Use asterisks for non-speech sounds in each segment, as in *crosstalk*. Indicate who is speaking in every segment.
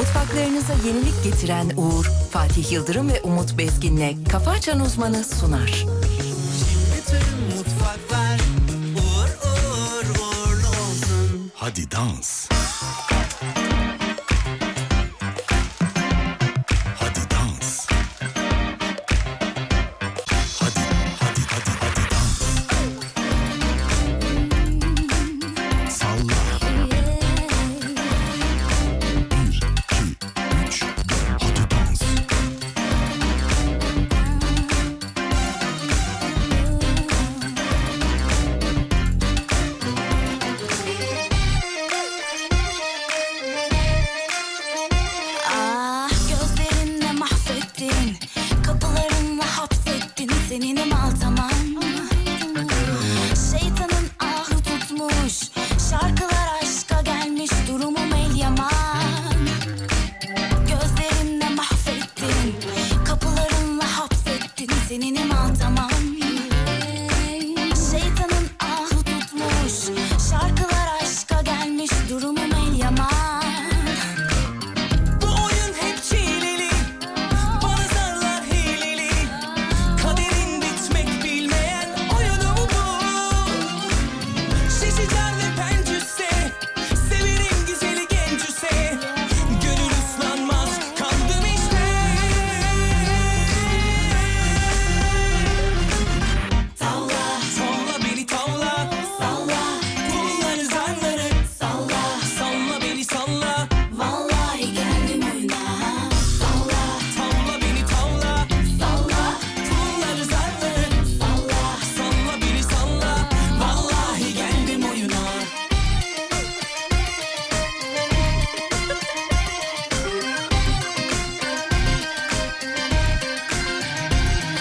Speaker 1: Kulaklarınıza yenilik getiren Uğur, Fatih Yıldırım ve Umut Bezgin'le Kafa Açan Uzmanı sunar.
Speaker 2: Bütün mutfaklar uğur uğur uğurlu olsun.
Speaker 3: Hadi dans. Hadi dans. Hadi hadi hadi hadi dans. Salla. Bir, iki, üç, dört. Hadi dans.
Speaker 4: Ah gözlerinle mahvettin Kapılarınla hapsettin Senin mal tamam Şeytanın ahı tutmuş Şarkılar aşka gelmiş Durumum el yaman Gözlerinle mahvettin Kapılarınla hapsettin Senin mal tamam Şeytanın ahı tutmuş Şarkılar aşka gelmiş Durumum el yaman
Speaker 2: Bu oyun hep çileli, bana zarlar hileli. Kaderin bitmek bilmeyen oyunu mu bu? Şişi can ve pencüse, severim güzeli gencüse. Gönül ıslanmaz, kandım işte. Salla Solla beni tavla Salla Bunları zanları Salla Salla beni salla
Speaker 4: Vallahi geldim oyuna Salla
Speaker 2: Tavla beni tavla
Speaker 4: salla
Speaker 2: Bunları zanları Salla Salla beni salla Vallahi geldim oyuna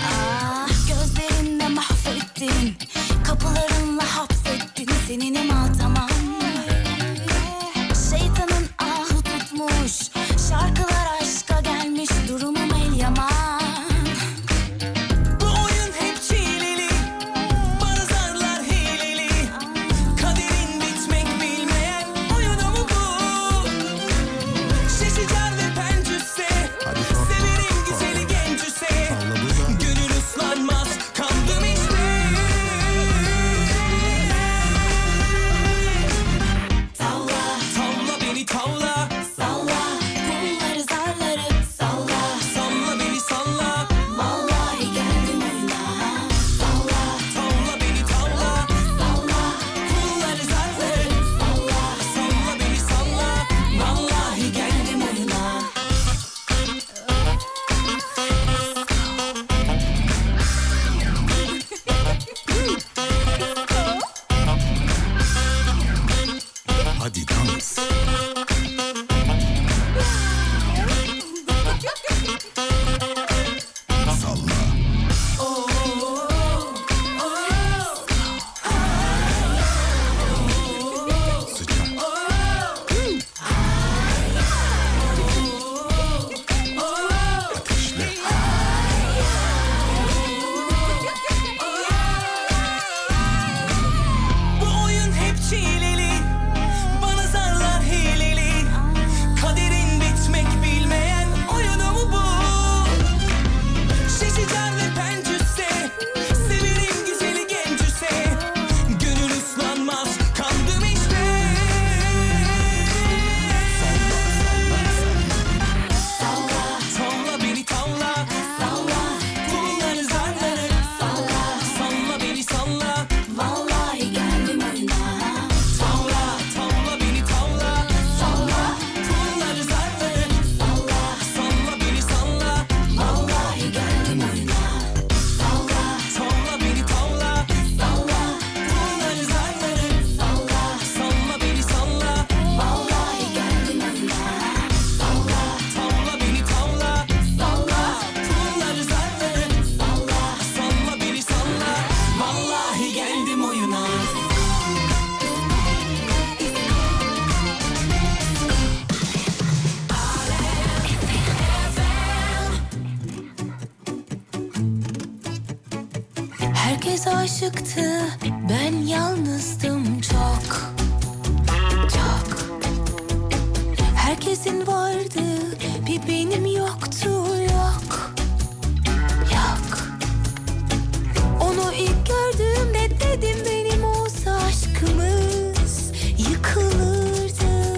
Speaker 4: Ah gözlerinle mahvettin Kapılarınla hapsettin Senin imal tamam Şeytanın ahı tutmuş Şarkılar aşka gelmiş Durumum el yaman
Speaker 2: Bu oyun hep çileli Bana zarlar hileli Kaderin bitmek bilmeyen oyunu mu bu? Şişi can ve pencüse Severim güzeli gencüse Gönül ıslanmaz kandım işte Tavla Tavla beni tavla
Speaker 4: Salla bunları zarları Salla
Speaker 2: Salla beni salla
Speaker 4: vallahi geldim oyuna
Speaker 2: Tavla beni tavla Salla Kulları zarları Salla Salla beni salla Vallahi geldim oyuna
Speaker 3: Hadi dans. Salla. Sıcak. Ateşle.
Speaker 2: Bu oyun hep çileli Bana zarlar hileli Kaderin bitmek bilmeyen oyunu mu bu? Şişi can ve pencüse Severim güzeli gencüse Gönül ıslanmaz kandım işte Salla beni tavla Salla Bunları zarları Salla Salla beni salla
Speaker 4: Vallahi geldim oyuna
Speaker 2: Tavla, tavla beni tavla Salla, bunları zarları Salla, salla beni salla Vallahi geldim oyuna Salla, tavla beni tavla Salla, bunları zarları Salla, salla beni salla Vallahi geldim oyuna Salla, tavla beni tavla Salla, bunları zarları Salla, salla beni salla Vallahi geldim oyuna
Speaker 4: Herkes aşıktı, ben yalnızdım çok, çok. Herkesin vardı
Speaker 2: gibi benim yoktu yok Yok Onu ilk gördüğümde dedim benim olsa aşkımız yıkılırdı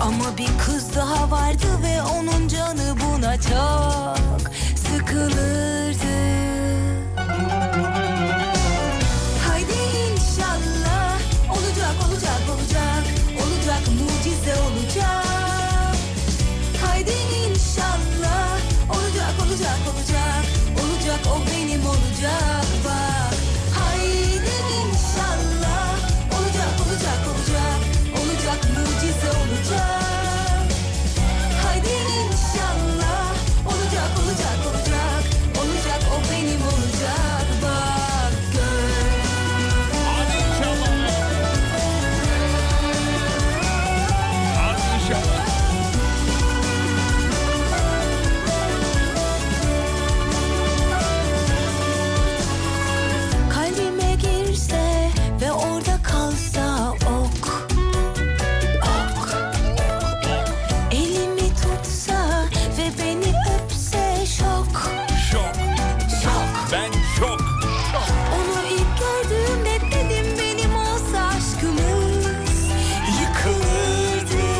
Speaker 2: Ama bir kız daha vardı ve onun canı buna çok sıkılırdı Haydi inşallah olacak olacak olacak olacak mucize olacak. Haydi inşallah olacak olacak olacak olacak o benim olacak bak. Haydi inşallah olacak olacak olacak olacak mucize olacak. Haydi inşallah olacak olacak olacak olacak o benim olacak bak gör.
Speaker 5: Hadi inşallah. Hadi inşallah.
Speaker 2: Kalbime girse ve orada kalsa ok Ok Elimi tutsa ve beni öpse şok
Speaker 5: Şok.
Speaker 2: Şok
Speaker 5: Ben şok.
Speaker 2: Onu ilk gördüğümde dedim benim olsa aşkımız Yıkılırdı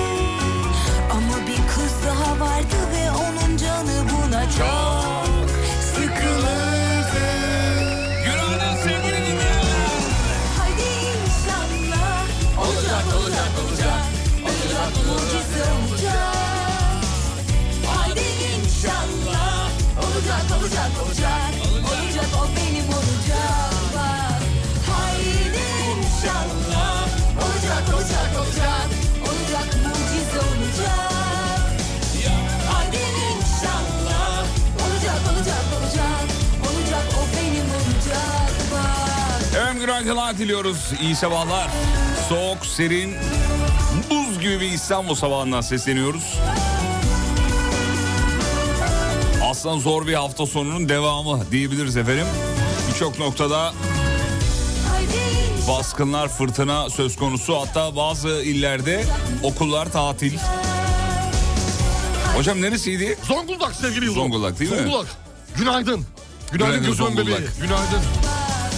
Speaker 2: Ama bir kız daha vardı ve onun canı buna çok sıkılırdı
Speaker 5: Günaydın sevgili dinleyenler.
Speaker 2: Haydi inşallah Olacak olacak olacak Olacak mucize olacak Haydi inşallah Olacak olacak olacak Olacak o benim olacak Bak. Haydi inşallah Olacak olacak olacak Olacak mucize olacak Haydi inşallah Olacak olacak olacak Olacak o benim olacak Bak
Speaker 5: Efendim günaydınlar diliyoruz. İyi sabahlar. Soğuk, serin, buz gibi bir İstanbul sabahından sesleniyoruz. Aslında zor bir hafta sonunun devamı diyebiliriz efendim. Birçok noktada baskınlar, fırtına söz konusu. Hatta bazı illerde okullar tatil. Hocam neresiydi?
Speaker 3: Zonguldak sevgili Yıldırım.
Speaker 5: Zonguldak değil mi?
Speaker 3: Zonguldak. Günaydın.
Speaker 5: Günaydın
Speaker 3: Günaydın gözüm bebeği.
Speaker 5: Zonguldak.
Speaker 3: Günaydın.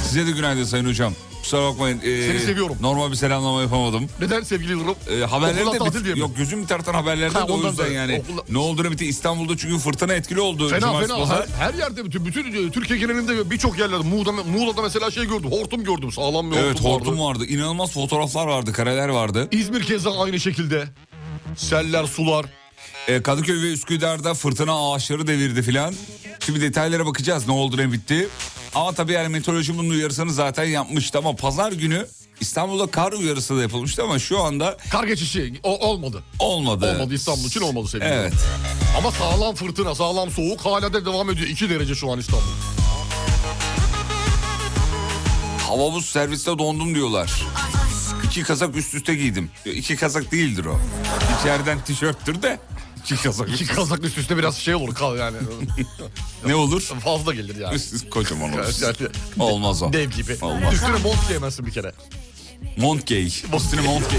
Speaker 5: Size de günaydın sayın hocam. Kusura bakmayın. ee,
Speaker 3: Seni seviyorum.
Speaker 5: Normal bir selamlama yapamadım.
Speaker 3: Neden sevgili Yıldırım?
Speaker 5: E, haberleri
Speaker 3: Okullar
Speaker 5: de
Speaker 3: tatil diye
Speaker 5: bit-
Speaker 3: mi?
Speaker 5: yok gözüm bir taraftan haberlerde
Speaker 3: Ha,
Speaker 5: de o
Speaker 3: ondan
Speaker 5: yüzden
Speaker 3: da-
Speaker 5: yani
Speaker 3: okula-
Speaker 5: ne olduğunu bitti İstanbul'da çünkü fırtına etkili oldu
Speaker 3: Fena
Speaker 5: cumartesi
Speaker 3: fena.
Speaker 5: pazar.
Speaker 3: Her, her yerde bütün, bütün e, Türkiye genelinde birçok yerlerde Muğla'da, Muğla'da mesela şey gördüm. Hortum gördüm. Sağlam bir
Speaker 5: Evet
Speaker 3: hortum,
Speaker 5: hortum
Speaker 3: vardı.
Speaker 5: vardı. İnanılmaz fotoğraflar vardı, kareler vardı.
Speaker 3: İzmir keza aynı şekilde. Seller, sular.
Speaker 5: E, Kadıköy ve Üsküdar'da fırtına ağaçları devirdi filan. Şimdi detaylara bakacağız ne oldu ne bitti. Ama tabii yani meteoroloji bunun uyarısını zaten yapmıştı ama pazar günü İstanbul'da kar uyarısı da yapılmıştı ama şu anda
Speaker 3: Kar geçişi o, olmadı.
Speaker 5: olmadı.
Speaker 3: Olmadı İstanbul için olmadı sevgili
Speaker 5: Evet.
Speaker 3: Yıldırım. Ama sağlam fırtına, sağlam soğuk hala da devam ediyor. 2 derece şu an İstanbul.
Speaker 5: Havabus serviste dondum diyorlar. İki kazak üst üste giydim. Yok, İki kazak değildir o. İçeriden tişörttür de. İki kazak.
Speaker 3: İki kazak üst üste biraz şey olur kal
Speaker 5: *laughs*
Speaker 3: yani.
Speaker 5: Ne olur?
Speaker 3: Fazla gelir yani.
Speaker 5: Üst- Kocaman olur.
Speaker 3: Yani-
Speaker 5: Olmaz o.
Speaker 3: Dev gibi.
Speaker 5: Olmaz.
Speaker 3: Üstüne mont giyemezsin bir kere.
Speaker 5: Montgey. Üstüne Montgey.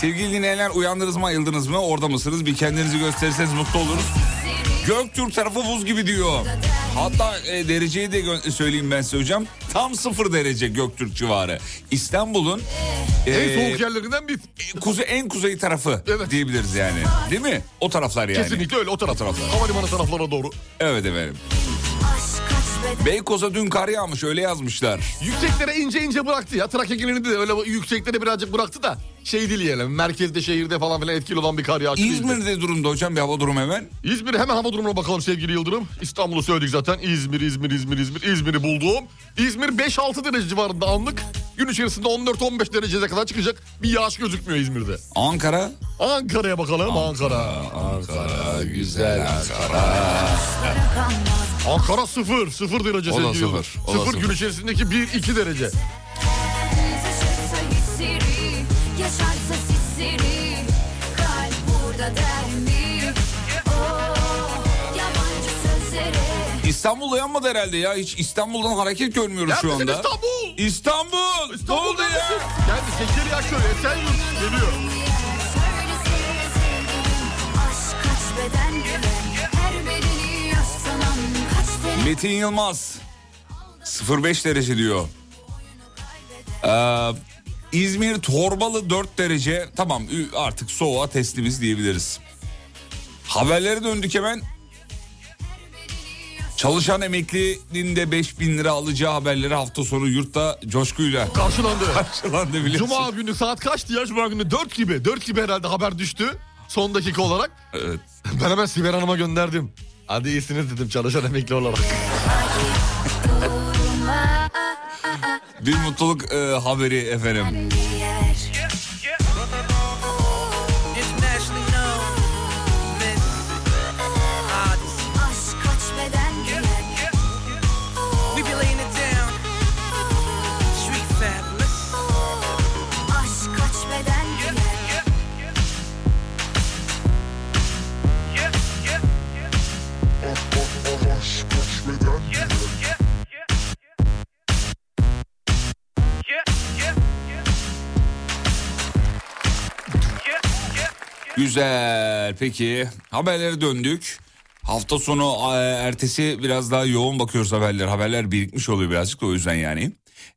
Speaker 5: Sevgili dinleyenler uyandınız mı ayıldınız mı orada mısınız bir kendinizi gösterirseniz mutlu oluruz. Göktürk tarafı buz gibi diyor. Hatta e, dereceyi de gö- söyleyeyim ben size hocam. Tam sıfır derece Göktürk civarı. İstanbul'un e,
Speaker 3: en soğuk yerlerinden bir
Speaker 5: kuzey en kuzey tarafı
Speaker 3: Evet.
Speaker 5: diyebiliriz yani. Değil mi? O taraflar yani.
Speaker 3: kesinlikle öyle o taraflar.
Speaker 5: taraflar.
Speaker 3: Havalimanı taraflarına doğru.
Speaker 5: Evet efendim. Beykoz'a dün kar yağmış öyle yazmışlar.
Speaker 3: Yükseklere ince ince bıraktı ya. Trakya genelinde de öyle yükseklere birazcık bıraktı da şey değil yani. Merkezde şehirde falan filan etkili olan bir kar yağışı değildi.
Speaker 5: İzmir'de durumda hocam bir hava durumu hemen.
Speaker 3: İzmir hemen hava durumuna bakalım sevgili Yıldırım. İstanbul'u söyledik zaten. İzmir, İzmir, İzmir, İzmir. İzmir'i buldum. İzmir 5-6 derece civarında anlık. Gün içerisinde 14-15 dereceye kadar çıkacak. Bir yağış gözükmüyor İzmir'de.
Speaker 5: Ankara
Speaker 3: Ankara'ya bakalım. Ankara.
Speaker 5: Ankara güzel Ankara.
Speaker 3: Ankara sıfır. Sıfır derece
Speaker 5: O da
Speaker 3: sevgili Yıldırım.
Speaker 5: sıfır, o da
Speaker 3: Sıfır
Speaker 5: sıfır.
Speaker 3: gün içerisindeki 1-2 derece.
Speaker 2: Yaşarsa sisleri Kalp burada der mi? Oh, yabancı sözlere
Speaker 5: İstanbul uyanmadı herhalde ya. Hiç İstanbul'dan hareket görmüyoruz şu
Speaker 3: Neredesin
Speaker 5: anda.
Speaker 3: İstanbul?
Speaker 5: İstanbul! Ne oldu ya?
Speaker 3: Geldi Zekeriya Köy, Esenyurt geliyor.
Speaker 2: Söyle söyle sevgilim Aşk kaç
Speaker 5: Metin Yılmaz 05 derece diyor. Ee, İzmir Torbalı 4 derece. Tamam ü- artık soğuğa teslimiz diyebiliriz. Haberlere döndük hemen. Çalışan emeklinin de 5000 lira alacağı haberleri hafta sonu yurtta coşkuyla
Speaker 3: Karşılandı.
Speaker 5: karşılandı biliyorsun.
Speaker 3: Cuma günü saat kaçtı ya Cuma günü? 4 gibi. 4 gibi herhalde haber düştü. Son dakika olarak.
Speaker 5: Evet.
Speaker 3: Ben hemen Sibel Hanım'a gönderdim. Hadi iyisiniz dedim çalışan emekli olarak.
Speaker 5: Bir mutluluk e, haberi efendim.
Speaker 6: Internationally known.
Speaker 2: Aşk kaç beden giyer
Speaker 6: We be laying it down. Street fabulous.
Speaker 2: Aşk kaç beden giyer
Speaker 5: Güzel. Peki haberlere döndük. Hafta sonu e, ertesi biraz daha yoğun bakıyoruz haberler. Haberler birikmiş oluyor birazcık da o yüzden yani.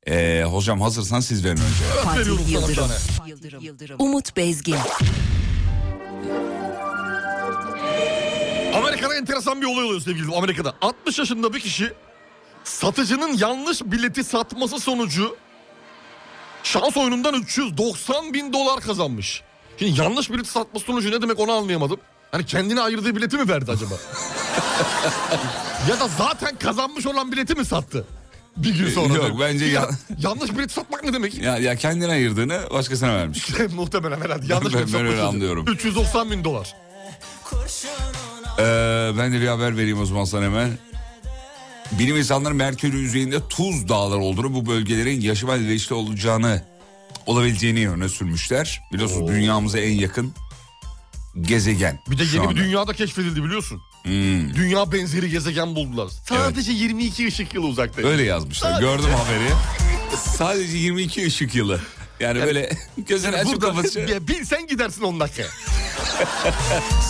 Speaker 5: E, hocam hazırsan siz verin önce.
Speaker 7: Fatih
Speaker 3: Veriyorum sana bir
Speaker 7: Yıldırım.
Speaker 3: tane.
Speaker 7: Yıldırım, Yıldırım. Umut Bezgin.
Speaker 3: Amerika'da enteresan bir olay oluyor sevgili Amerika'da. 60 yaşında bir kişi satıcının yanlış bileti satması sonucu şans oyunundan 390 bin dolar kazanmış. Şimdi yanlış bileti satması sonucu ne demek onu anlayamadım. Hani kendine ayırdığı bileti mi verdi acaba? *laughs* ya da zaten kazanmış olan bileti mi sattı? Bir gün sonra.
Speaker 5: Ee, Yok,
Speaker 3: demek.
Speaker 5: bence
Speaker 3: Ya-
Speaker 5: yan-
Speaker 3: yanlış bileti satmak ne demek?
Speaker 5: Ya, ya kendine ayırdığını başkasına vermiş.
Speaker 3: *laughs* Muhtemelen herhalde yanlış
Speaker 5: Ben-
Speaker 3: bileti
Speaker 5: ben öyle
Speaker 3: satmak.
Speaker 5: anlıyorum.
Speaker 3: 390 bin dolar.
Speaker 5: E, ben de bir haber vereyim o zaman sana hemen. Bilim insanları Merkür yüzeyinde tuz dağları olduğunu bu bölgelerin yaşam elverişli olacağını olabileceğini öne sürmüşler. Biliyorsunuz dünyamıza en yakın gezegen.
Speaker 3: Bir de
Speaker 5: şu
Speaker 3: yeni bir
Speaker 5: anda.
Speaker 3: dünyada keşfedildi biliyorsun.
Speaker 5: Hmm,
Speaker 3: Dünya benzeri gezegen buldular. Sadece 22 ışık yılı uzakta.
Speaker 5: öyle yazmışlar. Gördüm haberi. Sadece 22 ışık yılı. Yani böyle *laughs* gözünü açıp
Speaker 3: *laughs*
Speaker 5: kapatacak.
Speaker 3: Ya bilsen gidersin 10 dakika.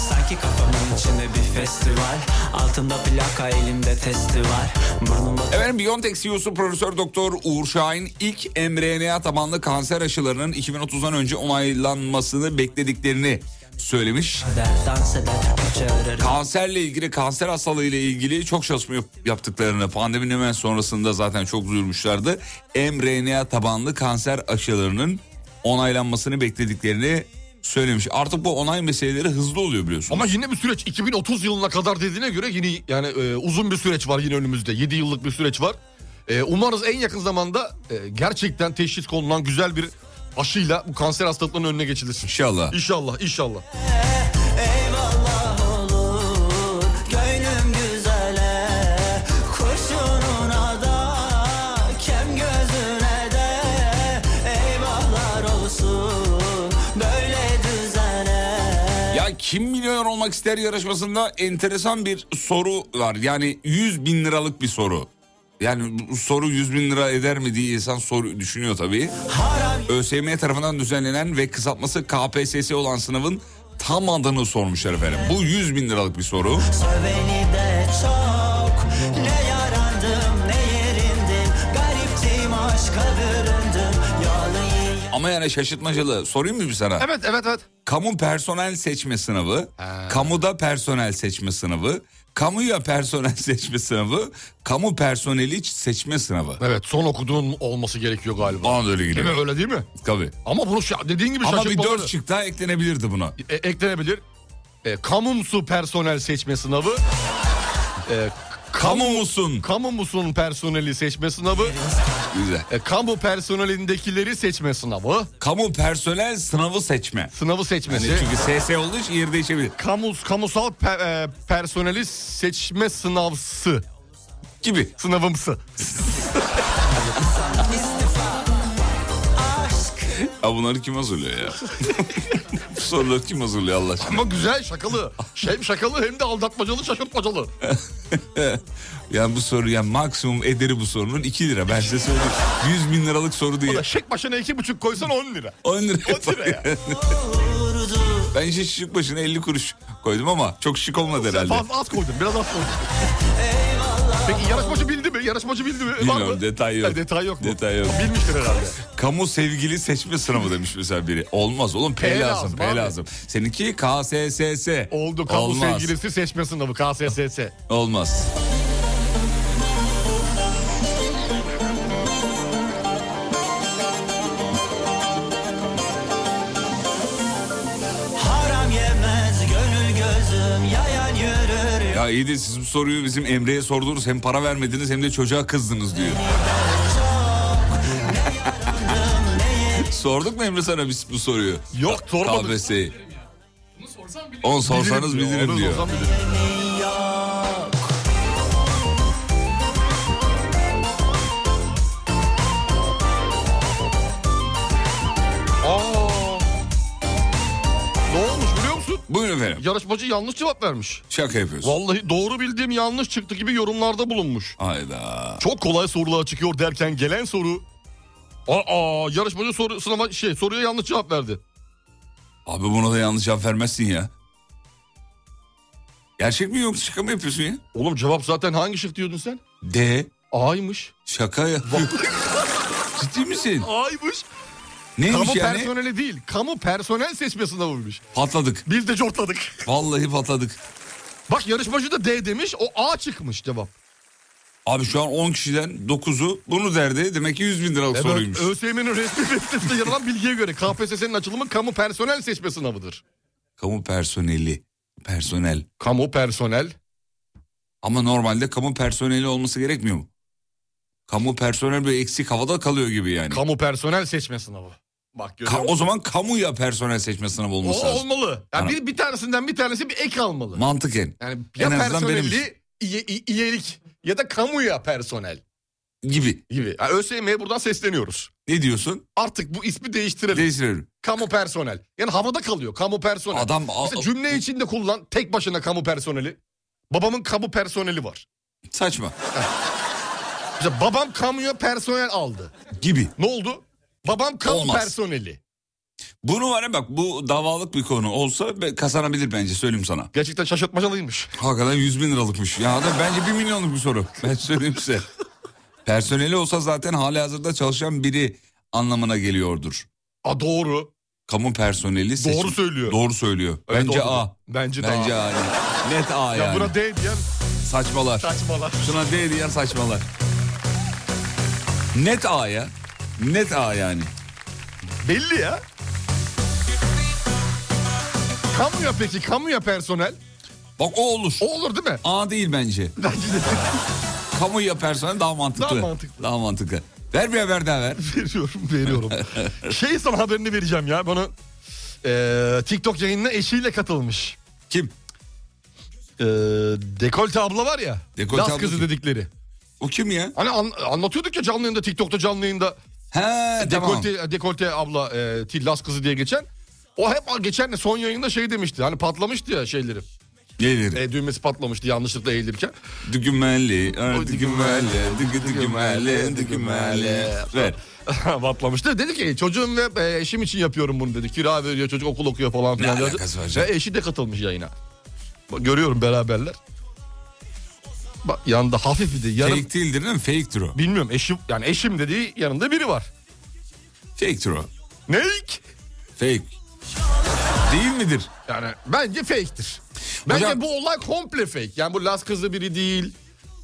Speaker 8: Sanki kafamın içinde bir festival Altımda plaka elimde testi var Burnumda
Speaker 5: Efendim Biontech CEO'su Profesör Doktor Uğur Şahin ilk mRNA tabanlı kanser aşılarının 2030'dan önce onaylanmasını beklediklerini söylemiş.
Speaker 8: kader dans eder Türkçe örer
Speaker 5: Kanserle ilgili kanser hastalığı ile ilgili çok çalışma yap- yaptıklarını pandeminin hemen sonrasında zaten çok duyurmuşlardı. mRNA tabanlı kanser aşılarının onaylanmasını beklediklerini söylemiş. Artık bu onay meseleleri hızlı oluyor biliyorsunuz.
Speaker 3: Ama yine bir süreç 2030 yılına kadar dediğine göre yine yani e, uzun bir süreç var yine önümüzde. 7 yıllık bir süreç var. E, umarız en yakın zamanda e, gerçekten teşhis konulan güzel bir aşıyla bu kanser hastalıklarının önüne geçilir.
Speaker 5: İnşallah.
Speaker 3: İnşallah, inşallah.
Speaker 8: Eyvallah olur Gönlüm güzele Kurşununa da Kem gözüne de Eyvahlar olsun Böyle düzene
Speaker 5: Ya kim milyoner olmak ister yarışmasında enteresan bir soru var. Yani 100 bin liralık bir soru. Yani bu soru 100 bin lira eder mi diye insan soru düşünüyor tabii. ÖSYM tarafından düzenlenen ve kısaltması KPSS olan sınavın tam adını sormuşlar efendim. Bu 100 bin liralık bir soru.
Speaker 8: Söveni de çok Ne yarandım ne yerindim Gariptim aşka büründüm Yağlı yiyin
Speaker 5: Ama yani şaşırtmacalı. Sorayım mı bir sana?
Speaker 3: Evet, evet, evet.
Speaker 5: Kamu personel seçme sınavı, kamuda personel seçme sınavı, kamuya personel *laughs* seçme sınavı, kamu personeli seçme sınavı.
Speaker 3: Evet, son okuduğun olması gerekiyor galiba.
Speaker 5: Bana da öyle
Speaker 3: Değil mi?
Speaker 5: geliyor.
Speaker 3: Öyle değil mi?
Speaker 5: Tabii.
Speaker 3: Ama bunu şa- dediğin gibi
Speaker 5: Ama bir
Speaker 3: şaşırtmalı.
Speaker 5: dört şık daha eklenebilirdi buna.
Speaker 3: e, eklenebilir. E, kamumsu personel seçme sınavı. E,
Speaker 5: Kamu musun?
Speaker 3: Kamumusun personeli seçme sınavı.
Speaker 5: Güzel.
Speaker 3: E, kamu personelindekileri seçme sınavı.
Speaker 5: Kamu personel sınavı seçme.
Speaker 3: Sınavı seçmesi.
Speaker 5: Yani çünkü SS olduğu için yer değişebilir.
Speaker 3: Kamus, kamusal pe- e, personeli seçme sınavsı.
Speaker 5: Gibi.
Speaker 3: Sınavımsı.
Speaker 5: Ya bunları kim hazırlıyor ya? *laughs* Bu soruları kim hazırlıyor Allah aşkına?
Speaker 3: Ama güzel şakalı. Hem şakalı hem de aldatmacalı şaşırtmacalı.
Speaker 5: Yani bu soru yani maksimum ederi bu sorunun 2 lira. Ben size söyleyeyim. 100 bin liralık soru
Speaker 3: Bu
Speaker 5: diye.
Speaker 3: da şek başına iki buçuk koysan 10 lira. *laughs*
Speaker 5: 10 lira.
Speaker 3: 10 lira ya.
Speaker 5: *laughs* ben işte şık başına 50 kuruş koydum ama çok şık olmadı herhalde.
Speaker 3: Fazla az koydun biraz az koydun.
Speaker 8: Eyvallah
Speaker 3: Peki yarışmacı bildi mi? Yarışmacı bildi mi? Var
Speaker 5: Bilmiyorum
Speaker 3: mı?
Speaker 5: detay yok.
Speaker 3: Ha, detay yok mu?
Speaker 5: Detay yok.
Speaker 3: Bilmiştir herhalde.
Speaker 5: Kamu sevgili seçme sınavı demiş mesela biri. Olmaz oğlum P,
Speaker 3: P
Speaker 5: lazım,
Speaker 3: lazım
Speaker 5: P
Speaker 3: abi.
Speaker 5: lazım. Seninki KSSS.
Speaker 3: Oldu kamu
Speaker 5: Olmaz.
Speaker 3: sevgilisi seçme sınavı KSSS.
Speaker 5: Olmaz.
Speaker 8: Haram yemez gönül gözüm yayan yürür
Speaker 5: Ya iyi de siz bu soruyu bizim Emre'ye sordunuz. Hem para vermediniz hem de çocuğa kızdınız diyor. *laughs* Sorduk mu Emre sana biz bu soruyu?
Speaker 3: Yok sormadık.
Speaker 5: KBS'yi. Onu sorsanız
Speaker 3: Bilirim diyor,
Speaker 5: bilirim
Speaker 3: onu
Speaker 5: diyor.
Speaker 3: sorsam bilirim. Aa. Ne olmuş biliyor musun?
Speaker 5: Buyurun efendim.
Speaker 3: Yarışmacı yanlış cevap vermiş.
Speaker 5: Şaka yapıyorsun.
Speaker 3: Vallahi doğru bildiğim yanlış çıktı gibi yorumlarda bulunmuş.
Speaker 5: Hayda.
Speaker 3: Çok kolay sorular çıkıyor derken gelen soru... Aa yarışmacı soru, sınava, şey, soruya yanlış cevap verdi.
Speaker 5: Abi buna da yanlış cevap vermezsin ya. Gerçek mi yok şaka mı yapıyorsun ya?
Speaker 3: Oğlum cevap zaten hangi şık diyordun sen?
Speaker 5: D.
Speaker 3: A'ymış.
Speaker 5: Şaka ya. *laughs* Ciddi misin?
Speaker 3: A'ymış.
Speaker 5: Neymiş
Speaker 3: Kamu
Speaker 5: yani?
Speaker 3: personeli değil. Kamu personel seçme sınavıymış.
Speaker 5: Patladık.
Speaker 3: Biz de cortladık.
Speaker 5: Vallahi patladık.
Speaker 3: *laughs* Bak yarışmacı da D demiş. O A çıkmış cevap.
Speaker 5: Abi şu an 10 kişiden 9'u bunu derdi. Demek ki 100 bin liralık
Speaker 3: Evet,
Speaker 5: soruymuş.
Speaker 3: ÖSYM'nin resmi sitesinde yer alan bilgiye göre KPSS'nin açılımı kamu personel seçme sınavıdır.
Speaker 5: Kamu personeli. Personel.
Speaker 3: Kamu personel.
Speaker 5: Ama normalde kamu personeli olması gerekmiyor mu? Kamu personel böyle eksik havada kalıyor gibi yani.
Speaker 3: Kamu personel seçme sınavı. Bak
Speaker 5: Ka-
Speaker 3: görüyor
Speaker 5: o zaman kamuya personel seçme sınavı olması
Speaker 3: O
Speaker 5: lazım.
Speaker 3: olmalı. Yani
Speaker 5: Tamam.
Speaker 3: bir, bir tanesinden bir tanesi bir ek almalı.
Speaker 5: Mantıken.
Speaker 3: Yani ya
Speaker 5: en azından benim
Speaker 3: personelli iye- i- iyelik ya da kamuya personel
Speaker 5: Gibi.
Speaker 3: gibi. Yani ÖSYM'ye buradan sesleniyoruz.
Speaker 5: Ne diyorsun?
Speaker 3: Artık bu ismi değiştirelim.
Speaker 5: Değiştirelim.
Speaker 3: kamu personel. Yani havada kalıyor kamu personel.
Speaker 5: Adam a-
Speaker 3: Mesela cümle içinde kullan tek başına kamu personeli. Babamın kamu personeli var.
Speaker 5: saçma.
Speaker 3: Mesela babam kamuya personel aldı.
Speaker 5: Gibi.
Speaker 3: Ne oldu? Babam kamu
Speaker 5: Olmaz.
Speaker 3: personeli.
Speaker 5: Bunu var ya bak bu davalık bir konu olsa be- kazanabilir bence söyleyeyim sana.
Speaker 3: Gerçekten şaşırtmacalıymış.
Speaker 5: Hakikaten 100 bin liralıkmış. Ya da bence 1 milyonluk bir soru. Ben söyleyeyim size. Personeli olsa zaten hali hazırda çalışan biri anlamına geliyordur.
Speaker 3: A doğru.
Speaker 5: Kamu personeli seçim.
Speaker 3: Doğru söylüyor.
Speaker 5: Doğru söylüyor.
Speaker 3: Evet,
Speaker 5: Bence
Speaker 3: doğru.
Speaker 5: A.
Speaker 3: Bence de
Speaker 5: Bence
Speaker 3: A.
Speaker 5: A. yani. Net A
Speaker 3: Ya
Speaker 5: yani.
Speaker 3: buna D diyen
Speaker 5: Saçmalar.
Speaker 3: saçmalar.
Speaker 5: Şuna D diyen saçmalar. Net A ya. Net A yani.
Speaker 3: Belli ya. Kamuya peki kamuya personel.
Speaker 5: Bak o olur.
Speaker 3: O olur değil mi?
Speaker 5: A değil *laughs* bence.
Speaker 3: Bence de
Speaker 5: Kamuya personel daha mantıklı.
Speaker 3: Daha mantıklı.
Speaker 5: Daha mantıklı. Ver bir haber daha ver.
Speaker 3: veriyorum
Speaker 5: *laughs*
Speaker 3: veriyorum. şey sana haberini vereceğim ya. Bana eee, TikTok yayınına eşiyle katılmış.
Speaker 5: Kim?
Speaker 3: Eee dekolte abla var ya.
Speaker 5: Dekolte
Speaker 3: Laz
Speaker 5: abla
Speaker 3: kızı
Speaker 5: kim?
Speaker 3: dedikleri.
Speaker 5: O kim ya?
Speaker 3: Hani an- anlatıyorduk ya canlı yayında TikTok'ta canlı yayında
Speaker 5: He E, tamam.
Speaker 3: dekolte, dekolte abla e, Tillas kızı diye geçen. O hep geçen de son yayında şey demişti hani patlamıştı ya şeyleri.
Speaker 5: Gelir.
Speaker 3: E, düğmesi patlamıştı yanlışlıkla eğilirken.
Speaker 5: Dükümelli,
Speaker 3: O
Speaker 5: er dükümelli, dükü dükümelli, dükümelli.
Speaker 3: *laughs*
Speaker 5: Ver.
Speaker 3: patlamıştı. Dedi ki çocuğum ve e, eşim için yapıyorum bunu dedi. Kira veriyor çocuk okul okuyor falan filan. dedi.
Speaker 5: alakası var canım?
Speaker 3: Ve eşi de katılmış yayına. Bak, görüyorum beraberler. Bak yanında hafif bir de yarım.
Speaker 5: Fake değildir değil mi? Fake'tir o.
Speaker 3: Bilmiyorum eşim yani eşim dediği yanında biri var.
Speaker 5: Fake'tir o.
Speaker 3: Ne?
Speaker 5: Fake. Değil midir?
Speaker 3: Yani bence fake'tir. Bence
Speaker 5: Hocam-
Speaker 3: bu olay komple fake. Yani bu Las kızı biri değil.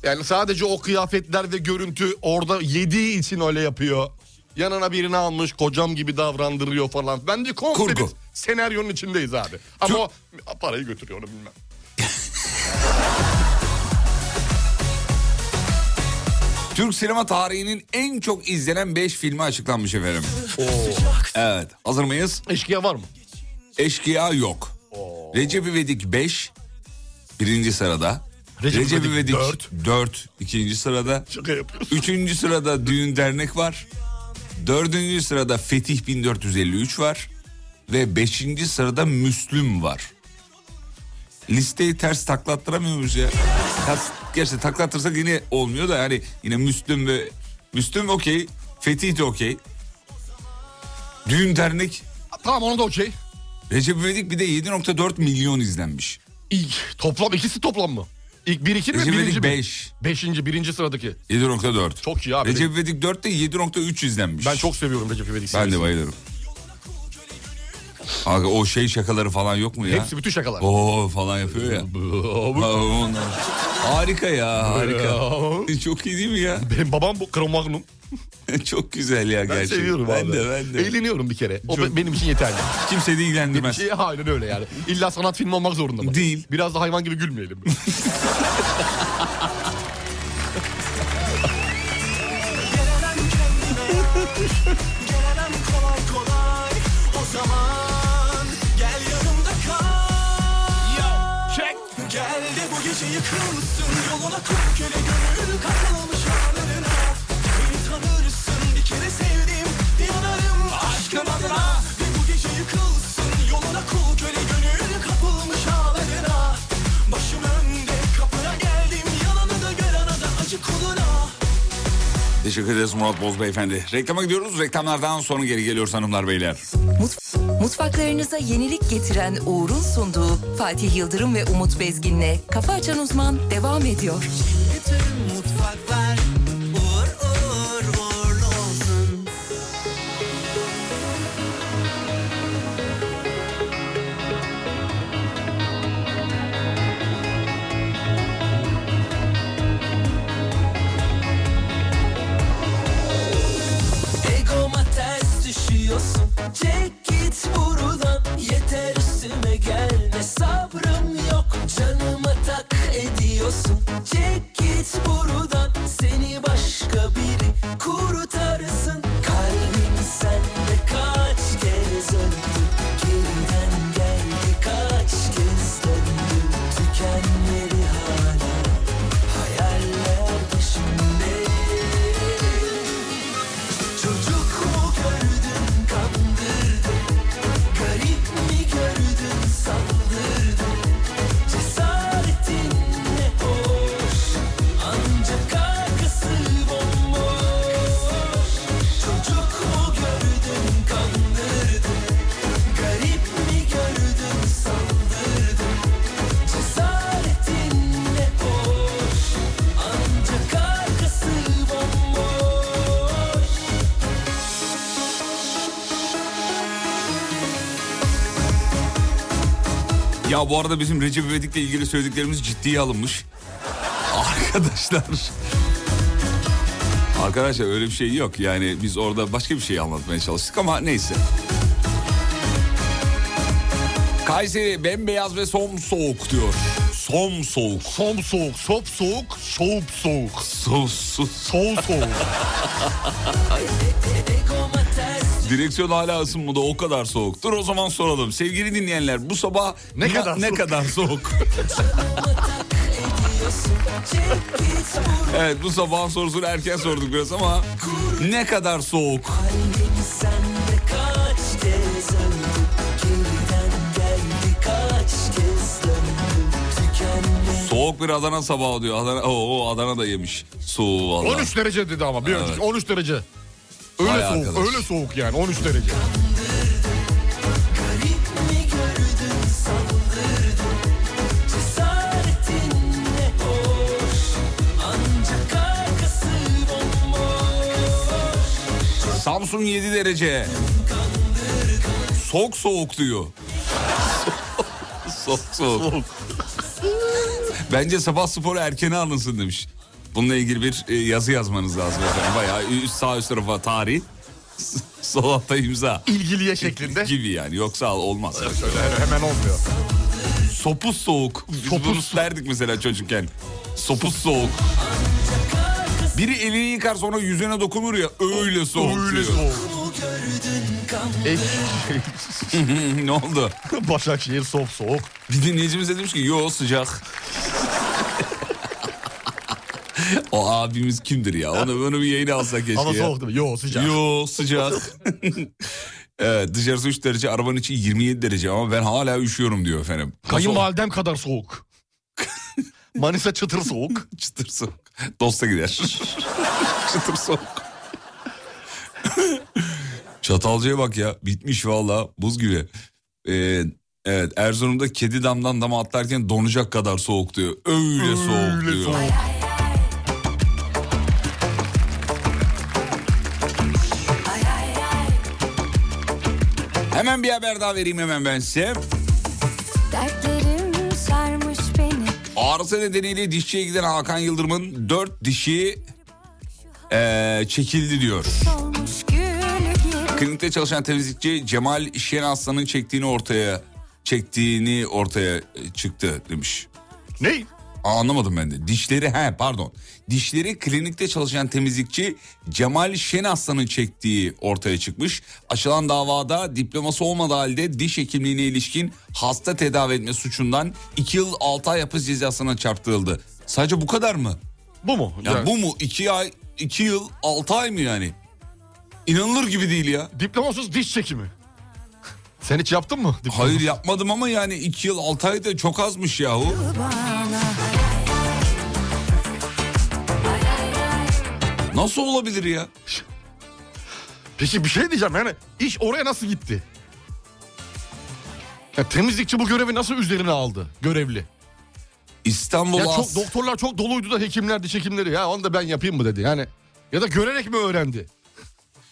Speaker 3: Yani sadece o kıyafetler ve görüntü orada yediği için öyle yapıyor. Yanına birini almış kocam gibi davrandırıyor falan. Bence komple
Speaker 5: Kurgu.
Speaker 3: bir senaryonun içindeyiz abi. Ama
Speaker 5: Çok-
Speaker 3: o parayı götürüyor onu bilmem.
Speaker 5: Türk sinema tarihinin en çok izlenen 5 filmi açıklanmış efendim. Evet. Hazır mıyız?
Speaker 3: Eşkıya var mı?
Speaker 5: Eşkıya yok. Recep İvedik 5 birinci sırada.
Speaker 3: Recep
Speaker 5: Recep,
Speaker 3: İvedik
Speaker 5: İvedik
Speaker 3: dört.
Speaker 5: 4 ikinci sırada.
Speaker 3: Şaka yapıyorsun.
Speaker 5: Üçüncü sırada düğün dernek var. Dördüncü sırada Fetih 1453 var. Ve beşinci sırada Müslüm var. Listeyi ters taklattıramıyoruz ya. Ters, gerçi taklattırsak yine olmuyor da yani yine Müslüm ve... Müslüm okey. Fetih de okey. Düğün dernek.
Speaker 3: Tamam onu da okey.
Speaker 5: Recep İvedik bir de 7.4 milyon izlenmiş.
Speaker 3: İyi. Toplam ikisi toplam mı? İlk 1 2 mi?
Speaker 5: Recep
Speaker 3: birinci
Speaker 5: İvedik
Speaker 3: mi?
Speaker 5: 5.
Speaker 3: Beşinci, birinci sıradaki.
Speaker 5: 7.4.
Speaker 3: Çok iyi abi.
Speaker 5: Recep İvedik 4'te 7.3 izlenmiş.
Speaker 3: Ben çok seviyorum Recep İvedik
Speaker 5: Ben
Speaker 3: serisini.
Speaker 5: de bayılırım. Aga o şey şakaları falan yok mu ya?
Speaker 3: Hepsi bütün şakalar.
Speaker 5: Oo falan yapıyor ya. Ha, onlar. Harika ya harika. Çok iyi değil mi ya?
Speaker 3: *laughs*
Speaker 5: *laughs*
Speaker 3: Benim babam bu Kromagnum.
Speaker 5: Çok güzel ya
Speaker 3: Ben
Speaker 5: gerçekten.
Speaker 3: seviyorum
Speaker 5: ben
Speaker 3: abi.
Speaker 5: de ben de.
Speaker 3: Eğleniyorum bir kere. O
Speaker 5: Çok-
Speaker 3: be- benim için yeterli.
Speaker 5: Kimse de ilgilendirmez.
Speaker 3: Şey, aynen öyle yani. İlla sanat filmi olmak zorunda mı?
Speaker 5: Değil.
Speaker 3: Biraz da hayvan gibi gülmeyelim.
Speaker 5: *laughs*
Speaker 6: Gelemem kendime Gelemem kolay kolay O zaman gel yanımda kal Gel de bu gece yıkılsın Yoluna kum köle gönül katılmış ağlarına Beni tanırsın bir kere sevdim Yanarım aşkın adına Ve bu gece yıkılsın Yoluna kul köle gönül kapılmış ağlarına Başım önde kapına geldim Yalanı da gören ada acı kuluna
Speaker 5: Teşekkür ederiz Murat Boz beyefendi. Reklama gidiyoruz. Reklamlardan sonra geri geliyoruz hanımlar beyler.
Speaker 7: Mutf- mutfaklarınıza yenilik getiren Uğur'un sunduğu Fatih Yıldırım ve Umut Bezgin'le Kafa Açan Uzman devam ediyor.
Speaker 6: Bütün mutfaklar uğur uğur uğurlu olsun. Egoma ters düşüyorsun Çek git buradan Yeter üstüme gelme Sabrım yok Canıma tak ediyorsun Çek git buradan Seni başka biri Kurtarsın Kalbim senle kaç kez öldü Geriden geldi kaç kez döndü Tükenmedi hala Hayaller peşimde Çocuk mu gördün kandırdın Garip mi gördün sandırdın Cesaretin ne hoş Ancak arkası bomboş Çocuk mu gördün kandırdın Garip mi gördün sandırdın Cesaretin ne hoş Ancak arkası bomboş
Speaker 5: Ya bu arada bizim Recep İvedik'le ilgili söylediklerimiz ciddiye alınmış. Arkadaşlar. Arkadaşlar öyle bir şey yok. Yani biz orada başka bir şey anlatmaya çalıştık ama neyse. Kayseri bembeyaz ve som soğuk diyor. Som soğuk.
Speaker 3: Som soğuk, sop soğuk, şop soğuk.
Speaker 5: Som soğuk.
Speaker 3: Soğuk soğuk.
Speaker 5: Direksiyon hala ısınmadı o kadar soğuk. Dur o zaman soralım. Sevgili dinleyenler bu sabah
Speaker 3: Ne
Speaker 5: na-
Speaker 3: kadar
Speaker 5: ne
Speaker 3: soğuk?
Speaker 5: kadar soğuk? evet bu sabah sorusunu erken sorduk biraz ama ne kadar soğuk?
Speaker 6: Sende kaç kez öldüm Geriden geldi kaç kez döndüm Tükenme
Speaker 5: Soğuk bir Adana sabahı diyor. Adana, o, Adana da yemiş. Soğuğu valla.
Speaker 3: 13 derece dedi ama bir önceki 13 derece. Öyle
Speaker 5: Vay
Speaker 3: soğuk,
Speaker 5: arkadaş.
Speaker 3: öyle soğuk yani 13 derece.
Speaker 6: garip mi gördün sandırdın Cesaretin ne hoş Ancak arkası bomboş
Speaker 5: Samsun 7 derece. Soğuk soğuk diyor. soğuk soğuk. Bence sabah sporu erkene alınsın demiş. Bununla ilgili bir e, yazı yazmanız lazım efendim. Bayağı üst, sağ üst tarafa tarih, *laughs* sol altta imza
Speaker 3: İlgiliye şeklinde.
Speaker 5: gibi yani. Yoksa olmaz.
Speaker 3: Öyle hemen olmuyor.
Speaker 5: Sopuz soğuk. Biz
Speaker 3: Sopuz
Speaker 5: bunu
Speaker 3: soğuk.
Speaker 5: *laughs* derdik mesela çocukken. Sopuz soğuk. Biri elini yıkar sonra yüzüne dokunur ya öyle soğuk
Speaker 3: Öyle
Speaker 5: diyor.
Speaker 3: soğuk.
Speaker 5: *laughs* ne oldu?
Speaker 3: *laughs* Başakşehir sop soğuk.
Speaker 5: Bir dinleyicimiz de demiş ki yo sıcak.
Speaker 3: *laughs*
Speaker 5: o abimiz kimdir ya? Onu bunu bir yayına alsak keşke
Speaker 3: Ama
Speaker 5: ya.
Speaker 3: soğuk değil mi? Yo sıcak.
Speaker 5: Yo sıcak. *laughs* evet, dışarısı 3 derece arabanın içi 27 derece ama ben hala üşüyorum diyor efendim. Nasıl-
Speaker 3: Kayınvalidem kadar
Speaker 5: *laughs*
Speaker 3: soğuk. Manisa çıtır soğuk.
Speaker 5: Çıtır soğuk. Dosta gider. Çıtır soğuk. Çatalca'ya bak ya. Bitmiş valla. Buz gibi. Ee, Evet Erzurum'da kedi damdan dama atlarken donacak kadar soğuk diyor. Öyle, soğuk diyor. Hemen bir haber daha vereyim hemen ben size.
Speaker 2: Dertlerim sarmış beni
Speaker 5: Ağrısı nedeniyle dişçiye giden Hakan Yıldırım'ın dört dişi eee, çekildi diyor.
Speaker 2: solmuş gül gibi
Speaker 5: Klinikte çalışan temizlikçi Cemal Şen Aslan'ın çektiğini ortaya çektiğini ortaya e, çıktı demiş.
Speaker 3: Ne?
Speaker 5: Aa, anlamadım ben de. Dişleri he pardon. Dişleri klinikte çalışan temizlikçi Cemal Şen Aslan'ın çektiği ortaya çıkmış. Açılan davada diploması olmadığı halde diş hekimliğine ilişkin hasta tedavi etme suçundan 2 yıl 6 ay hapis cezasına çarptırıldı. Sadece bu kadar mı?
Speaker 3: Bu mu?
Speaker 5: Ya
Speaker 3: Yani
Speaker 5: bu mu? 2 ay 2 yıl 6 ay mı yani? İnanılır gibi değil ya.
Speaker 3: Diplomasız diş çekimi. Sen hiç yaptın mı? diplomasız?
Speaker 5: Hayır yapmadım ama yani 2 yıl 6 ay da çok azmış yahu. Nasıl olabilir ya?
Speaker 3: Peki bir şey diyeceğim yani iş oraya nasıl gitti? Ya temizlikçi bu görevi nasıl üzerine aldı görevli?
Speaker 5: İstanbul
Speaker 3: Ya çok
Speaker 5: As-
Speaker 3: doktorlar çok doluydu da hekimler diş hekimleri ya onu da ben yapayım mı dedi yani. Ya da görerek mi öğrendi?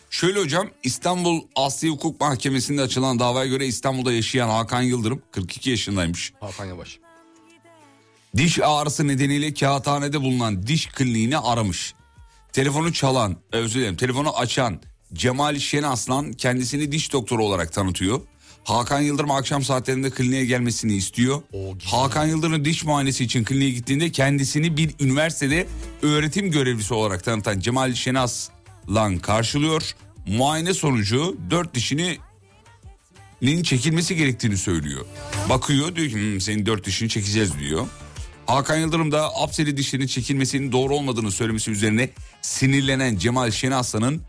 Speaker 5: Şöyle hocam İstanbul Asli Hukuk Mahkemesi'nde açılan davaya göre İstanbul'da yaşayan Hakan Yıldırım 42 yaşındaymış.
Speaker 3: Hakan Yavaş.
Speaker 5: Diş ağrısı nedeniyle kağıthanede bulunan diş kliniğini aramış. Telefonu çalan, özür dilerim, telefonu açan Cemal Şen Aslan kendisini diş doktoru olarak tanıtıyor. Hakan Yıldırım akşam saatlerinde kliniğe gelmesini istiyor.
Speaker 3: Oo, güzel.
Speaker 5: Hakan Yıldırım diş muayenesi için kliniğe gittiğinde kendisini bir üniversitede öğretim görevlisi olarak tanıtan Cemal Şen Aslan karşılıyor. Muayene sonucu dört dişini nin çekilmesi gerektiğini söylüyor. Bakıyor diyor ki "Hmm, senin dört dişini çekeceğiz diyor. Hakan Yıldırım da Apseli dişlerinin çekilmesinin doğru olmadığını söylemesi üzerine sinirlenen Cemal Şenaslan'ın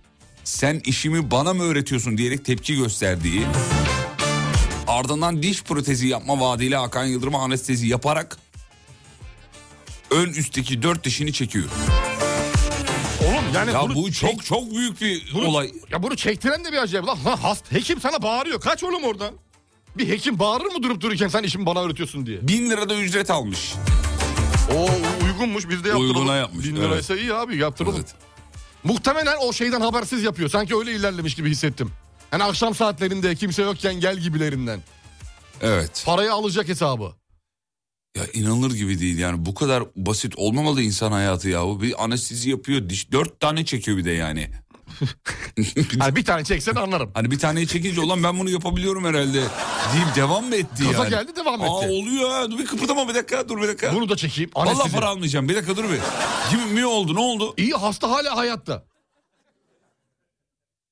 Speaker 5: sen işimi bana mı öğretiyorsun diyerek tepki gösterdiği ardından diş protezi yapma vaadiyle Hakan Yıldırım'a anestezi yaparak ön üstteki dört dişini çekiyor.
Speaker 3: Oğlum yani
Speaker 5: Ya
Speaker 3: bunu
Speaker 5: bu
Speaker 3: çek-
Speaker 5: çok çok büyük bir
Speaker 3: bunu-
Speaker 5: olay.
Speaker 3: Ya bunu çektiren de bir acayip lan. lan hast, hekim sana bağırıyor. Kaç oğlum oradan. Bir hekim bağırır mı durup dururken sen işimi bana öğretiyorsun diye.
Speaker 5: Bin lira da ücret almış.
Speaker 3: O uygunmuş biz de yaptıralım.
Speaker 5: Uyguna yapmış,
Speaker 3: Bin
Speaker 5: evet.
Speaker 3: liraysa iyi abi yaptıralım.
Speaker 5: Evet.
Speaker 3: Muhtemelen o şeyden habersiz yapıyor. Sanki öyle ilerlemiş gibi hissettim. Hani akşam saatlerinde kimse yokken gel gibilerinden.
Speaker 5: Evet.
Speaker 3: Parayı alacak hesabı.
Speaker 5: Ya inanılır gibi değil yani bu kadar basit olmamalı insan hayatı yahu. Bir anestezi yapıyor diş dört tane çekiyor bir de yani.
Speaker 3: Hani bir tane çeksen anlarım.
Speaker 5: Hani bir taneyi çekince olan ben bunu yapabiliyorum herhalde deyip devam mı etti
Speaker 3: Gaza
Speaker 5: yani?
Speaker 3: geldi, devam
Speaker 5: Aa,
Speaker 3: etti.
Speaker 5: oluyor ha dur bir kıpırdama bir dakika dur bir dakika.
Speaker 3: Bunu da çekeyim.
Speaker 5: Vallahi
Speaker 3: Anestezi.
Speaker 5: para almayacağım bir dakika dur bir. Kim mi oldu ne oldu?
Speaker 3: İyi hasta hala hayatta.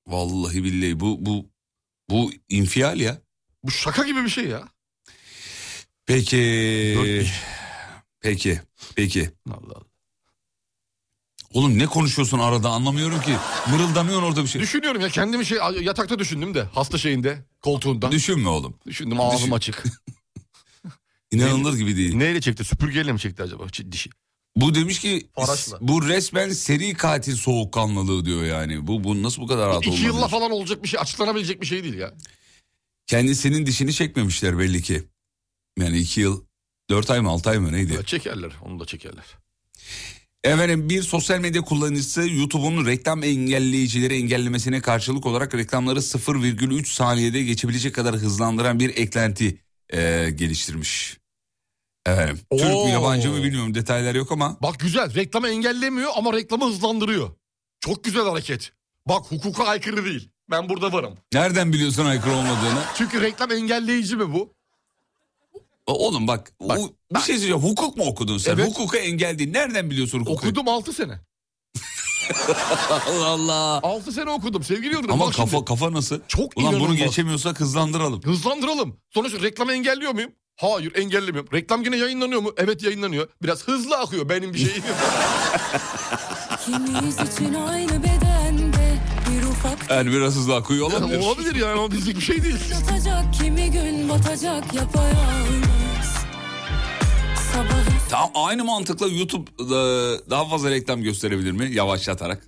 Speaker 5: Vallahi billahi bu bu bu infial ya.
Speaker 3: Bu şaka gibi bir şey ya. Dört
Speaker 5: Peki.
Speaker 3: diş.
Speaker 5: Peki. Peki.
Speaker 3: Allah Allah.
Speaker 5: Oğlum ne konuşuyorsun arada anlamıyorum ki. Mırıldanıyorsun orada bir şey.
Speaker 3: Düşünüyorum ya kendimi şey yatakta düşündüm de hasta şeyinde koltuğunda.
Speaker 5: Düşünme oğlum.
Speaker 3: Düşündüm ağzım
Speaker 5: Düşün. *laughs*
Speaker 3: açık.
Speaker 5: İnanılır gibi değil.
Speaker 3: Neyle çekti? Süpürgeyle mi çekti acaba? Ç- Dişi.
Speaker 5: Bu demiş ki
Speaker 3: Faraşla.
Speaker 5: bu resmen seri katil soğukkanlılığı diyor yani. Bu, bu nasıl bu kadar rahat
Speaker 3: İki
Speaker 5: olmadı?
Speaker 3: yılla falan olacak bir şey, açıklanabilecek bir şey değil ya.
Speaker 5: Kendisinin dişini çekmemişler belli ki. Yani iki yıl, dört ay mı altı ay mı neydi?
Speaker 3: Ya Çekerler, onu da çekerler.
Speaker 5: Efendim bir sosyal medya kullanıcısı YouTube'un reklam engelleyicileri engellemesine karşılık olarak reklamları 0,3 saniyede geçebilecek kadar hızlandıran bir eklenti eee, geliştirmiş. Efendim, Türk
Speaker 3: Oo.
Speaker 5: mü yabancı mı bilmiyorum detaylar yok ama
Speaker 3: Bak güzel, reklamı engellemiyor ama reklamı hızlandırıyor. Çok güzel hareket. Bak hukuka aykırı değil. Ben burada varım.
Speaker 5: nereden biliyorsun aykırı olmadığını?
Speaker 3: Çünkü reklam engelleyici mi bu?
Speaker 5: O- E, Oğlum bak, bu- bir şey söyleyeceğim. Hukuk mu okudun sen?
Speaker 3: Evet.
Speaker 5: Hukuka engel değil. Nereden biliyorsun hukuku?
Speaker 3: Okudum 6 sene.
Speaker 5: Allah Allah.
Speaker 3: 6 sene okudum sevgili Yıldırım.
Speaker 5: Ama
Speaker 3: Bak
Speaker 5: kafa
Speaker 3: şimdi,
Speaker 5: kafa nasıl?
Speaker 3: Çok
Speaker 5: Ulan bunu
Speaker 3: inanılmaz.
Speaker 5: geçemiyorsak hızlandıralım.
Speaker 3: Hızlandıralım. Sonuçta reklamı engelliyor muyum? Hayır engellemiyorum. Reklam yine yayınlanıyor mu? Evet yayınlanıyor. Biraz hızlı akıyor
Speaker 5: *laughs*
Speaker 3: benim bir şeyim.
Speaker 2: İkimiz için aynı bedende Bir ufak
Speaker 5: Yani biraz hızlı akıyor olabilir.
Speaker 3: Olabilir yani ama bizlik bir şey değil.
Speaker 2: yatacak Kimi gün batacak yapayalnız Sabah
Speaker 5: Tam aynı mantıkla *laughs* YouTube e, daha fazla reklam gösterebilir mi yavaşlatarak?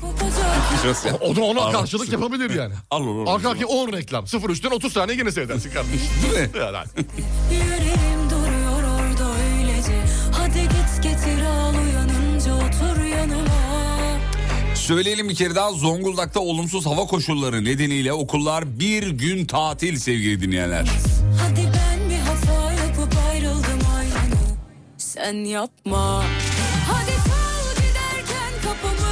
Speaker 2: kopacak
Speaker 5: Şurası.
Speaker 3: O da ona
Speaker 5: Al.
Speaker 3: karşılık yapabilir yani.
Speaker 5: Al olur. olur.
Speaker 3: Arka arkaya 10 reklam. 0-3'ten 30 saniye gene seyredersin kardeşim.
Speaker 5: Değil mi?
Speaker 3: Yani.
Speaker 2: Yüreğim duruyor orada öylece Hadi git getir al uyanınca otur yanıma
Speaker 5: Söyleyelim bir kere daha Zonguldak'ta olumsuz hava koşulları nedeniyle okullar bir gün tatil sevgili dinleyenler.
Speaker 2: Hadi ben bir hata yapıp ayrıldım aynı Sen yapma Hadi kal giderken kapımı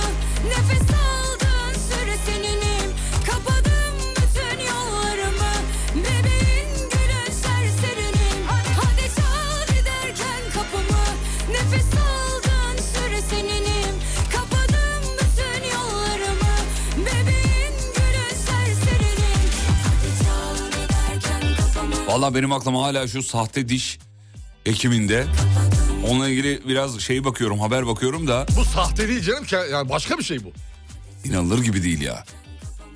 Speaker 2: Nefes aldığın süre seninim Kapadım bütün yollarımı Bebeğin gülün serserinim Hadi çal giderken kapımı Nefes aldığın süre seninim Kapadım bütün yollarımı Bebeğin gülün serserinim Hadi çal giderken kapımı
Speaker 5: Valla benim aklıma hala şu sahte diş ekiminde. Onunla ilgili biraz şey bakıyorum, haber bakıyorum da
Speaker 3: Bu sahte değil canım. ke- Yani başka bir şey bu.
Speaker 5: inanılır gibi değil ya.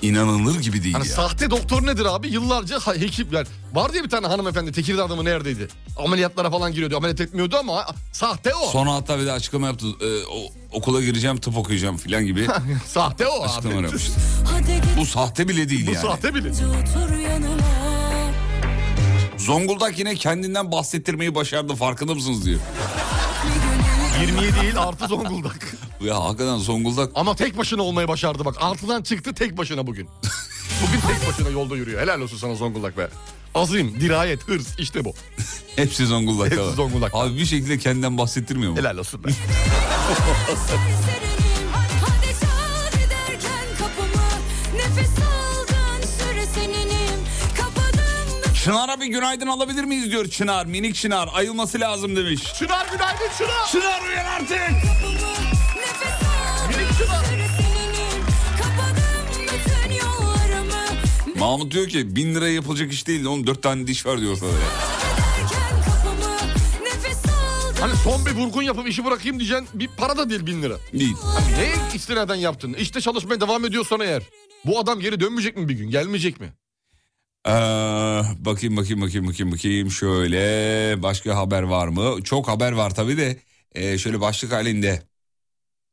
Speaker 5: İnanılır gibi değil
Speaker 3: Hani
Speaker 5: ya.
Speaker 3: sahte doktor nedir abi? Yıllarca ha- hekim yani var diye bir tane hanımefendi Tekirdağ'da mı neredeydi? Ameliyatlara falan giriyordu. Ameliyat etmiyordu ama ha- sahte o.
Speaker 5: Sonra hatta bir de açıklama yaptı. e, o- okula gireceğim, tıp okuyacağım falan gibi
Speaker 3: *laughs* sahte o abi.
Speaker 5: açıklama yapmıştı.
Speaker 2: Hadi git
Speaker 5: Bu sahte bile değil
Speaker 3: Bu
Speaker 5: yani.
Speaker 3: sahte bile.
Speaker 2: otur yanıma
Speaker 5: Zonguldak yine kendinden bahsettirmeyi başardı farkında mısınız diyor.
Speaker 3: 27 değil artı Zonguldak.
Speaker 5: Ya hakikaten Zonguldak
Speaker 3: Ama tek başına olmayı başardı bak. Altıdan çıktı tek başına bugün. Bugün tek başına yolda yürüyor. Helal olsun sana Zonguldak be. Azim, dirayet, hırs işte bu.
Speaker 5: hepsi Zonguldak'ta.
Speaker 3: Hepsi
Speaker 5: var.
Speaker 3: Zonguldak'ta.
Speaker 5: Abi bir şekilde kendinden bahsettirmiyor mu?
Speaker 3: Helal olsun be.
Speaker 2: Serenim Hadi çal giderken kapımı Nefes aldığın süre seninim Kapadım
Speaker 5: Çınar'a bir günaydın alabilir miyiz diyor Çınar. Minik Çınar ayılması
Speaker 3: *laughs*
Speaker 5: lazım demiş.
Speaker 3: Çınar günaydın Çınar.
Speaker 5: Çınar uyan artık.
Speaker 2: kapımı Nefes aldığın süre seninim Kapadım bütün yollarımı
Speaker 5: Mahmut diyor ki bin liraya yapılacak iş değil. Oğlum dört tane diş var diyor ortada ya.
Speaker 2: Giderken kapımı Nefes aldığın
Speaker 3: Hani son bir vurgun yapıp işi bırakayım diyeceksin. Bir para da değil bin lira.
Speaker 5: Değil.
Speaker 3: Ne istinaden yaptın? İşte çalışmaya devam ediyorsan eğer. Bu adam geri dönmeyecek mi bir gün? Gelmeyecek mi?
Speaker 5: Ee, bakayım bakayım bakayım bakayım bakayım şöyle başka haber var mı? Çok haber var tabii de ee, şöyle başlık halinde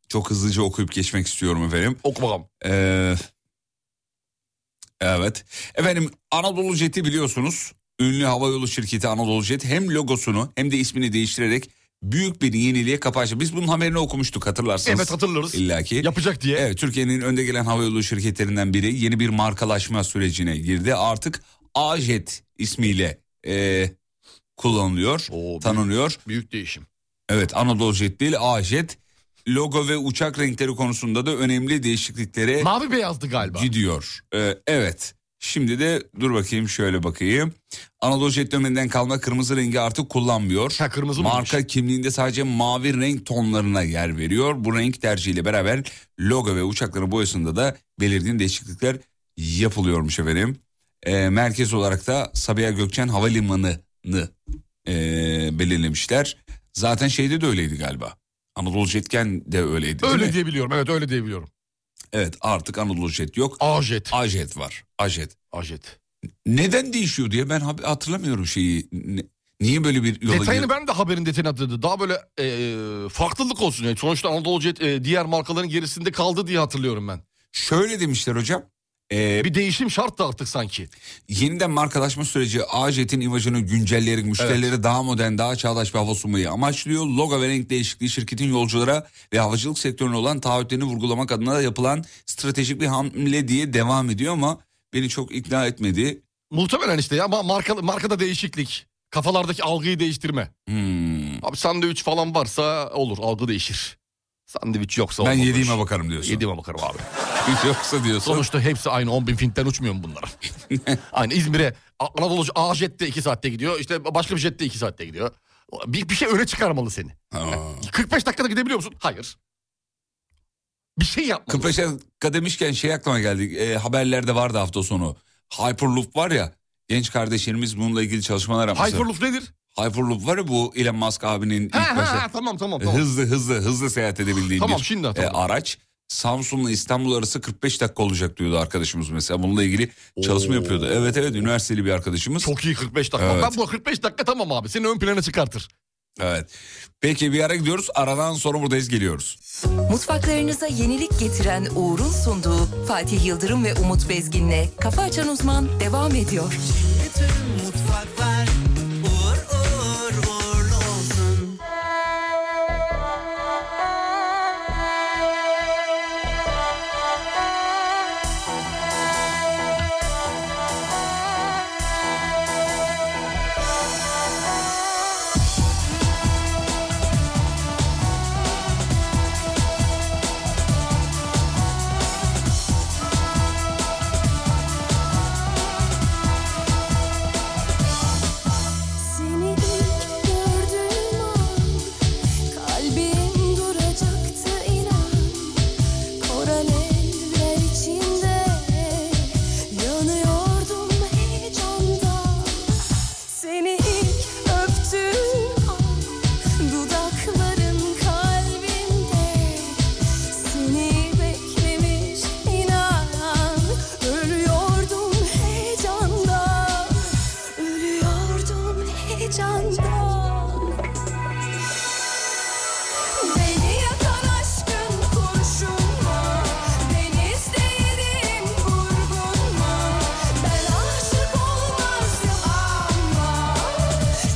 Speaker 5: çok hızlıca okuyup geçmek istiyorum efendim.
Speaker 3: Oku bakalım.
Speaker 5: Ee, evet. Efendim Anadolu Jet'i biliyorsunuz. Ünlü havayolu şirketi Anadolu Jet hem logosunu hem de ismini değiştirerek büyük bir yeniliğe kapı açtı. Biz bunun haberini okumuştuk hatırlarsınız.
Speaker 3: Evet hatırlarız.
Speaker 5: İlla ki.
Speaker 3: Yapacak diye.
Speaker 5: Evet Türkiye'nin önde gelen havayolu şirketlerinden biri yeni bir markalaşma sürecine girdi. Artık Ajet ismiyle e, kullanılıyor,
Speaker 3: Oo, büyük-
Speaker 5: tanınıyor.
Speaker 3: Büyük değişim.
Speaker 5: Evet Anadolu Jet değil Ajet. Logo ve uçak renkleri konusunda da önemli değişikliklere
Speaker 3: Mavi beyazdı galiba.
Speaker 5: gidiyor. Ee, evet. Şimdi de dur bakayım şöyle bakayım. Anadolu Jet döneminden kalma kırmızı rengi artık kullanmıyor.
Speaker 3: Ha, kırmızı mıymış?
Speaker 5: Marka kimliğinde sadece mavi renk tonlarına yer veriyor. Bu renk tercihiyle beraber logo ve uçakların boyasında da belirgin değişiklikler yapılıyormuş efendim. Ee, merkez olarak da Sabiha Gökçen Havalimanı'nı ee, belirlemişler. Zaten şeyde de öyleydi galiba. Anadolu Jetken de öyleydi. değil mi?
Speaker 3: Öyle diyebiliyorum. Evet öyle diyebiliyorum. E
Speaker 5: Evet artık Anadolu Jet yok.
Speaker 3: Ajet.
Speaker 5: Ajet var. Ajet.
Speaker 3: Ajet.
Speaker 5: Neden değişiyor diye ben hab- hatırlamıyorum şeyi. Ne- niye böyle bir yola
Speaker 3: Detayını
Speaker 5: gir-
Speaker 3: ben de haberin detayını hatırladım. Daha böyle e, farklılık olsun. Yani sonuçta Anadolu Jet e, diğer markaların gerisinde kaldı diye hatırlıyorum ben.
Speaker 5: Şöyle demişler hocam. e,
Speaker 3: Bir değişim şart da artık sanki.
Speaker 5: yeniden markalaşma süreci Ajet'in imajını güncelleyerek müşterilere daha modern, daha çağdaş bir hava sunmayı amaçlıyor. Logo ve renk değişikliği şirketin yolculara ve havacılık sektörüne olan taahhütlerini vurgulamak adına yapılan stratejik bir hamle diye devam ediyor ama beni çok ikna etmedi.
Speaker 3: Muhtemelen işte ya ama marka, markada değişiklik. Kafalardaki algıyı değiştirme.
Speaker 5: Hmm.
Speaker 3: Abi sandviç falan varsa olur algı değişir. Sandviç yoksa
Speaker 5: Ben
Speaker 3: olmaz.
Speaker 5: yediğime bakarım diyorsun.
Speaker 3: Yediğime bakarım abi.
Speaker 5: *laughs* Yoksa diyorsun.
Speaker 3: Sonuçta hepsi aynı 10 bin fintten uçmuyor mu bunlar?
Speaker 5: *laughs*
Speaker 3: aynı İzmir'e A- Anadolu A jette 2 saatte gidiyor. İşte başka bir jette 2 saatte gidiyor. Bir, bir şey öne çıkarmalı seni.
Speaker 5: Aa.
Speaker 3: 45 dakikada gidebiliyor musun? Hayır. Bir şey yapmalı.
Speaker 5: 45 dakika demişken şey aklıma geldi. E, haberlerde vardı hafta sonu. Hyperloop var ya. Genç kardeşlerimiz bununla ilgili çalışmalar yapmışlar. Hyperloop,
Speaker 3: Hyperloop nedir?
Speaker 5: var ya bu Elon Musk abinin ilk
Speaker 3: Ha, ha, ha,
Speaker 5: başta.
Speaker 3: tamam tamam
Speaker 5: E,
Speaker 3: tamam.
Speaker 5: Hızlı hızlı hızlı seyahat edebildiği
Speaker 3: Tamam,
Speaker 5: bir
Speaker 3: şimdi
Speaker 5: e,
Speaker 3: hatırladım.
Speaker 5: araç. Samsun'la İstanbul arası 45 dakika olacak diyordu arkadaşımız mesela. Bununla ilgili çalışma
Speaker 3: Oo.
Speaker 5: yapıyordu. Evet evet üniversiteli bir arkadaşımız.
Speaker 3: Çok iyi 45 dakika.
Speaker 5: Evet.
Speaker 3: Ben bu 45 dakika tamam abi. Seni ön plana çıkartır.
Speaker 5: Evet. Peki bir ara gidiyoruz. Aradan sonra buradayız geliyoruz.
Speaker 7: Mutfaklarınıza yenilik getiren Uğur'un sunduğu Fatih Yıldırım ve Umut Bezgin'le Kafa Açan Uzman devam ediyor.
Speaker 6: Bütün mutfaklar uğur uğur uğurlu olsun.
Speaker 2: Seni ilk gördüğüm an kalbim duracaktı inan Koral eller içinde yanıyordum heyecandan Seni ilk öptüğüm an dudaklarım kalbimde Seni beklemiş inan ölüyordum heyecandan Ölüyordum heyecandan Beni yakan aşkın kurşun mu? Deniz değilim vurgun mu? Ben aşık olmazdım ama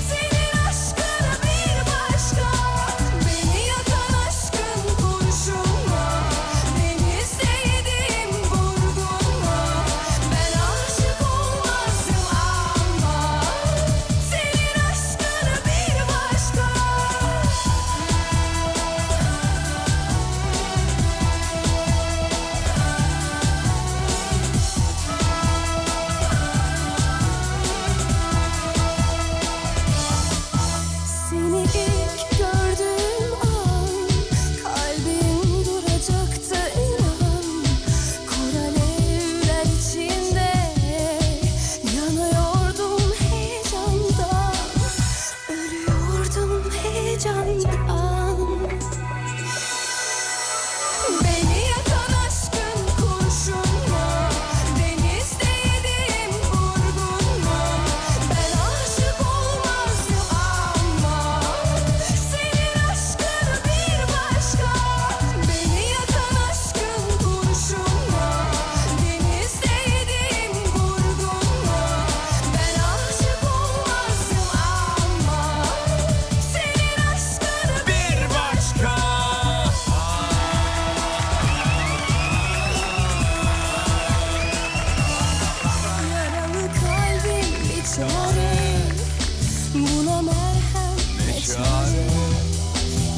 Speaker 2: Senin aşkın bir başka Beni yakan aşkın kurşun mu? Deniz değilim vurgun mu? Ben aşık olmazdım ama Senin aşkın bir başka Seni ilk gördüğüm an kalbim duracaktı inan Koral evler içinde yanıyordum heyecandan Ölüyordum heyecandan Beni yakan aşkın kurşun mu? Deniz değilim vurgun mu? Ben aşık olmazdım ama Senin aşkın bir başka Beni yakan aşkın kurşun mu? Deniz değilim vurgun mu? Ben aşık olmazdım ama Senin aşkın
Speaker 6: Bir başka
Speaker 2: Yaralı kalbim bir çare Buna merhem ne çare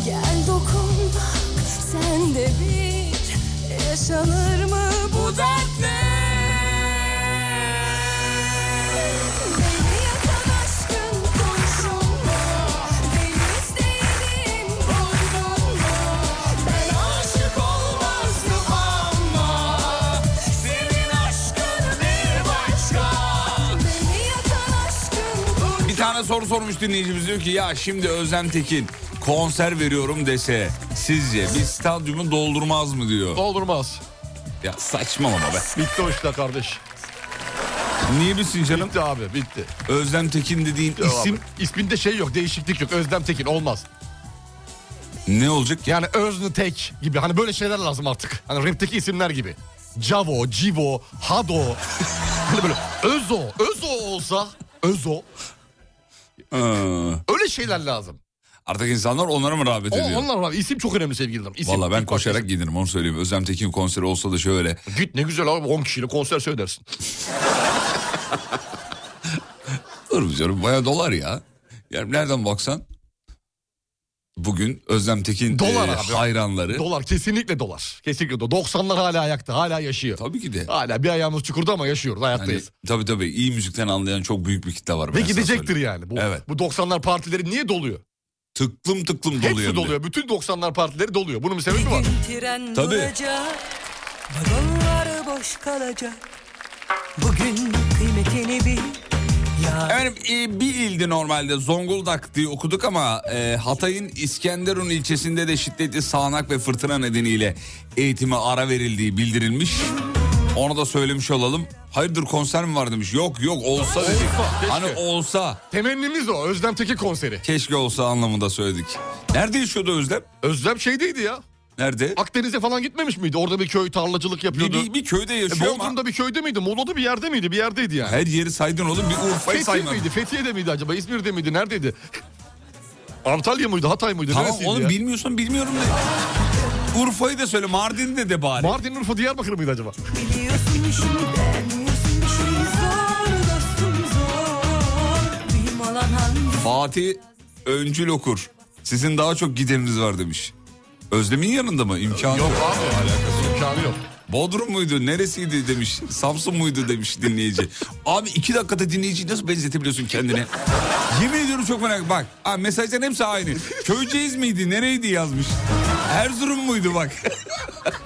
Speaker 2: Gel dokun bak sen de bir Yaşanır mı bu dertle Beni yakan aşkın kurşun mu? Deniz değilim vurdun mu? Ben aşık olmazdım ama Senin aşkın bir başka Beni yakan aşkın kurşun
Speaker 5: Bir tane soru sormuş dinleyicimiz diyor ki ya şimdi Özlem Tekin konser veriyorum dese sizce bir stadyumu doldurmaz mı diyor.
Speaker 3: Doldurmaz.
Speaker 5: Ya saçmalama be.
Speaker 3: Bitti o işler kardeş.
Speaker 5: Niye bilsin canım?
Speaker 3: Bitti abi bitti.
Speaker 5: Özlem Tekin dediğin
Speaker 3: Devam
Speaker 5: isim
Speaker 3: et. isminde şey yok değişiklik yok Özlem Tekin olmaz.
Speaker 5: ne olacak?
Speaker 3: Yani Öznü Tek gibi hani böyle şeyler lazım artık. Hani rapteki isimler gibi. Cavo, Civo, Hado. *laughs* hani böyle Özo, Özo olsa Özo.
Speaker 5: Ee,
Speaker 3: Öyle şeyler lazım.
Speaker 5: artık insanlar onlara mı rağbet
Speaker 3: O,
Speaker 5: ediyor?
Speaker 3: onlar var. İsim çok önemli sevgililerim. İsim.
Speaker 5: Valla ben
Speaker 3: İlk başta
Speaker 5: koşarak giderim onu söyleyeyim. Özlem Tekin konseri olsa da şöyle.
Speaker 3: isim. Git ne güzel abi 10 kişiyle konser söylersin.
Speaker 5: Dur bir canım baya dolar ya. Yani nereden baksan bugün Özlem Tekin
Speaker 3: Dolar
Speaker 5: e,
Speaker 3: abi.
Speaker 5: hayranları.
Speaker 3: Dolar kesinlikle dolar. Kesinlikle dolar. 90'lar hala ayakta hala yaşıyor.
Speaker 5: Tabii ki de.
Speaker 3: Hala bir ayağımız çukurda ama yaşıyoruz
Speaker 5: Hani,
Speaker 3: hayattayız.
Speaker 5: tabii tabii iyi müzikten anlayan çok büyük bir kitle var. ben
Speaker 3: Ve
Speaker 5: sana
Speaker 3: gidecektir
Speaker 5: söyleyeyim.
Speaker 3: yani. Bu,
Speaker 5: Evet.
Speaker 3: bu 90'lar partileri niye doluyor?
Speaker 5: Tıklım tıklım doluyor. hem
Speaker 3: Hepsi
Speaker 5: de.
Speaker 3: doluyor. Bütün 90'lar partileri doluyor. Bunun bir
Speaker 7: *laughs*
Speaker 3: sebebi var.
Speaker 7: Tren
Speaker 5: Tabii.
Speaker 7: duracak, vagonlar boş kalacak. Bugün kıymetini bil,
Speaker 5: Efendim e, bir ildi normalde Zonguldak diye okuduk ama e, Hatay'ın İskenderun ilçesinde de şiddetli sağanak ve fırtına nedeniyle eğitime ara verildiği bildirilmiş. Onu da söylemiş olalım. Hayırdır konser mi var demiş. Yok yok olsa dedik.
Speaker 3: keşke.
Speaker 5: Hani olsa.
Speaker 3: Temennimiz o Özlem Tekin konseri.
Speaker 5: Keşke olsa anlamında söyledik. Nerede yaşıyordu Özlem?
Speaker 3: Özlem şeydeydi ya.
Speaker 5: Nerede?
Speaker 3: Akdeniz'e falan gitmemiş miydi? Orada bir köy tarlacılık
Speaker 5: Bir,
Speaker 3: yapıyordu.
Speaker 5: bir, bir köyde
Speaker 3: E,
Speaker 5: yaşıyor ama
Speaker 3: Bodrum'da bir köyde miydi? Muğla'da bir yerde miydi? Bir yerdeydi
Speaker 5: *laughs*
Speaker 3: yani.
Speaker 5: her yeri saydın oğlum bir Urfa'yı
Speaker 3: Fethiye
Speaker 5: saymadın.
Speaker 3: miydi? Fethiye'de miydi acaba? İzmir'de miydi? Neredeydi? *laughs* Antalya mıydı? Hatay mıydı?
Speaker 5: Tamam
Speaker 3: Neresiydi
Speaker 5: oğlum
Speaker 3: ya?
Speaker 5: bilmiyorsan bilmiyorum de. Urfa'yı da söyle Mardin'i de de bari.
Speaker 3: Mardin, Urfa, Diyarbakır mıydı acaba?
Speaker 2: Biliyorsun şimdiden
Speaker 9: Şey zor dostum zor Mühim olan hangi
Speaker 5: Fatih Öncül okur. Sizin daha çok gideriniz var demiş. Özlem'in yanında mı? İmkanı yok.
Speaker 3: Yok abi. Alakası imkanı yok.
Speaker 5: Bodrum muydu? Neresiydi demiş. Samsun muydu demiş dinleyici. Abi iki dakikada dinleyiciyi nasıl benzetebiliyorsun kendine? Yemin ediyorum çok merak Bak ha, mesajların hepsi aynı. Köyceğiz miydi? Nereydi yazmış. Erzurum muydu bak. *laughs*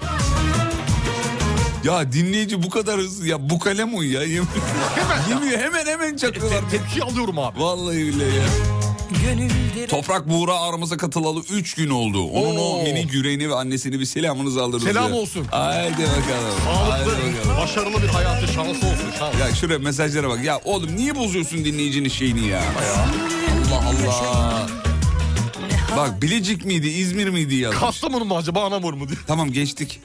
Speaker 5: ya dinleyici bu kadar hızlı ya bu kalem uy ya. Yemin, yemin hemen hemen çakıyorlar.
Speaker 3: Tepki alıyorum abi.
Speaker 5: Vallahi billahi ya.
Speaker 2: gönülleri
Speaker 5: Toprak Buğra aramıza katılalı 3 gün oldu. Onun
Speaker 3: Oo.
Speaker 5: o minik yüreğini ve annesini bir selamınızı alırız.
Speaker 3: Selam
Speaker 5: ya.
Speaker 3: olsun.
Speaker 5: Haydi bakalım. Haydi
Speaker 3: Sağlıklı,
Speaker 5: bakalım.
Speaker 3: başarılı bir hayatı şansı olsun. Şans.
Speaker 5: Ya şuraya mesajlara bak. Ya oğlum niye bozuyorsun dinleyicinin şeyini ya? Allah Allah. Bak Bilecik miydi, İzmir miydi ya?
Speaker 3: Kastamonu mu acaba Anamur mu diye.
Speaker 5: Tamam geçtik.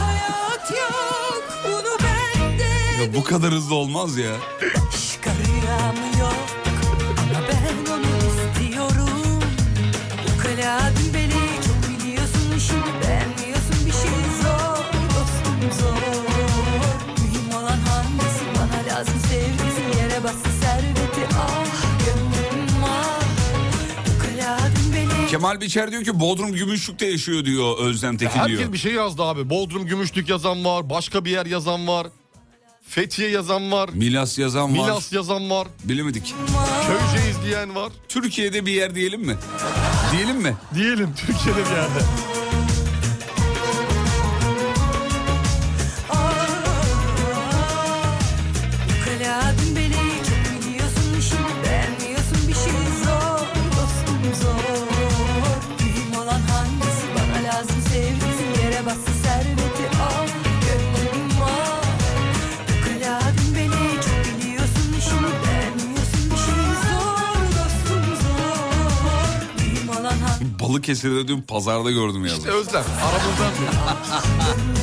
Speaker 2: hayat yok bunu bende
Speaker 5: Ya bu kadar hızlı olmaz ya.
Speaker 2: çıkarıram yok ama ben onu istiyorum bu kaladın beni çok biliyorsun işini beğenmiyorsun bir şey zor dostum zor mühim olan hangisi bana lazım sevgisi yere bastı serveti ah gönlüm ah bu kaladın beni
Speaker 5: Kemal Biçer diyor ki Bodrum Gümüşlük'te yaşıyor diyor Özlem Tekin
Speaker 3: Herkes
Speaker 5: diyor.
Speaker 3: bir şey yazdı abi. Bodrum Gümüşlük yazan var. Başka bir yer yazan var. Fethiye yazan var.
Speaker 5: Milas yazan var.
Speaker 3: Milas yazan var.
Speaker 5: Bilemedik.
Speaker 3: Köyce izleyen var.
Speaker 5: Türkiye'de bir yer diyelim mi? Diyelim mi?
Speaker 3: Diyelim Türkiye'de bir yerde.
Speaker 2: Kaladın beni çok biliyorsun işini beğenmiyorsun bir şey zor dostum zor Mühim olan hangisi bana lazım sevgisi yere bastı serveti al gönlüm al Kaladın beni çok biliyorsun işini beğenmiyorsun bir şey zor dostum zor Mühim olan hangisi
Speaker 5: Balıkesir'de dün pazarda gördüm yazmış.
Speaker 3: İşte Özlem aramızdan diyor.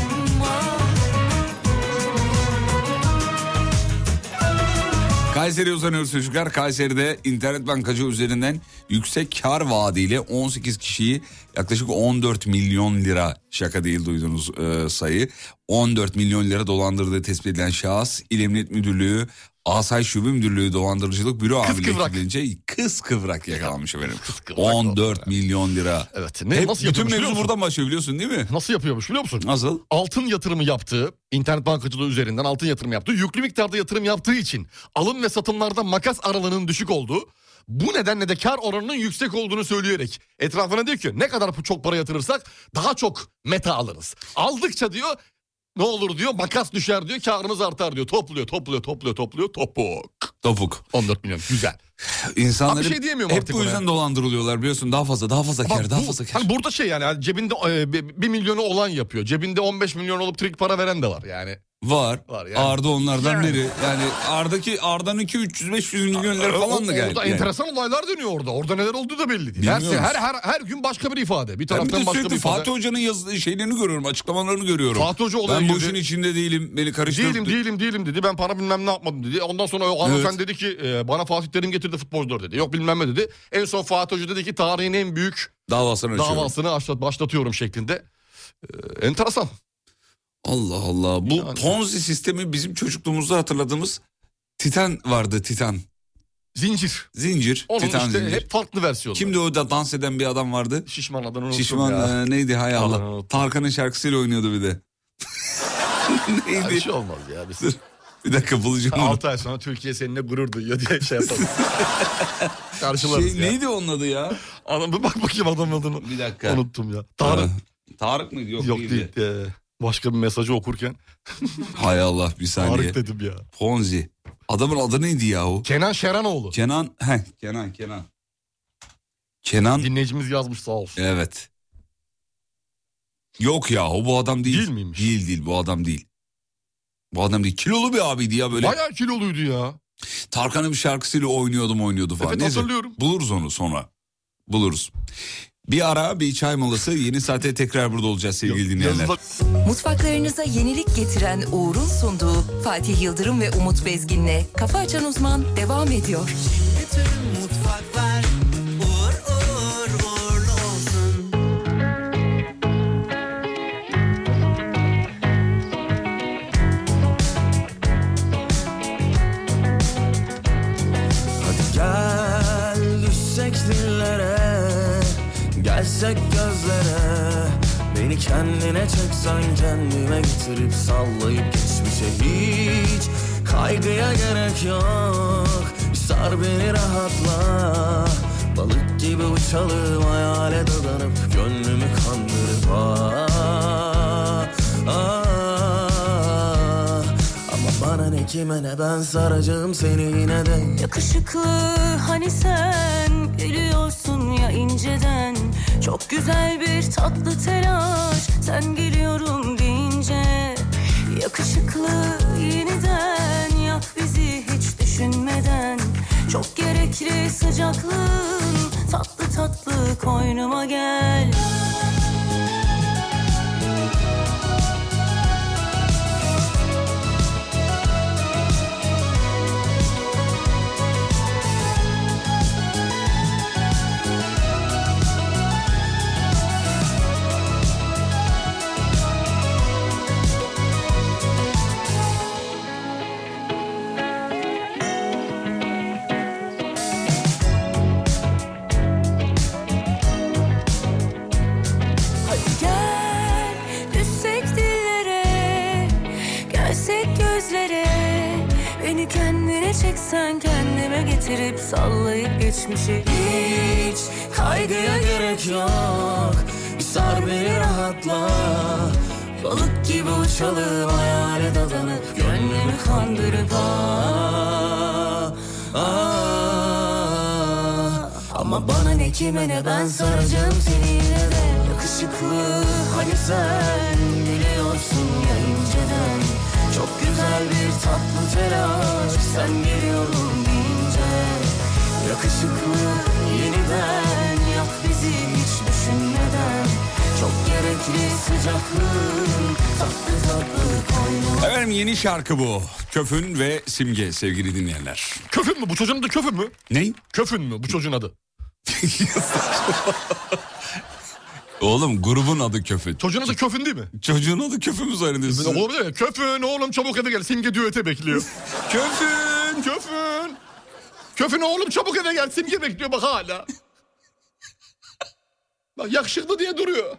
Speaker 5: Kayseri'ye uzanıyoruz çocuklar. Kayseri'de internet bankacı üzerinden yüksek kar vaadiyle 18 kişiyi yaklaşık 14 milyon lira şaka değil duydunuz e, sayı. 14 milyon lira dolandırdığı tespit edilen şahıs İl Emniyet Müdürlüğü Asay Şube Müdürlüğü Dolandırıcılık Büro
Speaker 3: Kız
Speaker 5: Amirliği
Speaker 3: kıvrak.
Speaker 5: ekibince kız kıvrak yakalanmış efendim.
Speaker 3: kıvrak
Speaker 5: 14 milyon lira.
Speaker 3: Evet, ne-
Speaker 5: Hep,
Speaker 3: nasıl
Speaker 5: bütün
Speaker 3: yapıyormuş biliyor
Speaker 5: mevzu
Speaker 3: musun?
Speaker 5: buradan başlıyor biliyorsun değil mi?
Speaker 3: Nasıl yapıyormuş biliyor musun?
Speaker 5: Nasıl?
Speaker 3: Altın yatırımı yaptığı, internet bankacılığı üzerinden altın yatırımı yaptığı, yüklü miktarda yatırım yaptığı için alım ve satımlarda makas aralığının düşük olduğu, bu nedenle de kar oranının yüksek olduğunu söyleyerek etrafına diyor ki ne kadar çok para yatırırsak daha çok meta alırız. Aldıkça diyor ne olur diyor makas düşer diyor karımız artar diyor. Topluyor topluyor topluyor topluyor topuk.
Speaker 5: Topuk.
Speaker 3: 14 milyon güzel.
Speaker 5: İnsanlar
Speaker 3: Abi bir şey diyemiyorum
Speaker 5: hep
Speaker 3: artık
Speaker 5: bu
Speaker 3: ona
Speaker 5: yüzden dolandırılıyorlar biliyorsun. Daha fazla, daha fazla
Speaker 3: Bak
Speaker 5: kar, daha
Speaker 3: bu-
Speaker 5: fazla kar.
Speaker 3: Hani burada şey yani cebinde 1 milyonu olan yapıyor. Cebinde 15 milyon olup trik para veren de var yani.
Speaker 5: Var.
Speaker 3: Var yani.
Speaker 5: Arda onlardan
Speaker 3: Yani.
Speaker 5: biri. Yani Arda'ki Arda'nın 300 500 milyon lira falan da
Speaker 3: Orada
Speaker 5: geldi. Yani.
Speaker 3: enteresan olaylar dönüyor orada. Orada neler olduğu da belli değil. Her,
Speaker 5: Bilmiyoruz.
Speaker 3: her, her, her gün başka bir ifade. Bir
Speaker 5: Ben bir
Speaker 3: taraftan
Speaker 5: de
Speaker 3: başka bir
Speaker 5: sürekli
Speaker 3: ifade.
Speaker 5: Fatih Hoca'nın yazdığı şeylerini görüyorum, açıklamalarını görüyorum.
Speaker 3: Fatih Hoca olaya
Speaker 5: Ben bu
Speaker 3: girdi.
Speaker 5: işin içinde değilim, beni karıştırdı.
Speaker 3: Değilim değilim değilim dedi. Ben para bilmem ne yapmadım dedi. Ondan sonra o hanımefendi dedi ki e, bana Fatih Terim getirdi futbolcuları dedi. Yok bilmem ne dedi. En son Fatih Hoca dedi ki tarihin en büyük
Speaker 5: Davasını açıyorum.
Speaker 3: davasını başlat, başlatıyorum şeklinde. E, enteresan.
Speaker 5: Allah Allah. Bu
Speaker 3: Yani.
Speaker 5: Ponzi sistemi bizim çocukluğumuzda hatırladığımız Titan vardı Titan.
Speaker 3: Zincir.
Speaker 5: Zincir.
Speaker 3: Onun
Speaker 5: Titan
Speaker 3: işte
Speaker 5: zincir.
Speaker 3: hep farklı versiyonu.
Speaker 5: Kimdi o da dans eden bir adam vardı?
Speaker 3: Şişman adını unuttum
Speaker 5: Şişman
Speaker 3: ya.
Speaker 5: e, neydi hay Allah.
Speaker 3: Adını unuttum.
Speaker 5: Tarkan'ın şarkısıyla oynuyordu bir de. *laughs*
Speaker 3: Ya *laughs*
Speaker 5: neydi?
Speaker 3: bir şey olmaz ya. Biz...
Speaker 5: Bir dakika bulacağım onu.
Speaker 3: 6 ay sonra Türkiye seninle gurur duyuyor diye şey
Speaker 5: *laughs*
Speaker 3: yapalım. Karşılarız
Speaker 5: Şey,
Speaker 3: ya.
Speaker 5: neydi onun adı ya?
Speaker 3: Adam, bir bak bakayım adamın adını.
Speaker 5: Bir dakika.
Speaker 3: Unuttum ya. Tarık.
Speaker 5: Ee, Tarık mıydı? Yok,
Speaker 3: Yok
Speaker 5: değildi.
Speaker 3: değil. Ee, başka bir mesajı okurken
Speaker 5: Hay Allah bir saniye.
Speaker 3: Tarık dedim ya.
Speaker 5: Ponzi. Adamın adı neydi yahu?
Speaker 3: Kenan Şeranoğlu.
Speaker 5: Kenan. Heh, Kenan Kenan. Kenan.
Speaker 3: Dinleyicimiz yazmış sağ olsun.
Speaker 5: Evet. Yok ya o bu adam değil.
Speaker 3: Değil miymiş?
Speaker 5: Değil değil bu adam değil. Bu adam değil. Kilolu bir abiydi ya böyle.
Speaker 3: Bayağı kiloluydu ya.
Speaker 5: Tarkan'ın bir şarkısıyla oynuyordum oynuyordu falan.
Speaker 3: Evet,
Speaker 5: Neyse,
Speaker 3: hatırlıyorum.
Speaker 5: Buluruz onu sonra. Buluruz. Bir ara bir çay molası yeni saate tekrar burada olacağız sevgili dinleyenler.
Speaker 3: Yazılı-
Speaker 1: Mutfaklarınıza yenilik getiren Uğur'un sunduğu Fatih Yıldırım ve Umut Bezgin'le Kafa Açan Uzman devam ediyor.
Speaker 6: Bütün mutfaklar uğur uğur uğurlu olsun. Hadi gel düşsek dillere Gelsek gözlere Beni kendine çeksen kendime getirip sallayıp geçmişe hiç Kaygıya gerek yok Sar beni rahatla Balık gibi uçalım hayale dadanıp gönlümü kandırıp ah, ah. Ama bana ne kime ne ben saracağım seni yine de
Speaker 10: Yakışıklı hani sen gülüyorsun ya inceden Çok güzel bir tatlı telaş sen geliyorum deyince Yakışıklı yeniden yak bizi hiç düşünmeden Çok gerekli sıcaklığın tatlı tatlı koynuma gel Hadi gel düşsek dillere Gelsek gözlere Beni kendine çeksen kendime getirip sallayıp geçmişe
Speaker 6: Hiç kaygıya gerek yok Sar beni rahatla Balık gibi uçalım hayale dadanıp Gönlümü kandırıp ah, ah. Ama bana ne kime ne ben saracağım seni yine de Yakışıklı hani sen biliyorsun ya inceden Çok güzel bir tatlı telaş Sen geliyorum deyince Yakışıklı yeniden yap bizi hiç düşünmeden Çok gerekli sıcaklığın tatlı tatlı kaynar
Speaker 5: Efendim yeni şarkı bu. Köfün ve Simge sevgili dinleyenler.
Speaker 3: Köfün mü? Bu çocuğun adı köfün mü?
Speaker 5: Ney?
Speaker 3: Köfün mü? Bu çocuğun adı.
Speaker 5: Oğlum grubun adı Köfün.
Speaker 3: Çocuğun adı köfün değil mi?
Speaker 5: Çocuğun adı Köfün mü zannediyorsun?
Speaker 3: Olabilir mi? Köfün oğlum çabuk eve gel. Simge düete bekliyor.
Speaker 5: Köfün!
Speaker 3: köfün. Köfün oğlum çabuk eve gel. Simge bekliyor bak hala. Bak yakışıklı diye duruyor.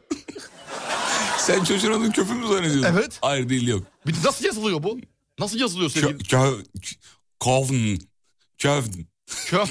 Speaker 5: Sen çocuğun adını Köfün mü zannediyorsun?
Speaker 3: Evet.
Speaker 5: Hayır değil yok.
Speaker 3: Bir de nasıl yazılıyor bu? Nasıl yazılıyor
Speaker 5: Kö,
Speaker 3: sevgili?
Speaker 5: kö, kövn. Kövn.
Speaker 3: Köf.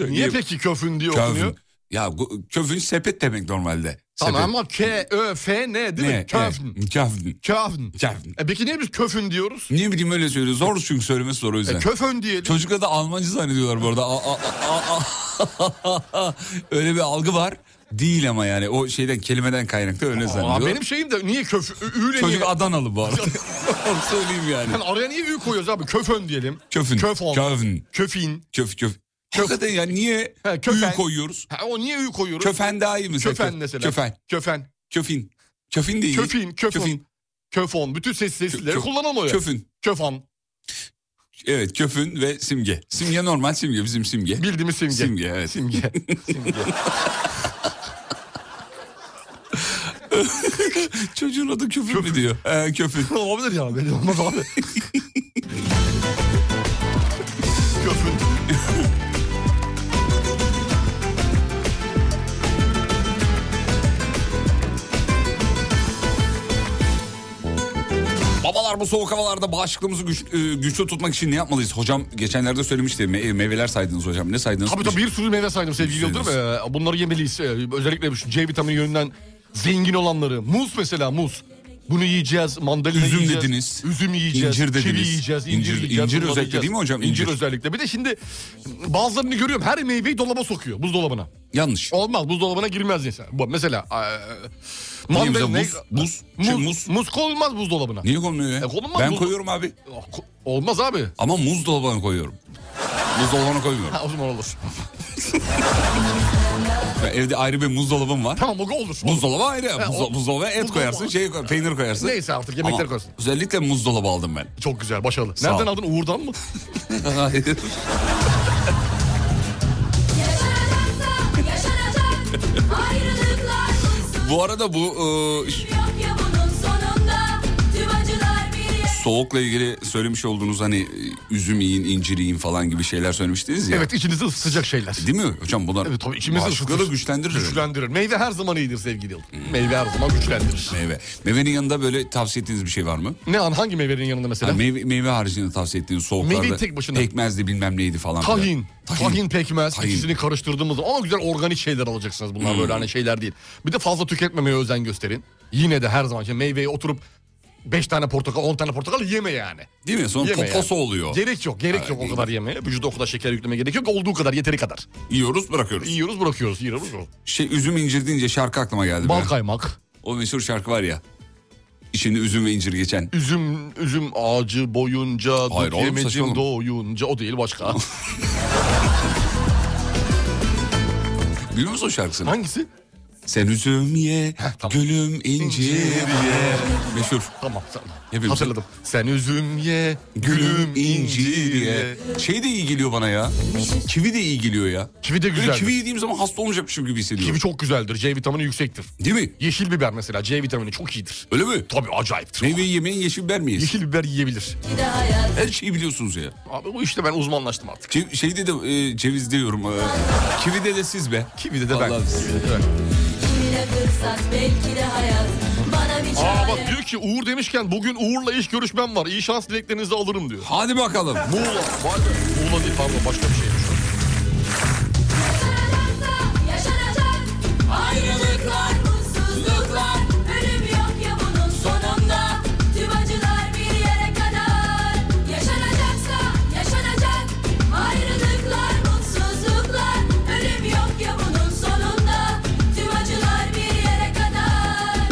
Speaker 3: Niye peki köfün diye okunuyor?
Speaker 5: Kövn. Ya gu- köfün sepet demek normalde.
Speaker 3: Tamam
Speaker 5: Sepet.
Speaker 3: ama K, Ö, F, N değil mi?
Speaker 5: Ne?
Speaker 3: Köfün.
Speaker 5: Evet, Köfün.
Speaker 3: Köfün.
Speaker 5: Köfün.
Speaker 3: E peki niye biz köfün diyoruz?
Speaker 5: Niye bileyim öyle söylüyor. Zor çünkü söylemesi zor o
Speaker 3: E,
Speaker 5: yüzden.
Speaker 3: köfün diyelim.
Speaker 5: Çocuklar da Almancı zannediyorlar bu arada. A- a- a- a- *laughs* öyle bir algı var. Değil ama yani o şeyden kelimeden kaynaklı öyle
Speaker 3: Aa,
Speaker 5: zannediyor.
Speaker 3: benim şeyim de niye köf... Ü, üyle
Speaker 5: Çocuk
Speaker 3: niye-
Speaker 5: Adanalı bu arada. *laughs* Onu söyleyeyim yani.
Speaker 3: Yani araya niye ü koyuyoruz abi? Köfön diyelim.
Speaker 5: Köfün.
Speaker 3: Köfon.
Speaker 5: Köfün.
Speaker 3: Köfin.
Speaker 5: Köf köf. Hakikaten ya niye
Speaker 3: He, köfen.
Speaker 5: köfen. koyuyoruz?
Speaker 3: Ha, o niye ü koyuyoruz?
Speaker 5: Köfen daha iyi mesela.
Speaker 3: Köfen mesela.
Speaker 5: Köfen.
Speaker 3: Köfen.
Speaker 5: Köfin. Köfin de iyi.
Speaker 3: Köfin. Köfon.
Speaker 5: Köfin.
Speaker 3: Köfon. Bütün ses sesleri
Speaker 5: Kö-
Speaker 3: kullanalım öyle.
Speaker 5: Köfün.
Speaker 3: Köfon.
Speaker 5: Evet köfün ve simge. Simge normal simge bizim simge.
Speaker 3: Bildiğimiz simge.
Speaker 5: Simge, evet. *laughs*
Speaker 3: Simge. simge.
Speaker 5: Çocuğun adı köfün, mü diyor? Ee,
Speaker 3: *laughs*
Speaker 5: köfün.
Speaker 3: Olabilir ya. Belli olmaz abi. Köfün.
Speaker 5: *laughs* Babalar bu soğuk havalarda bağışıklığımızı güç- e, güçlü tutmak için ne yapmalıyız? Hocam geçenlerde söylemişti me- e, meyveler saydınız hocam. Ne saydınız?
Speaker 3: Tabii tabii bir sürü meyve saydım sevgili Yıldırım. Ee, bunları yemeliyiz. Ee, özellikle şu C vitamini yönünden zengin olanları. Muz mesela muz. Bunu yiyeceğiz, mandalina
Speaker 5: Üzüm
Speaker 3: yiyeceğiz.
Speaker 5: dediniz.
Speaker 3: Üzüm yiyeceğiz,
Speaker 5: İncir
Speaker 3: kivi
Speaker 5: dediniz.
Speaker 3: yiyeceğiz, incir,
Speaker 5: İncir-
Speaker 3: yiyeceğiz.
Speaker 5: incir
Speaker 3: bunları
Speaker 5: özellikle
Speaker 3: yiyeceğiz.
Speaker 5: değil mi hocam?
Speaker 3: İncir,
Speaker 5: İncir.
Speaker 3: özellikle. Bir de şimdi bazılarını görüyorum her meyveyi dolaba sokuyor, buzdolabına.
Speaker 5: Yanlış.
Speaker 3: Olmaz buzdolabına girmez insan. Bu mesela e,
Speaker 5: Niye
Speaker 3: mandalina
Speaker 5: bize buz, buz,
Speaker 3: muz,
Speaker 5: şey,
Speaker 3: muz.
Speaker 5: muz.
Speaker 3: konulmaz buzdolabına.
Speaker 5: Niye konmuyor ya?
Speaker 3: E, konulmaz,
Speaker 5: ben
Speaker 3: buz-
Speaker 5: koyuyorum abi.
Speaker 3: Ko- Oh, Olmaz abi. *laughs*
Speaker 5: Ama buzdolabına koyuyorum. Buzdolabına koymuyorum.
Speaker 3: Ha, o zaman olur.
Speaker 5: Ya evde ayrı bir buzdolabım var.
Speaker 3: Tamam o olur.
Speaker 5: Buzdolabı ayrı.
Speaker 3: Ha,
Speaker 5: Buzdo-
Speaker 3: o-
Speaker 5: buzdolabına et
Speaker 3: buzdolabı-
Speaker 5: koyarsın, şey koy- peynir koyarsın.
Speaker 3: Neyse artık, yemekleri
Speaker 5: Ama
Speaker 3: koyarsın.
Speaker 5: Özellikle buzdolabı
Speaker 3: *laughs*
Speaker 5: aldım ben.
Speaker 3: Çok güzel başarılı.
Speaker 5: Sağ
Speaker 3: Nereden
Speaker 5: ol.
Speaker 3: aldın Uğur'dan mı?
Speaker 5: Hayır.
Speaker 2: Yaşanacak ayrılıklar olsun
Speaker 5: Bu arada bu e, ş-
Speaker 2: yok ya bunun sonunda Tüm acılar bir yere
Speaker 5: soğukla ilgili söylemiş olduğunuz hani e, üzüm yiyin, incir yiyin falan gibi şeyler söylemiştiniz ya.
Speaker 3: evet içinizi ısıtacak şeyler.
Speaker 5: Değil mi hocam bunlar?
Speaker 3: Evet tabii içimizi
Speaker 5: bağışıklığı
Speaker 3: ısıtır.
Speaker 5: da güçlendirir. Hmm.
Speaker 3: Güçlendirir. Meyve her zaman iyidir sevgili Yıldırım. Meyve her zaman güçlendirir.
Speaker 5: Meyve. Meyvenin yanında böyle tavsiye ettiğiniz bir şey var mı?
Speaker 3: Ne an hangi meyvenin yanında mesela?
Speaker 5: Yani meyve, meyve haricinde tavsiye ettiğiniz soğuklarda.
Speaker 3: Meyveyi tek başına.
Speaker 5: Pekmezdi bilmem neydi falan. filan.
Speaker 3: Tahin. Tahin, pekmez.
Speaker 5: Tahin. Hmm.
Speaker 3: İkisini karıştırdığımız zaman ama güzel organik şeyler alacaksınız. Bunlar böyle hani şeyler değil. Bir de fazla tüketmemeye özen gösterin. Yine de her zaman işte meyveye oturup 5 tane portakal 10 tane portakal yeme yani.
Speaker 5: Değil mi? Sonra
Speaker 3: Yeme
Speaker 5: poposu
Speaker 3: yani.
Speaker 5: oluyor.
Speaker 3: Gerek yok. Gerek yok o
Speaker 5: değil.
Speaker 3: kadar yemeye. Vücuda o kadar şeker yükleme gerek yok. Olduğu kadar yeteri kadar.
Speaker 5: Yiyoruz bırakıyoruz.
Speaker 3: Yiyoruz bırakıyoruz. Yiyoruz bırakıyoruz.
Speaker 5: Şey üzüm incir deyince şarkı aklıma geldi.
Speaker 3: Bal
Speaker 5: benim.
Speaker 3: kaymak.
Speaker 5: O meşhur şarkı var ya. İçinde üzüm ve incir geçen.
Speaker 3: Üzüm üzüm ağacı boyunca
Speaker 5: Hayır
Speaker 3: dut
Speaker 5: oğlum,
Speaker 3: yemecim
Speaker 5: saçmalama.
Speaker 3: doyunca o değil başka.
Speaker 5: Biliyor musun o
Speaker 3: *laughs*
Speaker 5: şarkısını?
Speaker 3: Hangisi?
Speaker 5: Sen üzüm ye,
Speaker 3: tamam.
Speaker 5: gülüm incir ye. Meşhur.
Speaker 3: Tamam tamam.
Speaker 5: Yapayım.
Speaker 3: Hatırladım. Sen üzüm ye,
Speaker 5: Gülüm incir ye. Şey de iyi geliyor bana ya. Kivi de iyi geliyor ya.
Speaker 3: Kivi de
Speaker 5: Böyle
Speaker 3: güzel.
Speaker 5: kivi yediğim zaman hasta olmayacakmışım gibi hissediyorum.
Speaker 3: Kivi çok güzeldir. C vitamini yüksektir.
Speaker 5: Değil mi?
Speaker 3: Yeşil biber mesela C vitamini çok iyidir.
Speaker 5: Öyle mi?
Speaker 3: Tabii acayiptir.
Speaker 5: Meyveyi yemeyen yeşil biber mi yesin?
Speaker 3: Yeşil biber yiyebilir.
Speaker 5: Her şeyi biliyorsunuz ya.
Speaker 3: Abi bu işte ben uzmanlaştım artık.
Speaker 5: Cev- şeyde de e, ceviz diyorum. E, kivide de siz be.
Speaker 3: Kivi de ben.
Speaker 5: Vallahi siz.
Speaker 3: Kivi de ben.
Speaker 2: bile fırsat belki de hayat Bana bir
Speaker 3: Aa
Speaker 2: çare
Speaker 3: bak diyor ki Uğur demişken bugün Uğur'la iş görüşmem var. İyi şans dileklerinizi alırım diyor.
Speaker 5: Hadi bakalım.
Speaker 3: Muğla. Vay be. Muğla değil pardon başka bir şey. şeymiş. o.
Speaker 2: yaşanacak Ayrılıklar, mutsuzluklar Ölüm yok ya bunun sonunda Tüm acılar bir yere kadar Yaşanacaksa yaşanacak Ayrılıklar, mutsuzluklar Ölüm yok ya bunun sonunda Tüm acılar bir yere kadar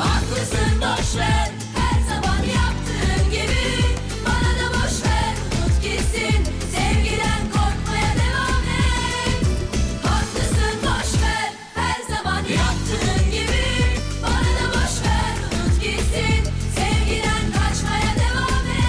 Speaker 2: Haklısın boşver Her zaman yaptığın gibi Bana da boşver Unut gitsin Sevgiden korkmaya devam et Haklısın boşver Her zaman yaptığın gibi Bana da boşver Unut gitsin Sevgiden kaçmaya devam et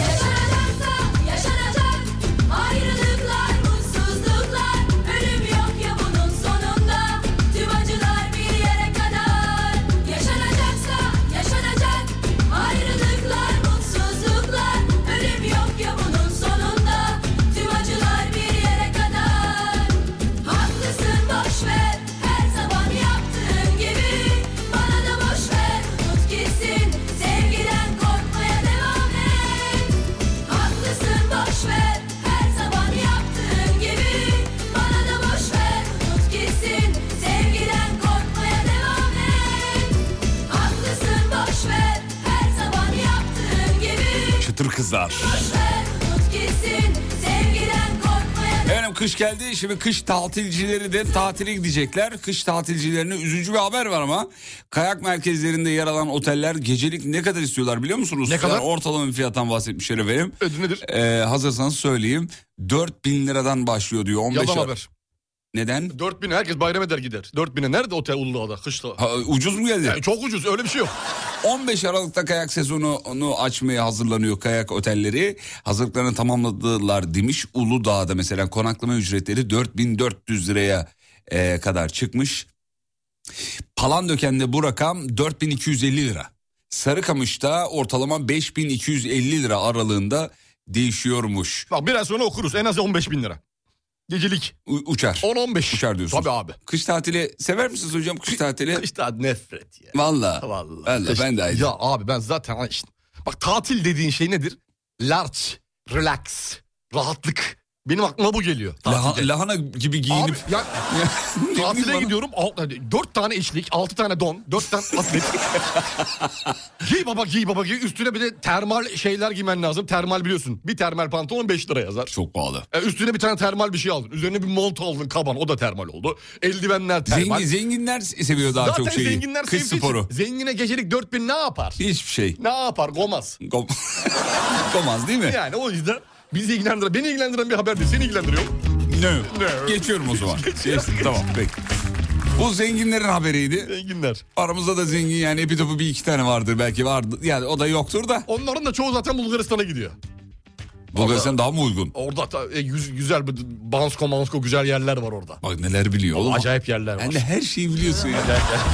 Speaker 2: Yaşanacaksa yaşanacak ayrılıklar, mutsuzluklar, ölüm yok ya bunun sonunda tüm acılar bir yere kadar. Yaşanacaksa yaşanacak ayrılıklar, mutsuzluklar, ölüm yok ya bunun sonunda tüm acılar bir yere kadar. Haklısın boşver her zaman yaptığın gibi bana da boşver unut gitsin sevgiden korkmaya devam et. Haklısın boşver her zaman yaptığın gibi Bana da boşver unut gitsin Sevgiden korkmaya devam et Haklısın boşver her zaman yaptığın gibi
Speaker 5: Çıtır kızlar.
Speaker 2: Boşver unut gitsin Sevgiden korkmaya
Speaker 5: Efendim kış geldi. Şimdi kış tatilcileri de tatile gidecekler. Kış tatilcilerine üzücü bir haber var ama kayak merkezlerinde yer alan oteller gecelik ne kadar istiyorlar biliyor musunuz?
Speaker 3: Ne kadar?
Speaker 5: Yani ortalama bir fiyattan bahsetmişler efendim.
Speaker 3: Ödü nedir?
Speaker 5: Ee, hazırsanız söyleyeyim. 4000 liradan başlıyor diyor. 15
Speaker 3: Yalan
Speaker 5: lira.
Speaker 3: haber.
Speaker 5: Neden?
Speaker 3: 4000 herkes bayram eder gider. 4000'e nerede otel Uludağ'da kışta?
Speaker 5: Ha, ucuz mu geldi?
Speaker 3: Yani çok ucuz öyle bir şey yok.
Speaker 5: 15 Aralık'ta kayak sezonunu açmaya hazırlanıyor kayak otelleri. Hazırlıklarını tamamladılar demiş. Uludağ'da mesela konaklama ücretleri 4400 liraya e, kadar çıkmış. Palandöken'de bu rakam 4250 lira. Sarıkamış'ta ortalama 5250 lira aralığında değişiyormuş.
Speaker 3: Bak biraz sonra okuruz en az 15 bin lira. Gecelik
Speaker 5: U- uçar.
Speaker 3: 10-15.
Speaker 5: Uçar diyorsunuz.
Speaker 3: Tabii abi.
Speaker 5: Kış tatili sever misiniz hocam kış tatili?
Speaker 3: İşte nefret ya.
Speaker 5: Valla.
Speaker 3: Vallahi.
Speaker 5: Ben de
Speaker 3: Ya
Speaker 5: aynı.
Speaker 3: abi ben zaten işte Bak tatil dediğin şey nedir? Large, relax, rahatlık. Benim aklıma bu geliyor.
Speaker 5: Laha-
Speaker 3: tatilde.
Speaker 5: lahana gibi
Speaker 3: Abi
Speaker 5: giyinip *laughs*
Speaker 3: ya tatile
Speaker 5: bana?
Speaker 3: gidiyorum. Al, hani dört tane içlik, altı tane don, dört tane
Speaker 5: *laughs*
Speaker 3: atlet. giy baba giy baba giy. Üstüne bir de termal şeyler giymen lazım. Termal biliyorsun. Bir termal pantolon 5 lira yazar.
Speaker 5: çok pahalı.
Speaker 3: E, üstüne bir tane termal bir şey aldın. Üzerine bir mont aldın kaban o da termal oldu. Eldivenler termal.
Speaker 5: Zengin, zenginler seviyor daha
Speaker 3: Zaten
Speaker 5: çok şeyi.
Speaker 3: zenginler
Speaker 5: Kış
Speaker 3: sevdiği için
Speaker 5: sporu.
Speaker 3: Zengine gecelik 4000 ne yapar?
Speaker 5: Hiçbir şey.
Speaker 3: Ne yapar gomaz.
Speaker 5: Kom- *laughs* Komaz değil mi?
Speaker 3: Yani o yüzden bizi ilgilendiren, beni ilgilendiren bir haber değil. Seni ilgilendiriyor.
Speaker 5: No.
Speaker 3: No.
Speaker 5: Geçiyorum
Speaker 3: *laughs*
Speaker 5: o zaman. Geçtim tamam peki. Bu zenginlerin haberiydi.
Speaker 3: Zenginler.
Speaker 5: Aramızda da zengin yani epitopu bir iki tane vardır belki vardı. Yani o da yoktur da.
Speaker 3: Onların da çoğu zaten Bulgaristan'a gidiyor.
Speaker 5: Bulgaristan daha mı uygun?
Speaker 3: Orada da, e, yüz- güzel bir Bansko Mansko güzel yerler var orada.
Speaker 5: Bak neler biliyor oğlum.
Speaker 3: Acayip yerler var.
Speaker 5: Sen de her şeyi biliyorsun ya.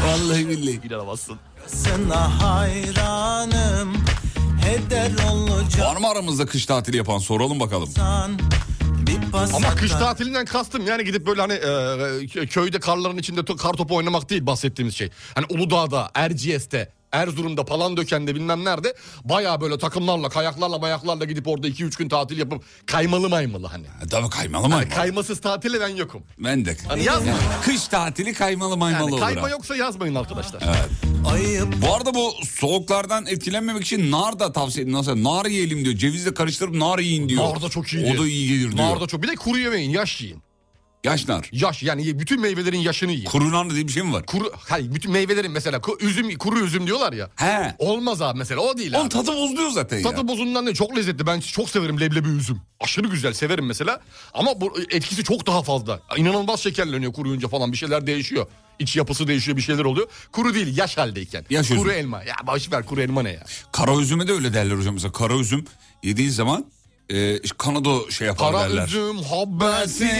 Speaker 5: Vallahi billahi.
Speaker 3: İnanamazsın.
Speaker 8: Sana hayranım Heder olacaksan
Speaker 5: Var mı aramızda kış tatili yapan soralım bakalım.
Speaker 8: Bir pas
Speaker 3: Ama kış
Speaker 8: atar.
Speaker 3: tatilinden kastım yani gidip böyle hani e, e, köyde karların içinde to- kar topu oynamak değil bahsettiğimiz şey. Hani Uludağ'da, Erciyes'te, Erzurum'da, Palandöken'de bilmem nerede baya böyle takımlarla, kayaklarla, mayaklarla gidip orada 2-3 gün tatil yapıp kaymalı maymalı hani.
Speaker 5: Ha, E, Tabii kaymalı maymalı.
Speaker 3: Kaymasız tatile ben yokum.
Speaker 5: ben de.
Speaker 3: Hani yazma.
Speaker 5: Yani kış tatili kaymalı maymalı
Speaker 3: Yani
Speaker 5: olur.
Speaker 3: kayma
Speaker 5: ha.
Speaker 3: yoksa yazmayın arkadaşlar.
Speaker 8: Ayıp
Speaker 5: Bu arada bu soğuklardan etkilenmemek için nar da tavsiye Nasıl? Nar yiyelim diyor. Cevizle karıştırıp nar yiyin diyor.
Speaker 3: Nar da çok iyi diyor.
Speaker 5: O da iyi gelir diyor.
Speaker 3: Narda çok. Bir de kuru yemeyin, yaş yiyin.
Speaker 5: Yaş nar.
Speaker 3: Yaş yani ye- bütün meyvelerin yaşını yiyin.
Speaker 5: Kuru nar diye bir şey mi var?
Speaker 3: Kuru, hayır bütün meyvelerin mesela ku- üzüm, kuru üzüm diyorlar ya.
Speaker 5: He.
Speaker 3: Olmaz abi mesela o değil
Speaker 5: Onun
Speaker 3: abi.
Speaker 5: tadı bozuluyor zaten ya.
Speaker 3: Tadı bozundan değil çok lezzetli ben çok severim leblebi üzüm. Aşırı güzel severim mesela ama bu etkisi çok daha fazla. İnanılmaz şekerleniyor kuruyunca falan bir şeyler değişiyor. İç yapısı değişiyor bir şeyler oluyor. Kuru değil yaş haldeyken.
Speaker 5: Yaş
Speaker 3: kuru
Speaker 5: üzüm.
Speaker 3: elma ya boş ver kuru elma ne ya.
Speaker 5: Kara üzüme de öyle derler hocam. Mesela kara üzüm yediğin zaman e, kanado şey yapar
Speaker 3: Kara
Speaker 5: derler.
Speaker 3: üzüm habbesi.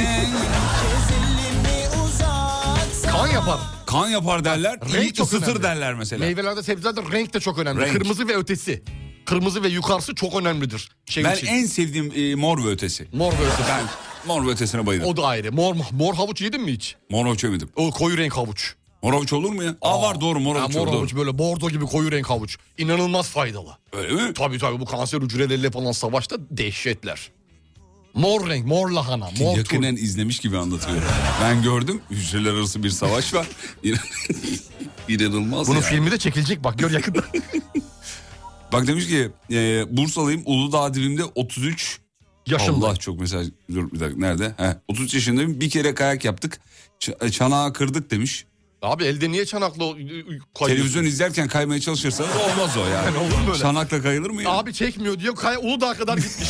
Speaker 8: elimi uzat
Speaker 3: Kan yapar.
Speaker 5: Kan yapar derler.
Speaker 3: Renk
Speaker 5: Renk
Speaker 3: çok
Speaker 5: ısıtır
Speaker 3: önemli.
Speaker 5: derler mesela.
Speaker 3: Meyvelerde sebzelerde renk de çok önemli.
Speaker 5: Renk.
Speaker 3: Kırmızı ve ötesi. Kırmızı ve yukarısı çok önemlidir. Şey
Speaker 5: ben
Speaker 3: için.
Speaker 5: en sevdiğim e, mor ve ötesi.
Speaker 3: Mor ve ötesi.
Speaker 5: Ben mor ve ötesine bayılırım.
Speaker 3: O da ayrı. Mor, mor havuç yedin mi hiç?
Speaker 5: Mor havuç yemedim.
Speaker 3: O koyu renk havuç.
Speaker 5: Mor havuç olur mu ya? Aa, var doğru mor
Speaker 3: Ha,
Speaker 5: havuç.
Speaker 3: mor
Speaker 5: olur,
Speaker 3: havuç
Speaker 5: doğru.
Speaker 3: böyle bordo gibi koyu renk havuç. İnanılmaz faydalı.
Speaker 5: Öyle mi?
Speaker 3: Tabii tabii bu kanser hücreleriyle falan savaşta dehşetler. Mor renk, mor lahana, mor turp.
Speaker 5: Yakinen izlemiş gibi anlatıyor. Ben gördüm hücreler arası bir savaş var. *laughs* İnan- İnanılmaz
Speaker 3: Bunun
Speaker 5: ya.
Speaker 3: filmi de çekilecek bak gör yakında.
Speaker 5: Bak demiş ki e, Bursalıyım Uludağ dibimde 33
Speaker 3: *laughs* Yaşımda.
Speaker 5: Allah çok mesaj dur bir dakika nerede? He, 33 yaşındayım bir kere kayak yaptık Ç- e, çanağı kırdık demiş.
Speaker 3: Abi elde niye çanakla o- ıı, kayıyorsun?
Speaker 5: Televizyon izlerken kaymaya çalışırsanız olmaz o yani.
Speaker 3: Yani *laughs* olur mu öyle?
Speaker 5: Çanakla kayılır mı ya?
Speaker 3: Abi çekmiyor diyor kaya Uludağ'a kadar
Speaker 5: *laughs*
Speaker 3: gitmiş.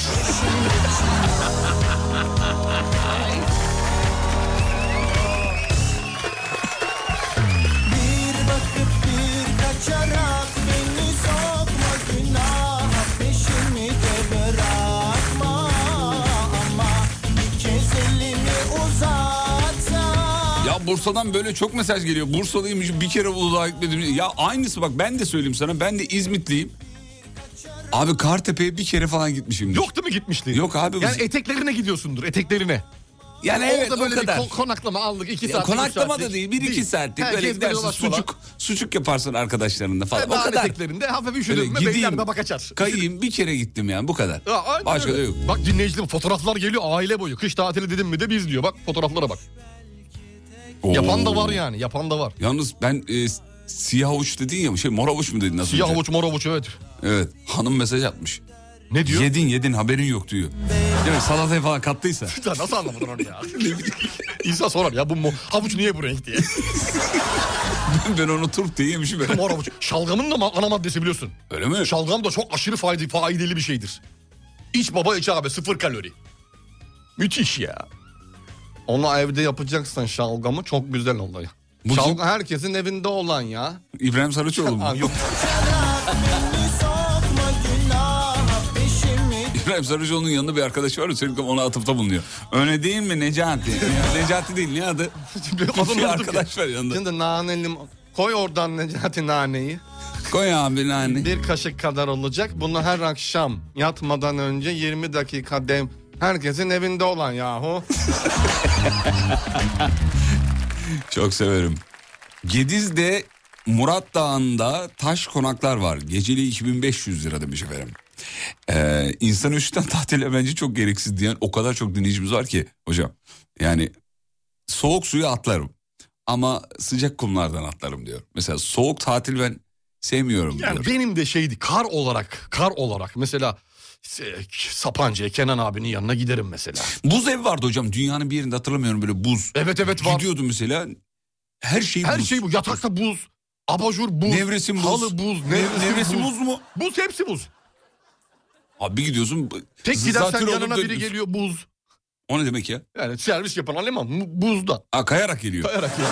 Speaker 8: Bir bakıp bir kaçarak Beni sokma günah Peşimi de bırakma Ama bir kez elimi uzatsan
Speaker 5: Ya Bursa'dan böyle çok mesaj geliyor. Bursalıymış bir kere Uludağ'a gitmedim. Ya aynısı bak ben de söyleyeyim sana ben de İzmitliyim. Abi Kartepe'ye bir kere falan gitmişim.
Speaker 3: Yok değil mi gitmişliği?
Speaker 5: Yok abi. bu-
Speaker 3: Yani eteklerine gidiyorsundur eteklerine.
Speaker 5: yani evet
Speaker 3: Orada böyle
Speaker 5: o kadar.
Speaker 3: bir ko- konaklama aldık iki
Speaker 5: Ya
Speaker 3: saat.
Speaker 5: konaklama da değil bir iki saatlik böyle gidersin
Speaker 3: sucuk. E,
Speaker 5: sucuk, sucuk yaparsın arkadaşlarınla falan.
Speaker 3: Dağ
Speaker 5: o kadar.
Speaker 3: eteklerinde hafif
Speaker 5: Böyle
Speaker 3: üşüdün mü
Speaker 5: gideyim,
Speaker 3: beyler de bak açar.
Speaker 5: kayayım bir kere gittim yani bu kadar.
Speaker 3: Ya, aynen
Speaker 5: Başka da
Speaker 3: öyle.
Speaker 5: yok.
Speaker 3: Bak dinleyicilerim fotoğraflar geliyor aile boyu. Kış tatili dedim mi de biz diyor. Bak fotoğraflara bak. Yapan da var yani yapan da var.
Speaker 5: Yalnız ben e, siyah avuç dedin ya şey mor avuç mu dedin nasıl?
Speaker 3: Siyah havuç mor havuç evet.
Speaker 5: Evet hanım mesaj atmış.
Speaker 3: Ne *laughs* diyor?
Speaker 5: Yedin yedin haberin yok diyor. Değil mi? Salataya falan kattıysa.
Speaker 3: Ya Nasıl anlamadın onu ya? *laughs* İnsan sorar ya bu mo- havuç niye bu renk diye.
Speaker 5: ben onu turp diye yemişim.
Speaker 3: *laughs*
Speaker 5: ben.
Speaker 3: mor havuç. Şalgamın da ma- ana maddesi biliyorsun.
Speaker 5: Öyle mi?
Speaker 3: Şalgam da çok aşırı faydalı, faydalı bir şeydir. İç baba iç abi sıfır kalori. Müthiş ya. Onu evde yapacaksan şalgamı çok güzel oluyor.
Speaker 5: Bu-
Speaker 3: Şalgam herkesin evinde olan ya.
Speaker 5: İbrahim Sarıçoğlu
Speaker 3: Ha,
Speaker 5: mu?
Speaker 3: yok.
Speaker 8: Sokma günah Peşimi
Speaker 5: İbrahim Sarıcıoğlu'nun yanında bir arkadaşı var ya sürekli ona atıfta bulunuyor. Öyle değil mi Necati? Ya, Necati değil
Speaker 3: *laughs*
Speaker 5: ne adı?
Speaker 3: Adını
Speaker 5: bir
Speaker 3: unuttum
Speaker 5: arkadaş
Speaker 3: ya.
Speaker 5: var yanında.
Speaker 3: Şimdi nane lim- Koy oradan Necati naneyi.
Speaker 5: Koy abi nane.
Speaker 3: Bir kaşık kadar olacak. Bunu her akşam yatmadan önce 20 dakika dem. Herkesin evinde olan yahu.
Speaker 5: Çok severim. Gediz'de Murat Dağı'nda taş konaklar var. Geceli 2500 lira demiş efendim. Ee, insan üçten *laughs* tatile bence çok gereksiz diyen o kadar çok dinleyicimiz var ki hocam. Yani soğuk suya atlarım ama sıcak kumlardan atlarım diyor. Mesela soğuk tatil ben sevmiyorum diyor.
Speaker 3: Yani benim de şeydi kar olarak kar olarak mesela e, Sapanca'ya Kenan abinin yanına giderim mesela.
Speaker 5: Buz evi vardı hocam dünyanın bir yerinde hatırlamıyorum böyle buz.
Speaker 3: Evet evet var.
Speaker 5: Gidiyordum mesela her şey
Speaker 3: Her
Speaker 5: buz.
Speaker 3: şey bu. Yatakta buz. Abajur buz.
Speaker 5: Nevresim buz.
Speaker 3: Halı buz.
Speaker 5: Ne-
Speaker 3: Nevresim,
Speaker 5: nevresim
Speaker 3: buz.
Speaker 5: buz mu?
Speaker 3: Buz hepsi buz.
Speaker 5: Abi bir gidiyorsun. b-
Speaker 3: Tek
Speaker 5: z-
Speaker 3: gidersen
Speaker 5: zatürre olup
Speaker 3: yanına biri
Speaker 5: dönüyorsun.
Speaker 3: geliyor buz.
Speaker 5: O ne demek ya?
Speaker 3: Yani servis yapan Aleman mu- buzda.
Speaker 5: Ha, kayarak geliyor.
Speaker 3: Kayarak yani.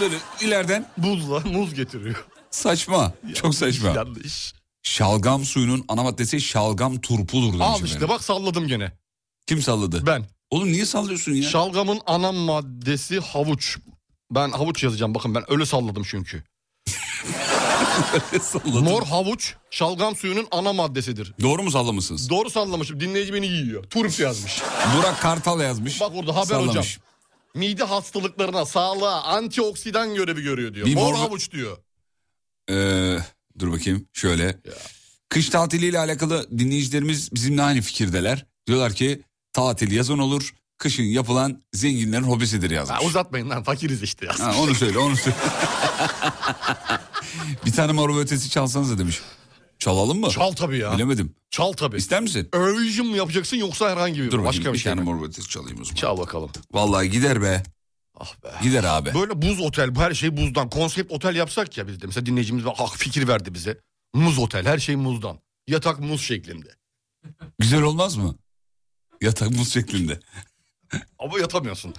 Speaker 5: Böyle ileriden
Speaker 3: Buzla muz getiriyor.
Speaker 5: saçma. Çok saçma.
Speaker 3: Yanlış.
Speaker 5: Şalgam suyunun ana maddesi şalgam turpudur demiş
Speaker 3: Al
Speaker 5: efendim.
Speaker 3: işte bak salladım gene.
Speaker 5: Kim salladı?
Speaker 3: Ben.
Speaker 5: Oğlum niye sallıyorsun ya?
Speaker 3: Şalgamın ana maddesi havuç. Ben havuç yazacağım bakın ben öyle salladım çünkü.
Speaker 5: Salladın.
Speaker 3: Mor havuç şalgam suyunun ana maddesidir.
Speaker 5: Doğru mu sallamışsınız?
Speaker 3: Doğru sallamışım dinleyici beni yiyor. Turp yazmış.
Speaker 5: Burak Kartal yazmış.
Speaker 3: Bak orada haber
Speaker 5: Sallamış.
Speaker 3: hocam. Mide hastalıklarına, sağlığa, antioksidan görevi görüyor diyor.
Speaker 5: Bir
Speaker 3: Mor
Speaker 5: mor-
Speaker 3: havuç diyor.
Speaker 5: Ee, dur bakayım şöyle. Kış tatiliyle alakalı dinleyicilerimiz bizimle aynı fikirdeler. Diyorlar ki tatil yazın olur, kışın yapılan zenginlerin hobisidir yazmış.
Speaker 3: Ha, uzatmayın lan fakiriz işte.
Speaker 5: Ha, onu söyle onu söyle. *laughs* bir tane mor ve ötesi çalsanıza demiş. Çalalım
Speaker 3: *laughs*
Speaker 5: mı?
Speaker 3: Çal tabii ya.
Speaker 5: Bilemedim.
Speaker 3: Çal tabii.
Speaker 5: İster misin?
Speaker 3: Eurovision mu yapacaksın yoksa herhangi bir
Speaker 5: Dur bakayım
Speaker 3: başka
Speaker 5: bir
Speaker 3: bir şey
Speaker 5: tane
Speaker 3: mi?
Speaker 5: mor ve ötesi çalayım o zaman.
Speaker 3: Çal bakalım.
Speaker 5: Vallahi gider be.
Speaker 3: Ah be.
Speaker 5: Gider abi.
Speaker 3: Böyle buz otel, her şey buzdan. Konsept otel yapsak ya biz de. Mesela dinleyicimiz var, ah, fikir verdi bize. Muz otel, her şey muzdan. Yatak muz şeklinde.
Speaker 5: Güzel olmaz mı? Yatak buz şeklinde. *laughs*
Speaker 3: Ama yatamıyorsun.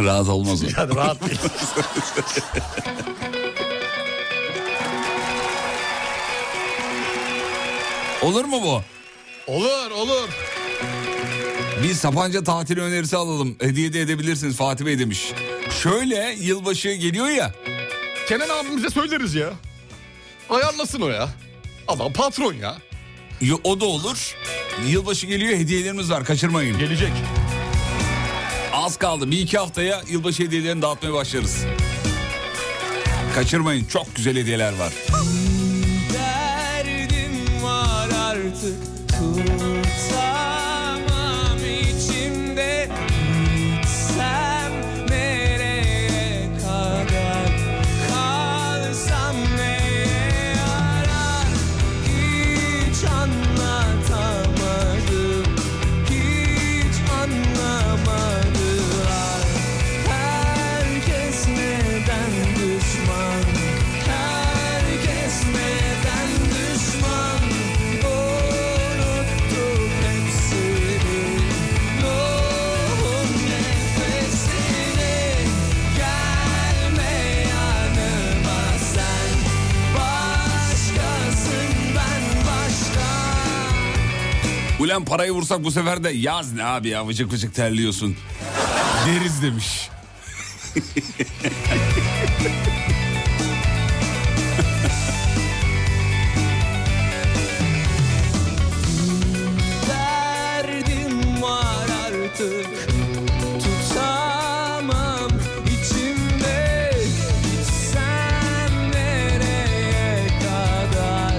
Speaker 5: Rahat olmaz o.
Speaker 3: Yani rahat değil.
Speaker 5: *laughs* Olur mu bu?
Speaker 3: olur, olur.
Speaker 5: Bir Sapanca tatili önerisi alalım. Hediye de edebilirsiniz Fatih Bey demiş. Şöyle yılbaşı geliyor ya.
Speaker 3: Kenan abimize söyleriz ya. Ayarlasın o ya. Adam patron ya.
Speaker 5: y- O da olur. Yılbaşı geliyor hediyelerimiz var kaçırmayın.
Speaker 3: Gelecek.
Speaker 5: Az kaldı bir iki haftaya yılbaşı hediyelerini dağıtmaya başlarız. Kaçırmayın çok güzel hediyeler var.
Speaker 6: Derdim var artık tutamam içimde Gitsem nereye kadar kalsam neye yarar Hiç anlatamadım hiç anlamadılar Herkes neden düşman Herkes neden düşman Unuttuk hepsini Ruhun nefesini Gelme yanıma sen Başkasın ben başka
Speaker 5: Ulan parayı vursak bu sefer de yaz ne abi ya vıcık vıcık terliyorsun. Deriz demiş.
Speaker 6: derdim var artık Tutamam içimde Gitsem nereye kadar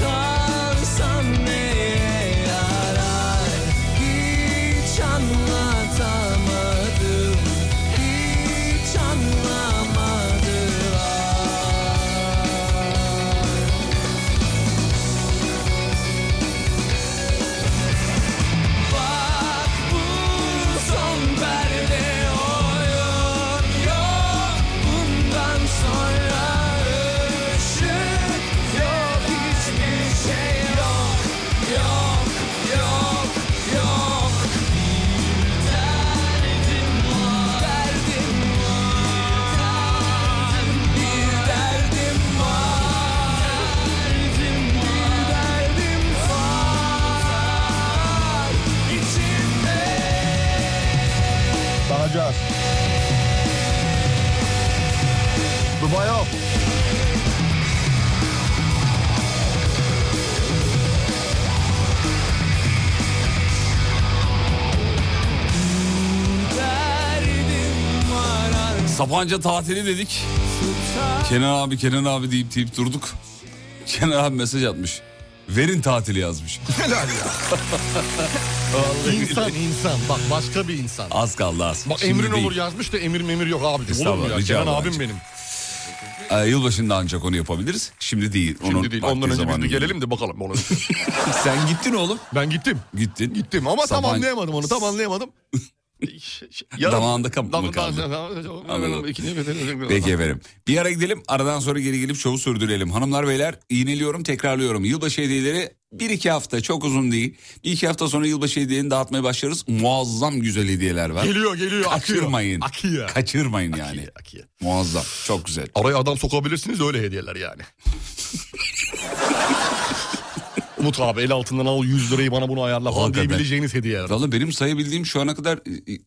Speaker 6: Kalsam neye yarar Hiç anlatamadım Hiç anlamadılar Bak bu son perde oyun yok Bundan sonra ışık yok Hiçbir şey yok Yok, yok, yok Bir derdim var Bir derdim var Bir derdim var İçimde
Speaker 3: Bakacağız. Dubai yok.
Speaker 6: derdim var artık
Speaker 5: Sapanca tatili dedik. Kenan abi Kenan abi deyip deyip durduk. Kenan abi mesaj atmış. Verin tatili yazmış.
Speaker 3: Helal ya. insan insan. Bak başka bir insan.
Speaker 5: Az kaldı az.
Speaker 3: Bak
Speaker 5: Şimdi
Speaker 3: emrin
Speaker 5: değil.
Speaker 3: olur yazmış da emir memir yok abicim. Olur mu
Speaker 5: Estağfurullah,
Speaker 3: ya?
Speaker 5: rica
Speaker 3: Kenan
Speaker 5: ederim
Speaker 3: abim
Speaker 5: abicim.
Speaker 3: benim.
Speaker 5: Ee, yılbaşında ancak onu yapabiliriz. Şimdi değil.
Speaker 3: Şimdi
Speaker 5: Onun
Speaker 3: değil.
Speaker 5: vakti
Speaker 3: Ondan önce biz
Speaker 5: zamanı
Speaker 3: de
Speaker 5: değil.
Speaker 3: gelelim de bakalım.
Speaker 5: *laughs*
Speaker 3: Ona.
Speaker 5: Sen gittin oğlum.
Speaker 3: ben gittim.
Speaker 5: Gittin.
Speaker 3: Gittim ama
Speaker 5: Sabancı-
Speaker 3: tam anlayamadım onu. Tam
Speaker 5: *laughs*
Speaker 3: anlayamadım.
Speaker 5: Damağında kap- mı kaldı? Anladım. Peki efendim. Bir ara gidelim. Aradan sonra geri gelip şovu sürdürelim. Hanımlar beyler iğneliyorum tekrarlıyorum. Yılbaşı hediyeleri bir iki hafta çok uzun değil. Bir iki hafta sonra yılbaşı hediyelerini dağıtmaya başlarız. Muazzam güzel hediyeler var.
Speaker 3: Geliyor geliyor. akıyor.
Speaker 5: Kaçırmayın.
Speaker 3: Akıyor.
Speaker 5: Kaçırmayın yani.
Speaker 3: Akıyor, akıyor.
Speaker 5: Muazzam. Çok güzel.
Speaker 3: Araya adam sokabilirsiniz öyle hediyeler
Speaker 5: *laughs*
Speaker 3: yani. Umut abi el altından al 100 lirayı bana bunu ayarla falan
Speaker 5: Hakikaten.
Speaker 3: diyebileceğiniz hediyeler.
Speaker 5: Valla benim sayabildiğim şu ana kadar e, e,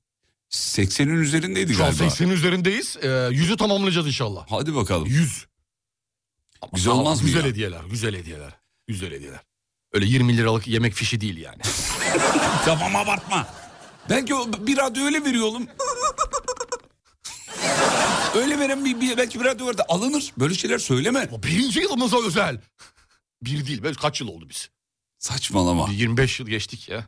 Speaker 5: 80'in üzerindeydi
Speaker 3: Şu an
Speaker 5: galiba.
Speaker 3: 80'in üzerindeyiz. Ee, 100'ü tamamlayacağız inşallah.
Speaker 5: Hadi bakalım.
Speaker 3: 100.
Speaker 5: Güzel
Speaker 3: Ama
Speaker 5: olmaz mı
Speaker 3: Güzel
Speaker 5: ya?
Speaker 3: hediyeler, güzel hediyeler. Güzel hediyeler. Öyle 20 liralık yemek fişi değil
Speaker 5: *laughs*
Speaker 3: yani.
Speaker 5: Tamam abartma. Belki o- bir radyo öyle veriyor
Speaker 3: *laughs*
Speaker 5: oğlum. öyle veren bir, bir- belki bir radyo var da alınır. Böyle şeyler söyleme.
Speaker 3: Ama birinci yılımıza özel. Bir değil. Biz kaç yıl oldu biz?
Speaker 5: Saçmalama.
Speaker 3: Bir 25 yıl geçtik ya.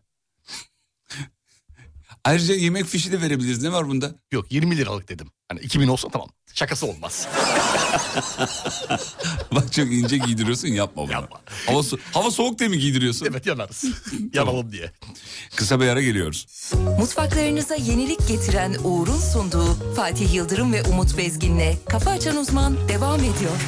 Speaker 5: Ayrıca yemek fişi de verebiliriz. Ne var bunda? *laughs*
Speaker 3: Yok 20 liralık dedim. Hani 2000 olsa tamam. Şakası olmaz.
Speaker 5: Bak çok ince giydiriyorsun yapma bunu. *laughs*
Speaker 3: Yapma.
Speaker 5: Hava, so- hava soğuk diye mi giydiriyorsun?
Speaker 3: Evet yanarız. Yanalım diye.
Speaker 5: Kısa bir ara geliyoruz.
Speaker 7: Mutfaklarınıza yenilik getiren Uğur'un sunduğu Fatih Yıldırım ve Umut Bezgin'le Kafa Açan Uzman devam ediyor.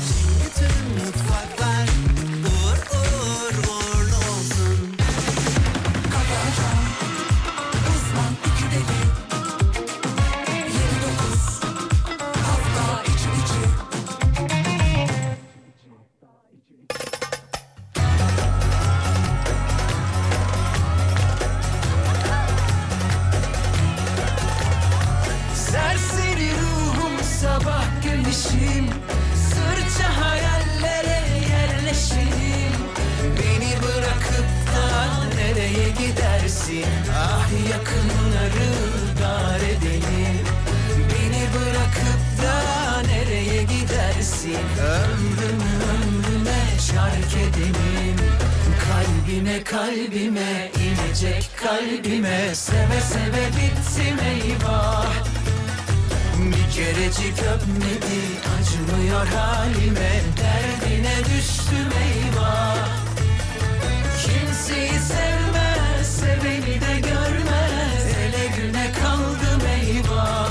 Speaker 6: Serseri ruhum sabah güneşim Sırça hayallere yerleşim Beni bırakıp da nereye gidersin Ah yakınları dar edelim Beni bırakıp da nereye gidersin Ömrümü ömrüme şark edelim Kalbime kalbime inecek kalbime Seve seve bitsin eyvah bir kerecik öpmedi Acımıyor halime Derdine düştüm eyvah Kimseyi sevmez Seveni de görmez Ele güne kaldım eyvah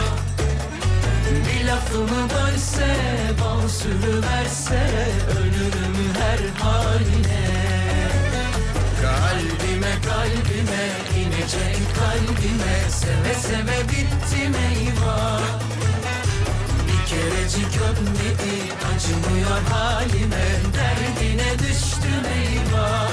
Speaker 6: Bir lafımı bölse Bal sürüverse Ölürüm her haline Kalbime kalbime inecek kalbime Seve seve bittim eyvah bir kerecik öpmedi Acımıyor halime Derdine düştüm eyvah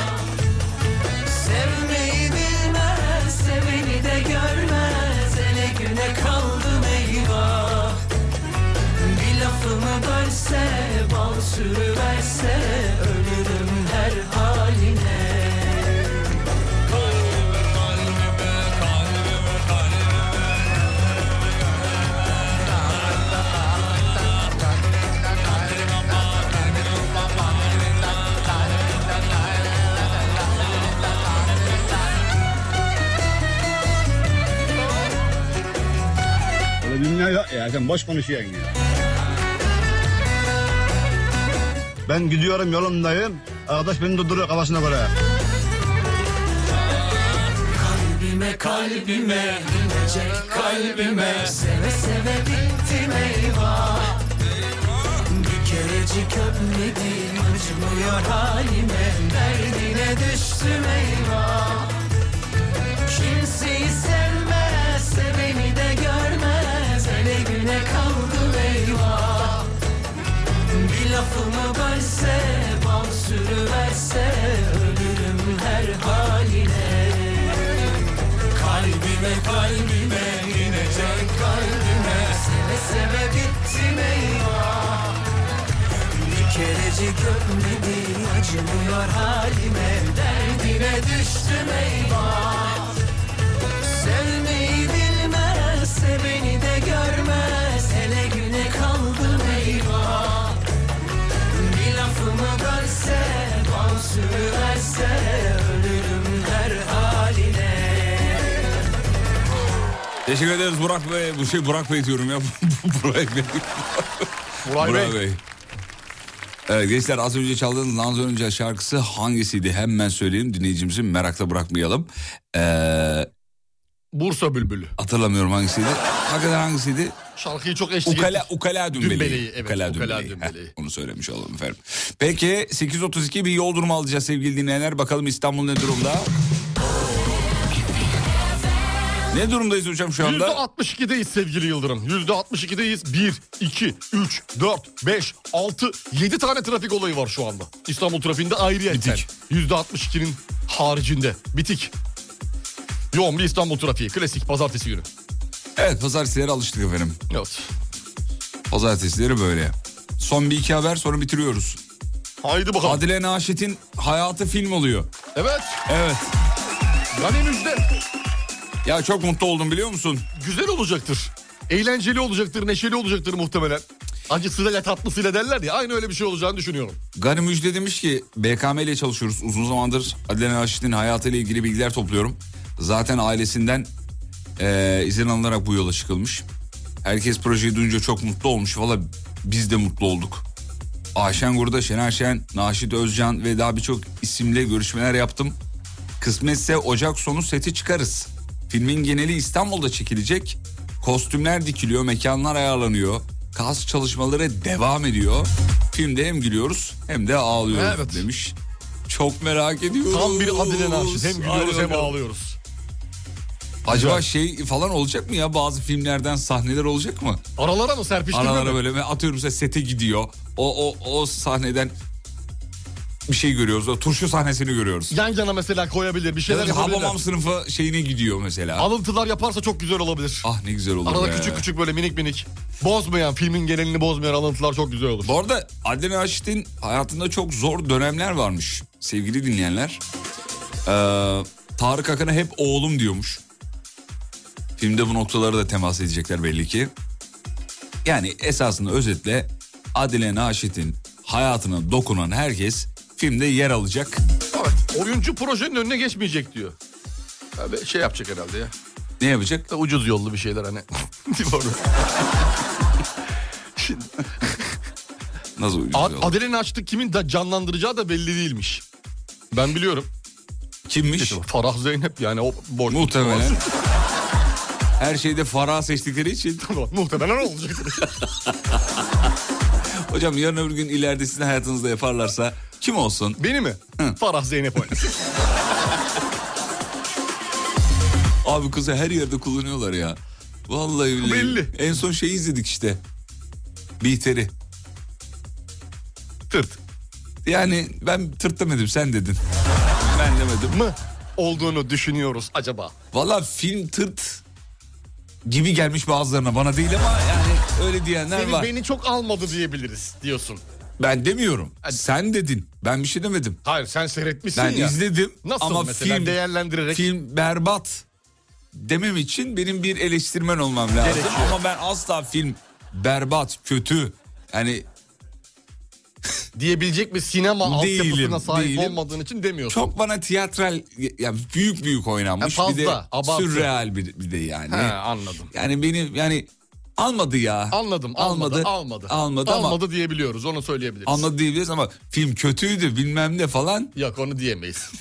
Speaker 6: Sevmeyi bilmez Seveni de görmez Ele güne kaldım eyvah Bir lafımı bölse Bal sürüverse Ölürüm her haline
Speaker 11: Öyle dünya ya, ya sen boş konuşuyorsun ya. Ben gidiyorum yolumdayım. Arkadaş beni durduruyor kafasına göre.
Speaker 6: Kalbime kalbime inecek kalbime Seve seve bittim eyvah Bir kerecik öpmedi Acımıyor halime Derdine düştüm eyvah Kimseyi sevmez Seveni de görmez Hele güne kaldım eyvah Bir lafımı bölse Bal sürüverse Ölürüm her haline Kalbime kalbime inecek kalbime Seve seve bittim eyvah Bir kerecik öpmedi acımıyor halime Derdine düştüm eyvah Sevmeyi bilmez seveni de görmez Hele güne kaldım eyvah
Speaker 5: Teşekkür ederiz Burak Bey. Bu şey Burak Bey diyorum ya. *laughs* Burak Bey.
Speaker 3: Burak Bey.
Speaker 5: Evet gençler az önce çaldığınız Nazan Önce şarkısı hangisiydi? Hemen söyleyeyim dinleyicimizi merakla bırakmayalım. Ee,
Speaker 3: Bursa Bülbülü.
Speaker 5: hatırlamıyorum hangisiydi. Hakikaten hangisiydi?
Speaker 3: Şarkıyı çok eşlik
Speaker 5: Ukala,
Speaker 3: etmiş.
Speaker 5: ukala dümbeleği.
Speaker 3: Dümbeleği, evet,
Speaker 5: Ukala
Speaker 3: ukala
Speaker 5: dümbeleği.
Speaker 3: dümbeleği.
Speaker 5: Heh, onu söylemiş olalım efendim. Peki 8.32 bir yol durumu alacağız sevgili dinleyenler. Bakalım İstanbul ne durumda? Ne durumdayız hocam şu anda?
Speaker 3: %62'deyiz sevgili Yıldırım. %62'deyiz. 1, 2, 3, 4, 5, 6, 7 tane trafik olayı var şu anda. İstanbul trafiğinde ayrı yerden.
Speaker 5: Bitik.
Speaker 3: %62'nin haricinde. Bitik. Yoğun bir İstanbul trafiği. Klasik pazartesi günü.
Speaker 5: Evet pazartesilere alıştık efendim.
Speaker 3: Evet.
Speaker 5: Pazartesileri böyle. Son bir iki haber sonra bitiriyoruz.
Speaker 3: Haydi bakalım.
Speaker 5: Adile Naşit'in hayatı film oluyor.
Speaker 3: Evet.
Speaker 5: Evet.
Speaker 3: Yani müjde.
Speaker 5: Ya çok mutlu oldum biliyor musun?
Speaker 3: Güzel olacaktır. Eğlenceli olacaktır, neşeli olacaktır muhtemelen. Acısıyla tatlısıyla derler ya. Aynı öyle bir şey olacağını düşünüyorum.
Speaker 5: Gani Müjde demiş ki BKM ile çalışıyoruz uzun zamandır. Adile Naşit'in hayatıyla ilgili bilgiler topluyorum. Zaten ailesinden eee, Ee, izin alınarak bu yola çıkılmış. Herkes projeyi duyunca çok mutlu olmuş. Valla biz de mutlu olduk. Ayşen Gurda, Şener Şen, Naşit Özcan ve daha birçok isimle görüşmeler yaptım. Kısmetse Ocak sonu seti çıkarız. Filmin geneli İstanbul'da çekilecek. Kostümler dikiliyor, mekanlar ayarlanıyor. Kas çalışmaları devam ediyor. Filmde hem gülüyoruz hem de ağlıyoruz
Speaker 3: Evet.
Speaker 5: demiş. Çok merak ediyoruz.
Speaker 3: Tam bir Adile Naşit. Hem
Speaker 5: Hadi
Speaker 3: gülüyoruz hem
Speaker 5: bakalım.
Speaker 3: ağlıyoruz.
Speaker 5: Acaba
Speaker 3: Güzel.
Speaker 5: şey falan olacak mı ya bazı filmlerden sahneler olacak mı?
Speaker 3: Aralara mı serpiştirme
Speaker 5: Aralara
Speaker 3: mi?
Speaker 5: böyle ve atıyorum mesela sete gidiyor. O, o, o sahneden bir şey görüyoruz. O turşu sahnesini görüyoruz.
Speaker 3: Yan yana mesela koyabilir bir şeyler
Speaker 5: Ya da
Speaker 3: yapabilirler.
Speaker 5: Hababam sınıfı şeyine gidiyor mesela.
Speaker 3: Alıntılar yaparsa çok güzel olabilir.
Speaker 5: Ah ne güzel olur
Speaker 3: Arada
Speaker 5: be.
Speaker 3: küçük küçük böyle minik minik bozmayan filmin genelini bozmayan alıntılar çok güzel olur.
Speaker 5: Bu arada Adile Naşit'in hayatında çok zor dönemler varmış sevgili dinleyenler. Ee, Tarık Akın'a hep oğlum diyormuş. Filmde bu noktalara da temas edecekler belli ki. Yani esasında özetle Adile Naşit'in hayatına dokunan herkes filmde yer alacak.
Speaker 3: Evet, oyuncu projenin önüne geçmeyecek diyor. Abi şey yapacak herhalde ya.
Speaker 5: Ne yapacak?
Speaker 3: Da Ucuz yollu bir şeyler hani. *laughs* Değil mi
Speaker 5: *laughs*
Speaker 3: orada? Şimdi,
Speaker 5: Nasıl uyuyor?
Speaker 3: Ad- Adele Naşit'i kimin da canlandıracağı da belli değilmiş. Ben biliyorum.
Speaker 5: Kimmiş?
Speaker 3: İşte Farah Zeynep yani o boş.
Speaker 5: Muhtemelen. *laughs* Her şeyde Farah seçtikleri için.
Speaker 3: *laughs* Muhtemelen
Speaker 5: *laughs*
Speaker 3: olacak.
Speaker 5: Hocam yarın öbür gün ileride sizin hayatınızda yaparlarsa kim olsun?
Speaker 3: Beni mi? Farah Zeynep oynasın.
Speaker 5: Abi kızı her yerde kullanıyorlar ya. Vallahi billahi.
Speaker 3: Belli.
Speaker 5: En son şeyi izledik işte. Bihter'i.
Speaker 3: Tırt
Speaker 5: Yani ben tırt demedim sen dedin. Ben demedim.
Speaker 3: mı olduğunu düşünüyoruz acaba?
Speaker 5: Valla film tırt gibi gelmiş bazılarına bana değil ama yani öyle diyenler
Speaker 3: Seni
Speaker 5: var.
Speaker 3: beni çok almadı diyebiliriz diyorsun.
Speaker 5: Ben demiyorum.
Speaker 3: Hadi.
Speaker 5: Sen dedin. Ben bir şey demedim.
Speaker 3: Hayır sen seyretmişsin
Speaker 5: Ben
Speaker 3: ya.
Speaker 5: izledim
Speaker 3: Nasıl
Speaker 5: ama
Speaker 3: mesela
Speaker 5: film
Speaker 3: değerlendirerek
Speaker 5: film berbat demem için benim bir eleştirmen olmam lazım.
Speaker 3: Gerekiyor.
Speaker 5: Ama ben asla film berbat, kötü yani
Speaker 3: diyebilecek bir sinema
Speaker 5: Değilim,
Speaker 3: altyapısına sahip
Speaker 5: değilim.
Speaker 3: olmadığın için demiyorsun.
Speaker 5: çok bana tiyatral yani büyük büyük oynanmış
Speaker 3: Ya
Speaker 5: bir de
Speaker 3: E, fazla, abartı.
Speaker 5: sürreal bir, bir de yani.
Speaker 3: He, anladım.
Speaker 5: Yani benim yani almadı ya.
Speaker 3: Anladım. Almadı.
Speaker 5: Almadı.
Speaker 3: Almadı.
Speaker 5: Almadı, ama
Speaker 3: Almadı diyebiliyoruz. Onu söyleyebiliriz.
Speaker 5: anladı diyebiliriz ama film kötüydü bilmem ne falan.
Speaker 3: Yok onu
Speaker 5: *laughs*
Speaker 3: diyemeyiz.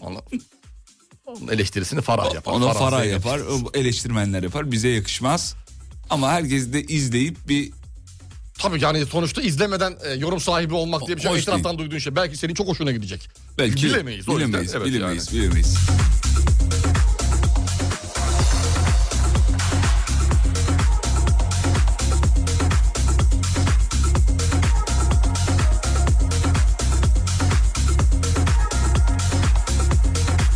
Speaker 3: Onu- onun eleştirisini Farah yapar.
Speaker 5: Ona fara
Speaker 3: Zeynep.
Speaker 5: yapar, o eleştirmenler yapar. Bize yakışmaz. Ama herkes de izleyip bir
Speaker 3: Tabii yani sonuçta izlemeden e, yorum sahibi olmak diye bir şey.
Speaker 5: Hoş
Speaker 3: Etraftan duyduğun şey belki senin çok hoşuna gidecek.
Speaker 5: Belki
Speaker 3: bilemeyiz. o yüzden.
Speaker 5: bilemeyiz,
Speaker 3: Evet,
Speaker 5: bilemeyiz,
Speaker 3: yani.
Speaker 5: bilemeyiz.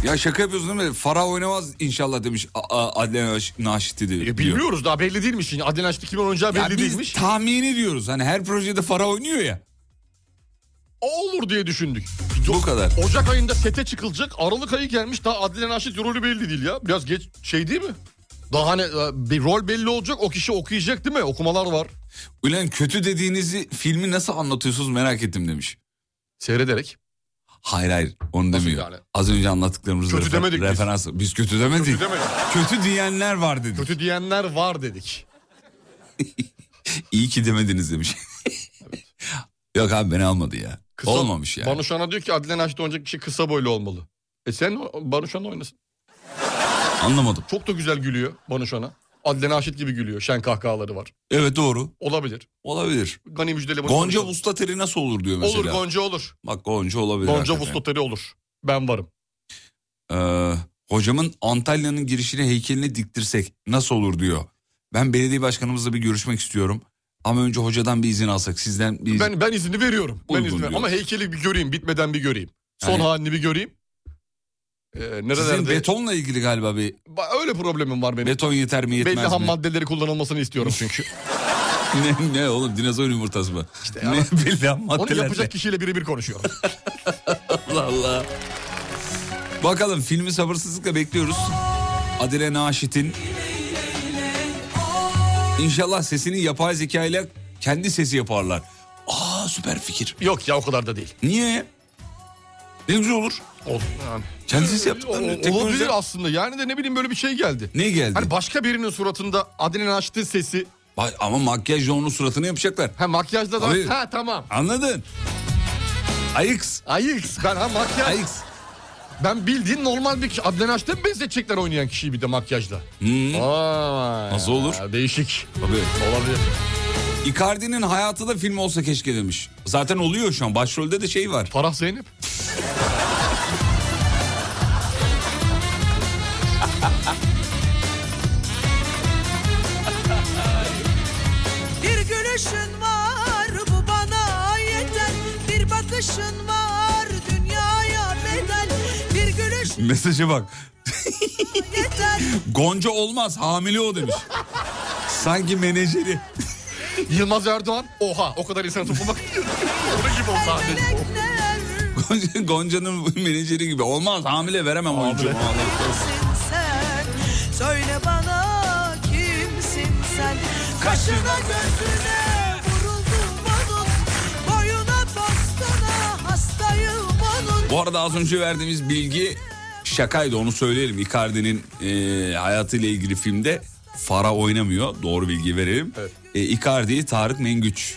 Speaker 5: Ya şaka yapıyorsun değil mi? Farah oynamaz inşallah demiş A- A- Adile Naşit'i diyor.
Speaker 3: E, bilmiyoruz daha belli değilmiş. Yani Adil Naşit'i kimin oynayacağı belli
Speaker 5: Ya biz
Speaker 3: değilmiş.
Speaker 5: tahmini diyoruz. Hani her projede Farah oynuyor ya.
Speaker 3: O olur diye düşündük.
Speaker 5: Bu kadar.
Speaker 3: Ocak ayında sete çıkılacak. Aralık ayı gelmiş. Daha Adile Naşit rolü belli değil ya. Biraz geç şey değil mi? Daha hani e, bir rol belli olacak. O kişi okuyacak değil mi? Okumalar var.
Speaker 5: Ulan kötü dediğinizi filmi nasıl anlatıyorsunuz merak ettim demiş.
Speaker 3: Seyrederek.
Speaker 5: Hayır hayır onu demiyor.
Speaker 3: yani?
Speaker 5: Az önce anlattıklarımızı
Speaker 3: Kötü demedik biz.
Speaker 5: referans. Biz. kötü demedik.
Speaker 3: Kötü demedik.
Speaker 5: Kötü diyenler var dedi.
Speaker 3: Kötü diyenler var dedik.
Speaker 5: İyi ki demediniz demiş. Yok abi beni almadı ya.
Speaker 3: Kısa-
Speaker 5: Olmamış yani.
Speaker 3: Banuşan'a diyor ki Adile Naş'ta oynayacak kişi kısa boylu olmalı. E sen o- Banuşan'la oynasın.
Speaker 5: Anlamadım.
Speaker 3: Çok da güzel gülüyor Banuşan'a. Adile Naşit gibi gülüyor. Şen kahkahaları var.
Speaker 5: Evet doğru.
Speaker 3: Olabilir.
Speaker 5: Olabilir.
Speaker 3: Gani Müjdeli Barış
Speaker 5: Gonca
Speaker 3: Manço.
Speaker 5: Vustateri nasıl olur diyor mesela.
Speaker 3: Olur Gonca olur.
Speaker 5: Bak Gonca olabilir.
Speaker 3: Gonca
Speaker 5: hakikaten.
Speaker 3: Vustateri olur. Ben varım.
Speaker 5: Ee, hocamın Antalya'nın girişine heykelini diktirsek nasıl olur diyor. Ben belediye başkanımızla bir görüşmek istiyorum. Ama önce hocadan bir izin alsak sizden bir izin.
Speaker 3: Ben ben izni veriyorum. Ben
Speaker 5: Uygun
Speaker 3: izni veriyorum.
Speaker 5: diyor.
Speaker 3: Ama heykeli bir göreyim. Bitmeden bir göreyim. Son
Speaker 5: Yani-
Speaker 3: halini bir göreyim. Ee, nerelerde?
Speaker 5: Sizin betonla ilgili galiba bir
Speaker 3: Ba- Öyle problemim var benim.
Speaker 5: beton yeter mi yetmez
Speaker 3: Belli ham
Speaker 5: mi?
Speaker 3: maddeleri kullanılmasını istiyorum
Speaker 5: *laughs*
Speaker 3: çünkü.
Speaker 5: ne, ne oğlum dinozor yumurtası mı?
Speaker 3: ya.
Speaker 5: ne belli ham
Speaker 3: Onu
Speaker 5: maddelerle.
Speaker 3: yapacak kişiyle birebir konuşuyorum.
Speaker 5: Allah Allah. Bakalım filmi sabırsızlıkla bekliyoruz. Adile Naşit'in. İnşallah sesini yapay zeka ile kendi sesi yaparlar. Aa süper fikir.
Speaker 3: Yok ya o kadar da değil.
Speaker 5: Niye? Ne güzel olur.
Speaker 3: Olur. Yani.
Speaker 5: Kendi sesi yaptıklarını.
Speaker 3: O-
Speaker 5: teknoloji-
Speaker 3: Olabilir aslında. Yani de ne bileyim böyle bir şey geldi.
Speaker 5: Ne geldi?
Speaker 3: Hani başka birinin suratında adının açtığı sesi.
Speaker 5: Vay, Ama makyajla onun suratını yapacaklar.
Speaker 3: Ha makyajda da.
Speaker 5: Abi-
Speaker 3: Ha tamam.
Speaker 5: Anladın? Ayıks.
Speaker 3: Ayıks. Ben ha makyaj.
Speaker 5: Ayıks.
Speaker 3: Ben bildiğin normal bir kişi. Adnan Aç'ta benzetecekler oynayan kişiyi bir de makyajla. Vay.
Speaker 5: Nasıl olur?
Speaker 3: Değişik.
Speaker 5: Tabii.
Speaker 3: Olabilir.
Speaker 5: Icardi'nin hayatı da film olsa keşke demiş. Zaten oluyor şu an. Başrolde de şey var.
Speaker 3: Farah Zeynep.
Speaker 7: Bir gülüşün var bu bana yeter Bir bakışın var dünyaya bedel Bir gülüş
Speaker 5: Mesaja bak. *laughs*
Speaker 7: yeter
Speaker 5: Gonca olmaz hamile o demiş. Sanki menajeri.
Speaker 3: Yılmaz Erdoğan. Oha o kadar insanı toplamak. *laughs* Onun gibi o sahne.
Speaker 7: Melekler
Speaker 5: Gonca- Gonca'nın menajeri gibi. Olmaz hamile veremem oyuncu.
Speaker 7: kimsin sen Söyle bana kimsin sen Kaşına gözüne vuruldum onun Boyuna postuna hastayım onun
Speaker 5: Bu arada az önce verdiğimiz bilgi şakaydı onu söyleyelim. Icardi'nin e, hayatıyla ilgili filmde Fara oynamıyor. Doğru bilgi verelim. E, Icardi'yi Tarık Mengüç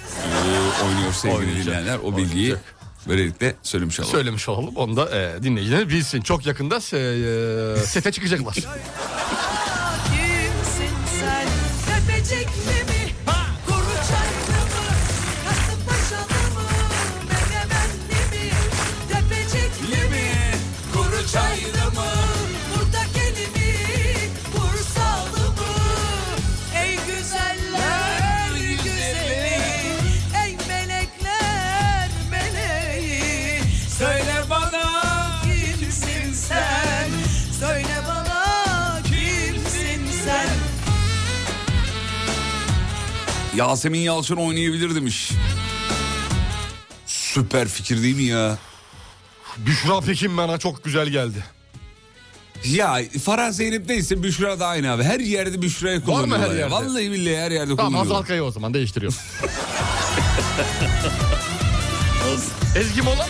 Speaker 5: e, oynuyor sevgili
Speaker 3: Oynayacak.
Speaker 5: dinleyenler. O bilgiyi
Speaker 3: Oynayacak.
Speaker 5: böylelikle söylemiş olalım.
Speaker 3: Söylemiş olalım. Onu da e, dinleyiciler bilsin. Çok yakında se- e, sete
Speaker 5: *laughs*
Speaker 3: çıkacaklar.
Speaker 7: Kimsin sen? Tepecik mi mi? Kuru çaylı mı? Kasımpaşalı mı? Menemenli mi? Tepecik mi mi? Kuru çaylı mı? Burada kelimi Bursalı mı? Ey güzeller güzeli Ey melekler meleği Söyle bana kimsin sen? Söyle bana kimsin sen?
Speaker 5: Yasemin Yalçın oynayabilir demiş. Süper fikir değil mi ya?
Speaker 3: Büşra Pekin bana çok güzel geldi.
Speaker 5: Ya Farah Zeynep neyse Büşra da aynı abi. Her yerde Büşra'yı kullanıyorlar.
Speaker 3: her
Speaker 5: ya.
Speaker 3: yerde?
Speaker 5: Vallahi billahi her yerde
Speaker 3: Tamam Hazal
Speaker 5: kullanıyorlar.
Speaker 3: Kaya o zaman
Speaker 5: *laughs*
Speaker 3: değiştiriyorum. Ezgi Mola.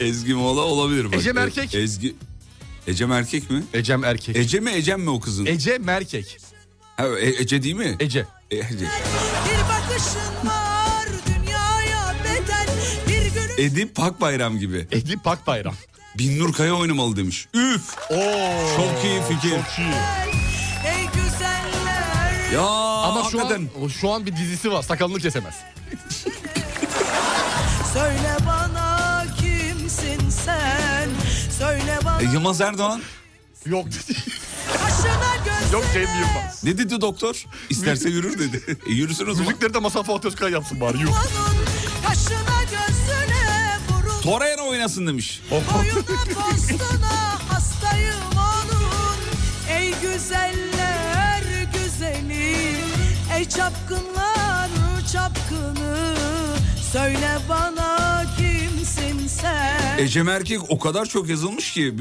Speaker 5: Ezgi Mola olabilir. Bak.
Speaker 3: Ecem Erkek.
Speaker 5: E- Ezgi... Ecem Erkek mi?
Speaker 3: Ecem Erkek.
Speaker 5: Ece mi Ecem mi o kızın?
Speaker 3: Ece Merkek.
Speaker 5: Ha, e- Ece değil mi?
Speaker 3: E- Ece.
Speaker 5: E- Ece.
Speaker 7: Bir bakışın var dünyaya bedel bir gülüş
Speaker 5: Edip Akbayram gibi.
Speaker 3: Edip Pakbayram.
Speaker 5: Binnur Kaya oynamalı demiş. Üf
Speaker 3: Oo.
Speaker 5: çok iyi fikir.
Speaker 3: Çok iyi.
Speaker 7: ey güzeller
Speaker 5: Ya
Speaker 3: Ama şu
Speaker 5: hakikaten.
Speaker 3: an, o- şu an bir dizisi var. Sakalını kesemez.
Speaker 7: söyle bana kimsin sen söyle bana
Speaker 5: E, Yılmaz Erdoğan
Speaker 3: Yok. *laughs*
Speaker 7: kaşına göz
Speaker 3: Yok şey- Cem Yılmaz.
Speaker 5: ne dedi doktor? İsterse yürür dedi. *laughs* E, yürüsün o zaman.
Speaker 3: Müzikleri de Masal Fuat Özkaya yapsın bari. Yuh.
Speaker 7: onun kaşına gözüne vurul
Speaker 5: Torreira oynasın demiş.
Speaker 7: boyuna postuna hastayım onun ey güzeller güzeli ey çapkınlar çapkını söyle bana kimsin sen
Speaker 5: Ecem E, Erkek o kadar çok yazılmış ki.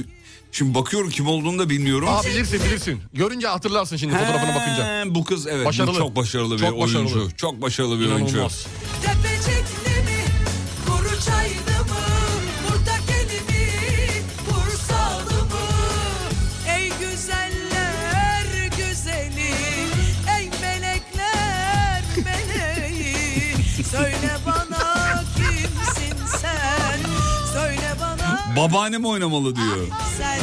Speaker 5: Şimdi bakıyorum kim olduğunu da bilmiyorum.
Speaker 3: Aa bilirsin bilirsin. Görünce hatırlarsın şimdi fotoğrafına bakınca.
Speaker 5: He, Bu kız evet
Speaker 3: Başarılı.
Speaker 5: bu çok başarılı bir
Speaker 3: Çok başarılı.
Speaker 5: oyuncu. Çok başarılı bir oyuncu.
Speaker 3: İnanılmaz.
Speaker 7: Tepecikli mi? Kuru çaylı mı? Burada kelimi
Speaker 5: Babaannem oynamalı diyor.
Speaker 2: Sen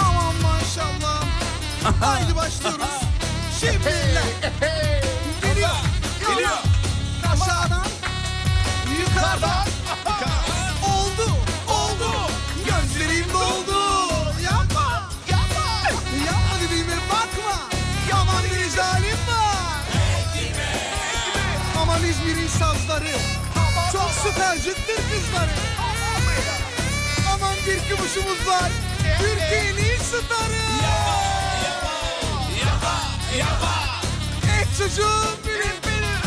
Speaker 2: Aman maşallah Haydi başlıyoruz Şimdi Geliyor Geliyor Aşağıdan Yukarıdan Oldu Oldu Gözlerim doldu Yapma Yapma Yapma dediğime bakma Yaman bir zalim var Aman İzmir'in sazları Çok süper cıttır kızları Aman bir kıvışımız var Türkiye'nin starı Eh çocuğum benim benim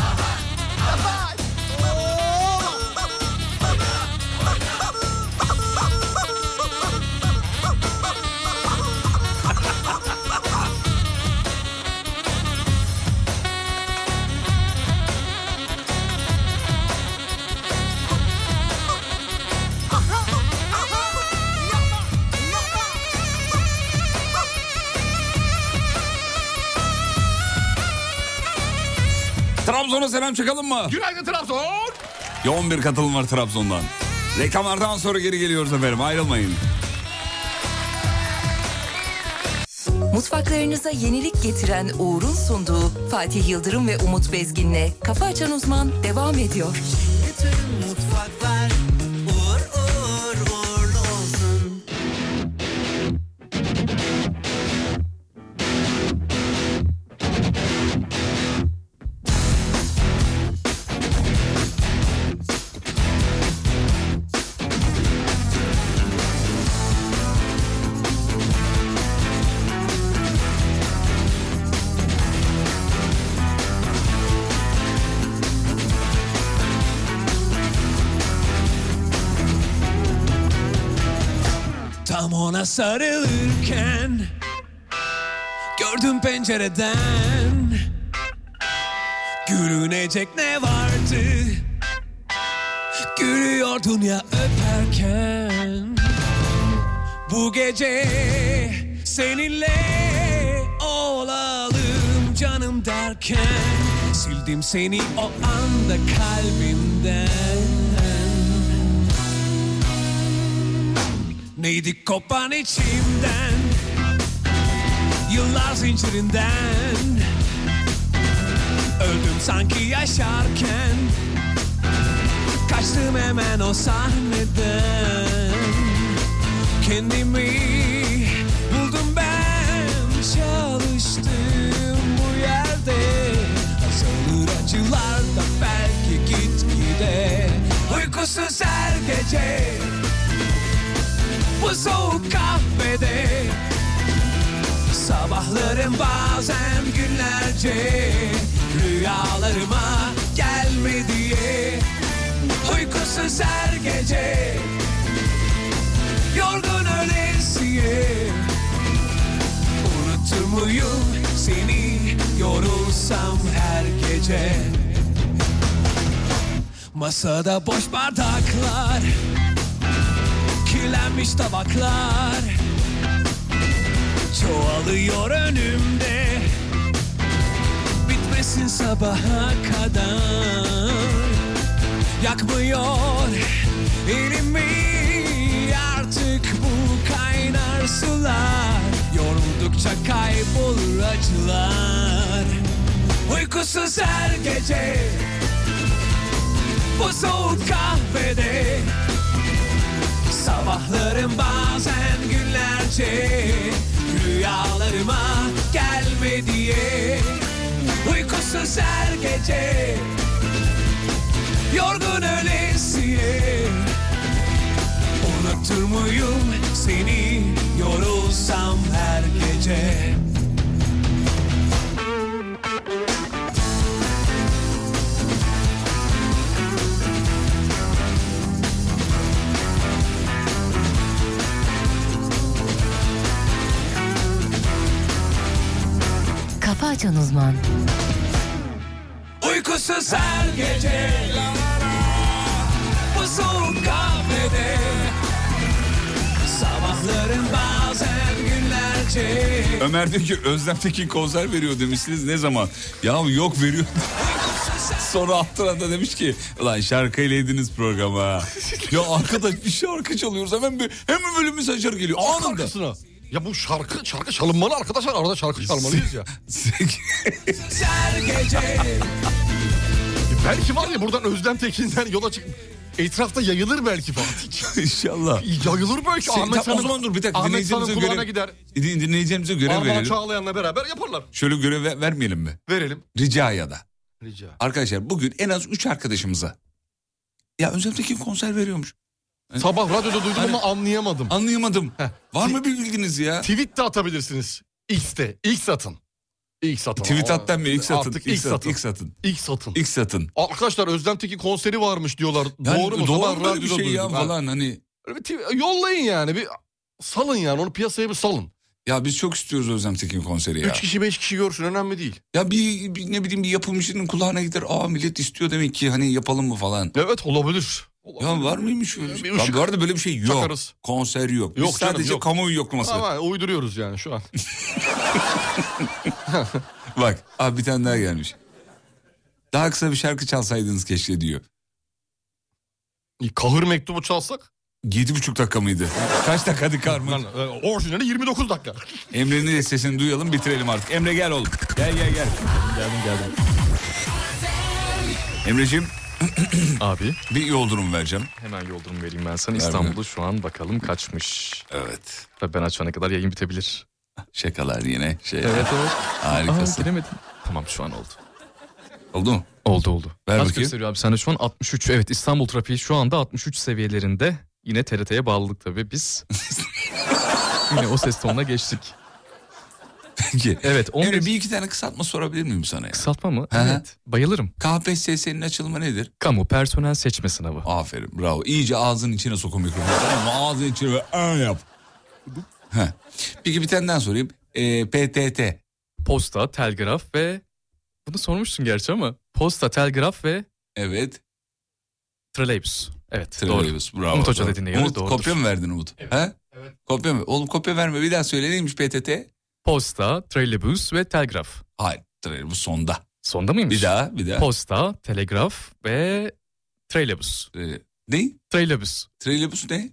Speaker 5: Trabzon'a selam çakalım mı?
Speaker 3: Günaydın Trabzon.
Speaker 5: Yoğun bir katılım var Trabzon'dan. Reklamlardan sonra geri geliyoruz efendim ayrılmayın.
Speaker 1: Mutfaklarınıza yenilik getiren Uğur'un sunduğu Fatih Yıldırım ve Umut Bezgin'le Kafa Açan Uzman devam ediyor.
Speaker 2: Bütün mutfaklar uğur uğur uğurlu olsun
Speaker 8: Tam ona sarılırken Gördüm pencereden Gülünecek ne vardı Gülüyordun ya öperken Bu gece seninle olalım canım derken Sildim seni o anda kalbimden Neydi kopan içimden Yıllar zincirinden Öldüm sanki yaşarken Kaçtım hemen o sahneden Kendimi buldum ben Çalıştım bu yerde Azalır acılar da belki gitgide Uykusuz her gece bu soğuk kahvede Sabahlarım bazen günlerce Rüyalarıma gelme diye Uykusuz her gece Yorgun ölesiye Unutur muyum seni yorulsam her gece Masada boş bardaklar kirlenmiş tabaklar Çoğalıyor önümde Bitmesin sabaha kadar Yakmıyor elimi artık bu kaynar sular Yoruldukça kaybolur acılar Uykusuz her gece Bu soğuk kahvede Sabahlarım bazen günlerce Rüyalarıma gelme diye Uykusuz her gece Yorgun ölesiye Unutur muyum seni yorulsam her gece
Speaker 1: Kafa Açan Uzman
Speaker 8: Uykusuz her gece Bu soğuk kahvede Sabahlarım bazen günlerce
Speaker 5: Ömer diyor ki Özlem'deki konser veriyor *laughs* demişsiniz ne zaman? Ya yok veriyor.
Speaker 8: Uykusuz
Speaker 5: Sonra altına da demiş ki ulan şarkıyla yediniz
Speaker 3: *laughs*
Speaker 5: programı ha. ya arkadaş bir şarkı çalıyoruz hemen bir, hemen böyle mesajlar geliyor anında.
Speaker 3: Arkasına. Ya bu şarkı şarkı çalınmalı arkadaşlar arada şarkı çalmalıyız
Speaker 5: *laughs*
Speaker 3: ya. E belki var ya buradan Özlem Tekin'den yola çık. Etrafta yayılır belki Fatih.
Speaker 5: İnşallah.
Speaker 3: Yayılır belki.
Speaker 5: Şey,
Speaker 3: Ahmet
Speaker 5: tamam,
Speaker 3: San'ın-
Speaker 5: o zaman dur bir dakika
Speaker 3: Ahmet
Speaker 5: dinleyeceğimize
Speaker 3: San'ın kulağına
Speaker 5: göre,
Speaker 3: gider.
Speaker 5: Din- dinleyeceğimize göre
Speaker 3: Armağan
Speaker 5: verelim.
Speaker 3: Çağlayan'la beraber yaparlar.
Speaker 5: Şöyle görev ver- vermeyelim mi?
Speaker 3: Verelim.
Speaker 5: Rica ya da.
Speaker 3: Rica.
Speaker 5: Arkadaşlar bugün en az 3 arkadaşımıza. Ya Özlem Tekin konser veriyormuş.
Speaker 3: Sabah radyoda duydum ama anlayamadım.
Speaker 5: Anlayamadım.
Speaker 3: Heh.
Speaker 5: Var mı bir bilginiz ya?
Speaker 3: Tweet de atabilirsiniz. X'te. X atın. X atın.
Speaker 5: Tweet
Speaker 3: Aa,
Speaker 5: at denmiyor. X atın.
Speaker 3: Artık X atın.
Speaker 5: X atın.
Speaker 3: X atın.
Speaker 5: X atın.
Speaker 3: Arkadaşlar Özlem Tekin konseri varmış diyorlar.
Speaker 5: Yani
Speaker 3: doğru mu?
Speaker 5: Doğru
Speaker 3: Sabah
Speaker 5: mu böyle bir
Speaker 3: radyoda
Speaker 5: şey ya
Speaker 3: duydum. Ha.
Speaker 5: falan hani.
Speaker 3: Öyle bir tweet- Yollayın yani. Bir salın yani onu piyasaya bir salın.
Speaker 5: Ya biz çok istiyoruz Özlem Tekin konseri ya.
Speaker 3: Üç kişi beş kişi görsün önemli değil.
Speaker 5: Ya bir, bir ne bileyim bir yapımcının kulağına gider. Aa millet istiyor demek ki hani yapalım mı falan.
Speaker 3: Evet olabilir.
Speaker 5: Ya var mıymış öyle bir şey?
Speaker 3: Bir ışık
Speaker 5: Ya bu arada böyle bir şey yok.
Speaker 3: takarız.
Speaker 5: Konser yok. Biz
Speaker 3: Yok canım,
Speaker 5: sadece
Speaker 3: yok.
Speaker 5: kamuoyu yoklaması.
Speaker 3: Ama uyduruyoruz yani şu *laughs* an.
Speaker 5: Bak abi bir tane daha gelmiş. Daha kısa bir şarkı çalsaydınız keşke diyor.
Speaker 3: Kahır mektubu çalsak.
Speaker 5: Yedi buçuk dakika mıydı? Kaç dakika hadi Carmen?
Speaker 3: Yani, e, orijinali 29 dakika.
Speaker 5: Emre'nin de sesini duyalım bitirelim artık. Emre gel oğlum. Gel gel gel.
Speaker 3: Geldim geldim.
Speaker 5: Emre'ciğim
Speaker 12: Abi
Speaker 5: bir yol durumu vereceğim.
Speaker 12: hemen yoldurumu vereyim ben sana. İstanbul'u şu an bakalım kaçmış.
Speaker 5: Evet.
Speaker 12: Tabii ben açana kadar yayın bitebilir.
Speaker 5: Şakalar yine şey.
Speaker 12: evet. Aa,
Speaker 5: Harikasın.
Speaker 12: giremedim. Tamam şu an oldu.
Speaker 5: Oldu mu?
Speaker 12: Oldu oldu.
Speaker 5: Ver
Speaker 12: Kaç
Speaker 5: bakayım.
Speaker 12: gösteriyor abi sende şu an 63. Evet İstanbul trafiği şu anda 63 seviyelerinde. Yine TRT'ye bağlılık tabii biz. Yine o ses tonuna geçtik.
Speaker 5: Peki.
Speaker 12: Evet 15
Speaker 5: Emre bir iki tane kısaltma sorabilir miyim sana ya?
Speaker 12: kısaltma mı?
Speaker 5: Hı hı.
Speaker 12: Evet. Bayılırım.
Speaker 5: KPSS'nin açılımı nedir?
Speaker 12: Kamu personel seçme sınavı.
Speaker 5: Aferin bravo. İyice ağzının içine sokun mikrofonu. Tamam mı? Ağzının içine böyle "Aa" yap. Heh. Peki bir tane daha sorayım. Ee, PTT.
Speaker 12: Posta, telgraf ve... Bunu sormuştun gerçi ama. Posta, telgraf ve
Speaker 5: Evet.
Speaker 12: trolleybüs. Evet doğru.
Speaker 5: Trolleybüs. Bravo.
Speaker 12: Umut Hoca
Speaker 5: Doğru.
Speaker 12: dediğine göre
Speaker 5: Umut,
Speaker 12: doğrudur.
Speaker 5: Kopya mı verdin Umut? Evet. Ha? Evet. Kopya mı? Oğlum kopya verme. Bir daha söyle neymiş PTT?
Speaker 12: Posta, trolleybüs ve telgraf.
Speaker 5: Hayır. Trolleybüs sonda.
Speaker 12: Sonda mıymış?
Speaker 5: Bir daha bir daha.
Speaker 12: Posta, telegraf ve trolleybüs.
Speaker 5: Ee, ne?
Speaker 12: Trolleybüs.
Speaker 5: Trolleybüs ne?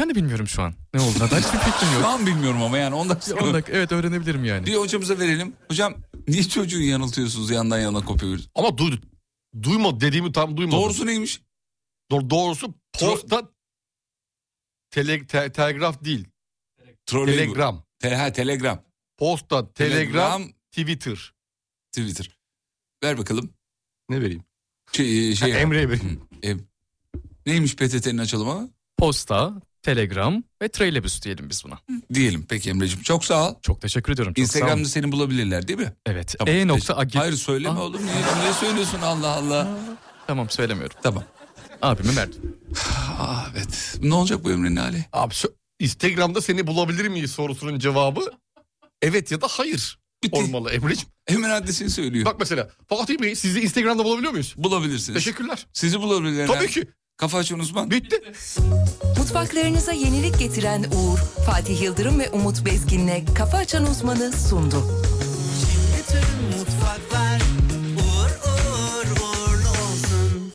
Speaker 12: Ben de bilmiyorum şu an. Ne oldu? Neden hiçbir fikrim
Speaker 5: Şu *laughs*
Speaker 12: yok.
Speaker 5: an bilmiyorum ama yani ondan
Speaker 12: Bir
Speaker 5: sonra.
Speaker 12: on dakika, evet öğrenebilirim yani.
Speaker 5: Bir hocamıza verelim. Hocam niye çocuğu yanıltıyorsunuz yandan yana kopya veriyorsunuz?
Speaker 3: Ama duy, duyma dediğimi tam duymadım.
Speaker 5: Doğrusu neymiş?
Speaker 3: Doğru- doğrusu posta tele, te- telgraf değil.
Speaker 5: Trolleybüs.
Speaker 3: Telegram.
Speaker 5: Te- ha, telegram.
Speaker 3: Posta, telegram, Twitter.
Speaker 5: Twitter. Ver bakalım.
Speaker 3: Ne vereyim?
Speaker 5: Şey, şey,
Speaker 3: Ha, Emre'ye vereyim.
Speaker 5: neymiş PTT'nin açılımı?
Speaker 12: Posta, telegram ve trolleybüs diyelim biz buna.
Speaker 5: Diyelim. Peki Emre'cim çok sağ ol.
Speaker 12: Çok teşekkür ediyorum. Çok sağ olun.
Speaker 5: Instagram'da seni bulabilirler değil mi?
Speaker 12: Evet.
Speaker 5: Tamam,
Speaker 12: e nokta
Speaker 5: teşekkür-
Speaker 12: agil. Ah.
Speaker 5: Hayır söyleme
Speaker 12: Aa.
Speaker 5: oğlum. Niye, niye söylüyorsun Allah Allah?
Speaker 12: Tamam söylemiyorum.
Speaker 5: Tamam.
Speaker 12: Abime Mert.
Speaker 5: Aa, evet. Ne olacak bu Emre'nin hali?
Speaker 3: Abi şu Instagram'da seni bulabilir miyiz sorusunun cevabı evet ya da hayır
Speaker 5: Bitti.
Speaker 3: olmalı Emre'ciğim.
Speaker 5: Hemen adresini söylüyor.
Speaker 3: Bak mesela Fatih Bey sizi Instagram'da bulabiliyor muyuz?
Speaker 5: Bulabilirsiniz.
Speaker 3: Teşekkürler.
Speaker 5: Sizi bulabilirler.
Speaker 3: Tabii ki.
Speaker 5: Kafa açan uzman.
Speaker 3: Bitti.
Speaker 7: Mutfaklarınıza yenilik getiren Uğur, Fatih Yıldırım ve Umut Bezgin'le Kafa Açan Uzman'ı sundu.
Speaker 6: Yeterim